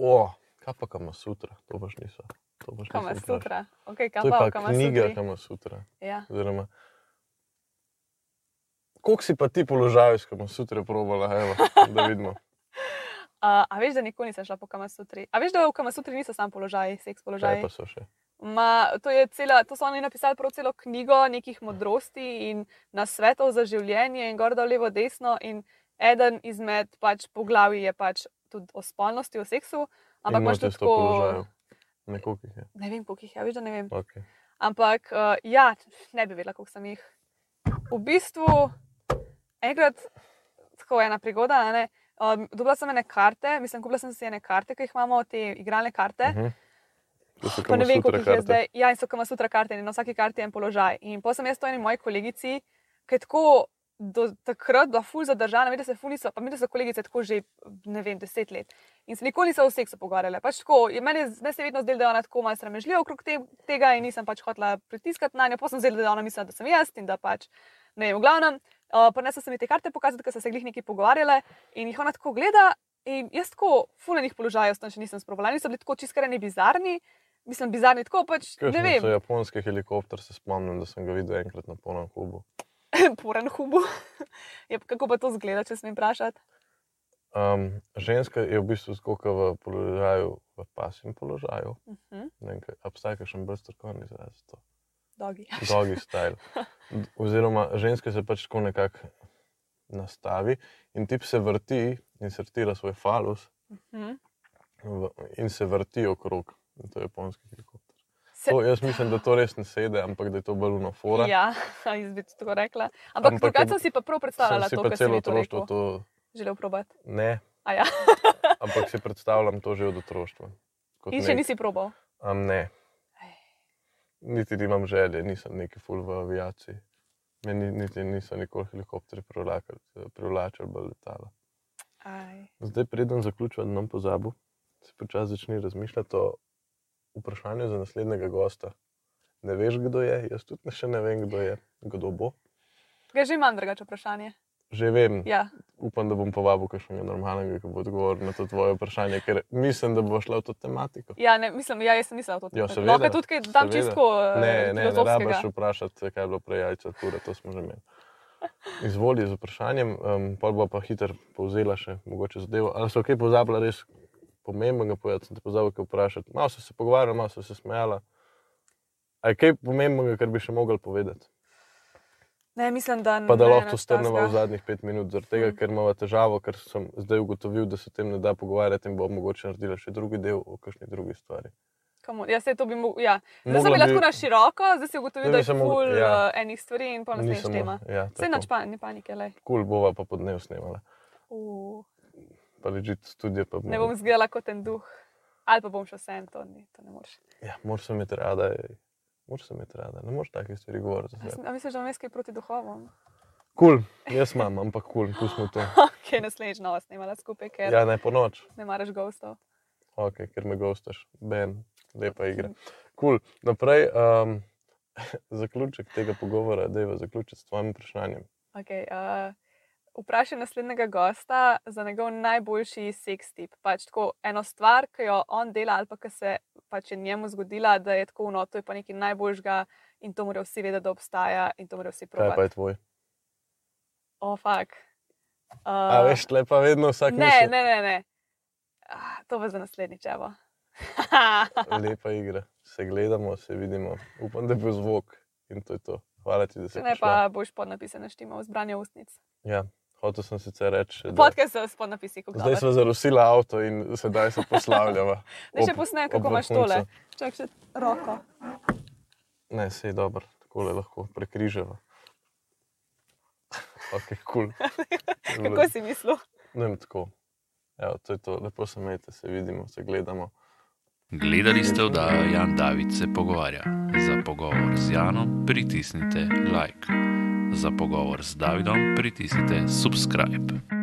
[SPEAKER 1] O, kaj pa kama sutra, to boš niso. To boš
[SPEAKER 2] Kama
[SPEAKER 1] nisem vprašal.
[SPEAKER 2] sutra. Okay,
[SPEAKER 1] To je
[SPEAKER 2] kama,
[SPEAKER 1] pa
[SPEAKER 2] kama
[SPEAKER 1] knjiga
[SPEAKER 2] sutra.
[SPEAKER 1] kama sutra.
[SPEAKER 2] Ja.
[SPEAKER 1] Oziroma, koliko si pa ti položaj s kama sutra probala, evo, da vidimo.
[SPEAKER 2] Uh, a veš, da nikoli nisem šla po kamasutri. A veš, da v kamasutri niso samo položaji, seks
[SPEAKER 1] Kaj
[SPEAKER 2] položaji.
[SPEAKER 1] pa so še?
[SPEAKER 2] Ma, to, je cela, to so oni napisali prav celo knjigo nekih modrosti in nasvetov za življenje, in gor, dol, levo, desno. In eden izmed pač poglavij je pač tudi o spolnosti, o seksu. Ampak imaš tudi
[SPEAKER 1] to
[SPEAKER 2] tako.
[SPEAKER 1] položaj. Nekoliko jih je.
[SPEAKER 2] Ne vem, koliko jih je, a veš, da ne vem.
[SPEAKER 1] Okay.
[SPEAKER 2] Ampak uh, ja, ne bi vedela, koliko sem jih. V bistvu, enkrat, tako ena prigoda, a ne, um, dobila sem ene karte, mislim, kupila sem si ene karte, ki jih imamo, te igralne karte.
[SPEAKER 1] Mhm. To so
[SPEAKER 2] Pa ne
[SPEAKER 1] kamasutra
[SPEAKER 2] vem, koliko jih je
[SPEAKER 1] karte.
[SPEAKER 2] zdaj. Ja, in so kama sutra karte, in na vsaki karti je en položaj. In potem sem jaz to eni moji kolegici, ki je tako do takrat bila ful zadržana, mi da se ful niso, pa mi da so kolegice tako že, ne vem, deset let. In se nikoli niso o seksu pogovarjale. Pač tako, je- meni, je- meni se je vedno zdelo, da je ona tako malce sramežljiva okrog te, tega in nisem pač hotela pritiskati na njo, pa sem zdela, da ona misli, da sem jaz in da pač ne vem, v glavnem. Uh, Prinesla sem ji te karte pokazati, ker so se glih neki pogovarjale in jih ona tako gleda. In jaz tako fulejnih položajev sem še nisem sprovala, niso bili tako čiskareni bizarni, mislim, bizarni tako pač, ne
[SPEAKER 1] Kakšen so
[SPEAKER 2] vem,
[SPEAKER 1] japonski helikopter, se spomnim, da sem ga videl enkrat na polnem klubu. ja?
[SPEAKER 2] poren hubu. Je pa- Kako pa to zgleda, če smem vprašati?
[SPEAKER 1] Um, ženska je v bistvu skoka v položaju, v pasivnem položaju.
[SPEAKER 2] Uh -huh,
[SPEAKER 1] Ne vem, kaj- Obstaja še en bolj strokovni izraz, za to
[SPEAKER 2] dogi.
[SPEAKER 1] doggy style. D- Oziroma, ženska se pač tako nekako nastavi in tip se vrti in sortira svoj falus
[SPEAKER 2] Mhm.
[SPEAKER 1] v, in se vrti okrog. In to je japonski helikopter.
[SPEAKER 2] Se,
[SPEAKER 1] To, jaz mislim, da to res ne sede, ampak da je to bolj unofora.
[SPEAKER 2] ja, jaz bi tudi tako rekla. Ampak,
[SPEAKER 1] Ampak
[SPEAKER 2] Ampak
[SPEAKER 1] je-
[SPEAKER 2] drugače sem si pa prav
[SPEAKER 1] Sem
[SPEAKER 2] predstavljala
[SPEAKER 1] si
[SPEAKER 2] to,
[SPEAKER 1] pa
[SPEAKER 2] kar sem
[SPEAKER 1] celo
[SPEAKER 2] ji to
[SPEAKER 1] otroštvo
[SPEAKER 2] rekel.
[SPEAKER 1] to
[SPEAKER 2] Želel probati.
[SPEAKER 1] ne.
[SPEAKER 2] A ja,
[SPEAKER 1] ampak si predstavljam to že od otroštva. Kot
[SPEAKER 2] in še
[SPEAKER 1] nek-
[SPEAKER 2] nisi probal.
[SPEAKER 1] Am ne.
[SPEAKER 2] Ej.
[SPEAKER 1] Niti nimam želje, nisem neki ful v aviaciji. Meni niti niso nikoli helikopteri privlačili, privlačili bolj letala.
[SPEAKER 2] Aj.
[SPEAKER 1] Zdaj, preden zaključujem, nam pozabo, se počasi začne razmišljati o vprašanju za naslednjega gosta. Ne veš, kdo je, jaz tudi ne- še ne vem, kdo je, kdo bo.
[SPEAKER 2] Ga že imam drugače vprašanje.
[SPEAKER 1] Že vem,
[SPEAKER 2] Ja.
[SPEAKER 1] upam, da bom povabil kakšnega normalnega, ki bo odgovoril na to tvoje vprašanje, ker mislim, da bo šla v to tematiko.
[SPEAKER 2] Ja, ne, mislim, ja, jaz sem mislila, da to
[SPEAKER 1] Ja,
[SPEAKER 2] tako.
[SPEAKER 1] seveda,
[SPEAKER 2] Lahko tudi kaj dam
[SPEAKER 1] seveda.
[SPEAKER 2] čisto eh,
[SPEAKER 1] Ne, ne, ne
[SPEAKER 2] filozofskega.
[SPEAKER 1] rabiš vprašati, kaj je bilo prej jajca, tura, to smo že imeli. Izvoli z vprašanjem, um, pa bo pa hitro povzela še mogoče zadevo. Ali so kaj pozabila res pomembnega povedati, sem te pozabila kaj vprašati. Malo so se pogovarjala, malo so se smejala. A je kaj pomembnega, kar bi še mogli povedati?
[SPEAKER 2] ne, mislim, da
[SPEAKER 1] Pa da
[SPEAKER 2] ne,
[SPEAKER 1] lahko
[SPEAKER 2] nič
[SPEAKER 1] strnemo v
[SPEAKER 2] takega.
[SPEAKER 1] zadnjih pet minut, zaradi tega, ker imamo težavo, ker sem zdaj ugotovil, da se o tem ne da pogovarjati in bo mogoče naredila še drugi del o kakšni drugi stvari.
[SPEAKER 2] Komu- Ja, se to bi mogel. Ja. Zdaj sem
[SPEAKER 1] Mogla
[SPEAKER 2] bila
[SPEAKER 1] bi-
[SPEAKER 2] tako na široko, zdaj si ugotovil,
[SPEAKER 1] Zdaj
[SPEAKER 2] da je
[SPEAKER 1] bi se mogla-
[SPEAKER 2] ful
[SPEAKER 1] ja.
[SPEAKER 2] ja. enih stvari in pa naslednjič
[SPEAKER 1] Nisem-
[SPEAKER 2] tema.
[SPEAKER 1] Ja,
[SPEAKER 2] Vse
[SPEAKER 1] tako.
[SPEAKER 2] nič pa, ni panike, le.
[SPEAKER 1] kul bova pa podnev snemala.
[SPEAKER 2] Uh,
[SPEAKER 1] Pa ležite studio. Pa
[SPEAKER 2] ne bom zgledala kot en duh. Ali pa bom še vsem, to, ni, to ne moreš.
[SPEAKER 1] Ja, moraš se imeti rada, ej. moraš se imeti rada, ne moreš takih stvari govoriti.
[SPEAKER 2] A sem- a Misliš, da imaš kaj proti duhovom?
[SPEAKER 1] Kul, cool. jaz imam, ampak kul, cool. pustimo to.
[SPEAKER 2] Kaj je naslednjič nova snimala skupaj, ker ja.
[SPEAKER 1] Ja, ne po noč,
[SPEAKER 2] ne maraš gostov.
[SPEAKER 1] okay, ker me gostaš, ben, lepa igra. Kul, cool. naprej, um, zaključek tega pogovora, da je zaključiti s tvojim vprašanjem.
[SPEAKER 2] Okay, uh, vprašaj naslednjega gosta za njegov najboljši seks tip. Pač tako eno stvar, ki jo on dela, ali pa ki se pač je njemu zgodila, da je tako uno, to je pa nekaj najboljžga in to morajo vsi vedeti, da obstaja in to morajo vsi
[SPEAKER 1] Kaj pa je
[SPEAKER 2] provati.
[SPEAKER 1] tvoj?
[SPEAKER 2] O, fak. Uh,
[SPEAKER 1] A veš, tle pa vedno vsak
[SPEAKER 2] ne,
[SPEAKER 1] misli.
[SPEAKER 2] ne, ne. ne. Ah, to bo za naslednjič, evo.
[SPEAKER 1] Lepa igra, se gledamo, se vidimo. Upam, da bo zvok in to je to. Hvala ti, da si
[SPEAKER 2] Če ne,
[SPEAKER 1] prišla.
[SPEAKER 2] pa boš podnapise naštima v zbranju ustnic.
[SPEAKER 1] Ja, hotel sem sicer reči. da-
[SPEAKER 2] Podcast s podnapisi, kako
[SPEAKER 1] Zdaj
[SPEAKER 2] dobro.
[SPEAKER 1] smo zarosili avto in sedaj se poslavljava.
[SPEAKER 2] Zdaj še
[SPEAKER 1] Ob-
[SPEAKER 2] posnem,
[SPEAKER 1] ob
[SPEAKER 2] kako imaš
[SPEAKER 1] vrhuncu.
[SPEAKER 2] tole. Čak še roko.
[SPEAKER 1] Ne, se je dobro, tako le lahko prekrižava. Ok, kul. Cool.
[SPEAKER 2] Kako si mislil?
[SPEAKER 1] Ne vem tako. Evo, to je to, lepo se imejte, se vidimo, se gledamo.
[SPEAKER 3] Gledali ste oddajo Jan David se pogovarja. Za pogovor z Janom pritisnite like, za pogovor z Davidom pritisnite subscribe.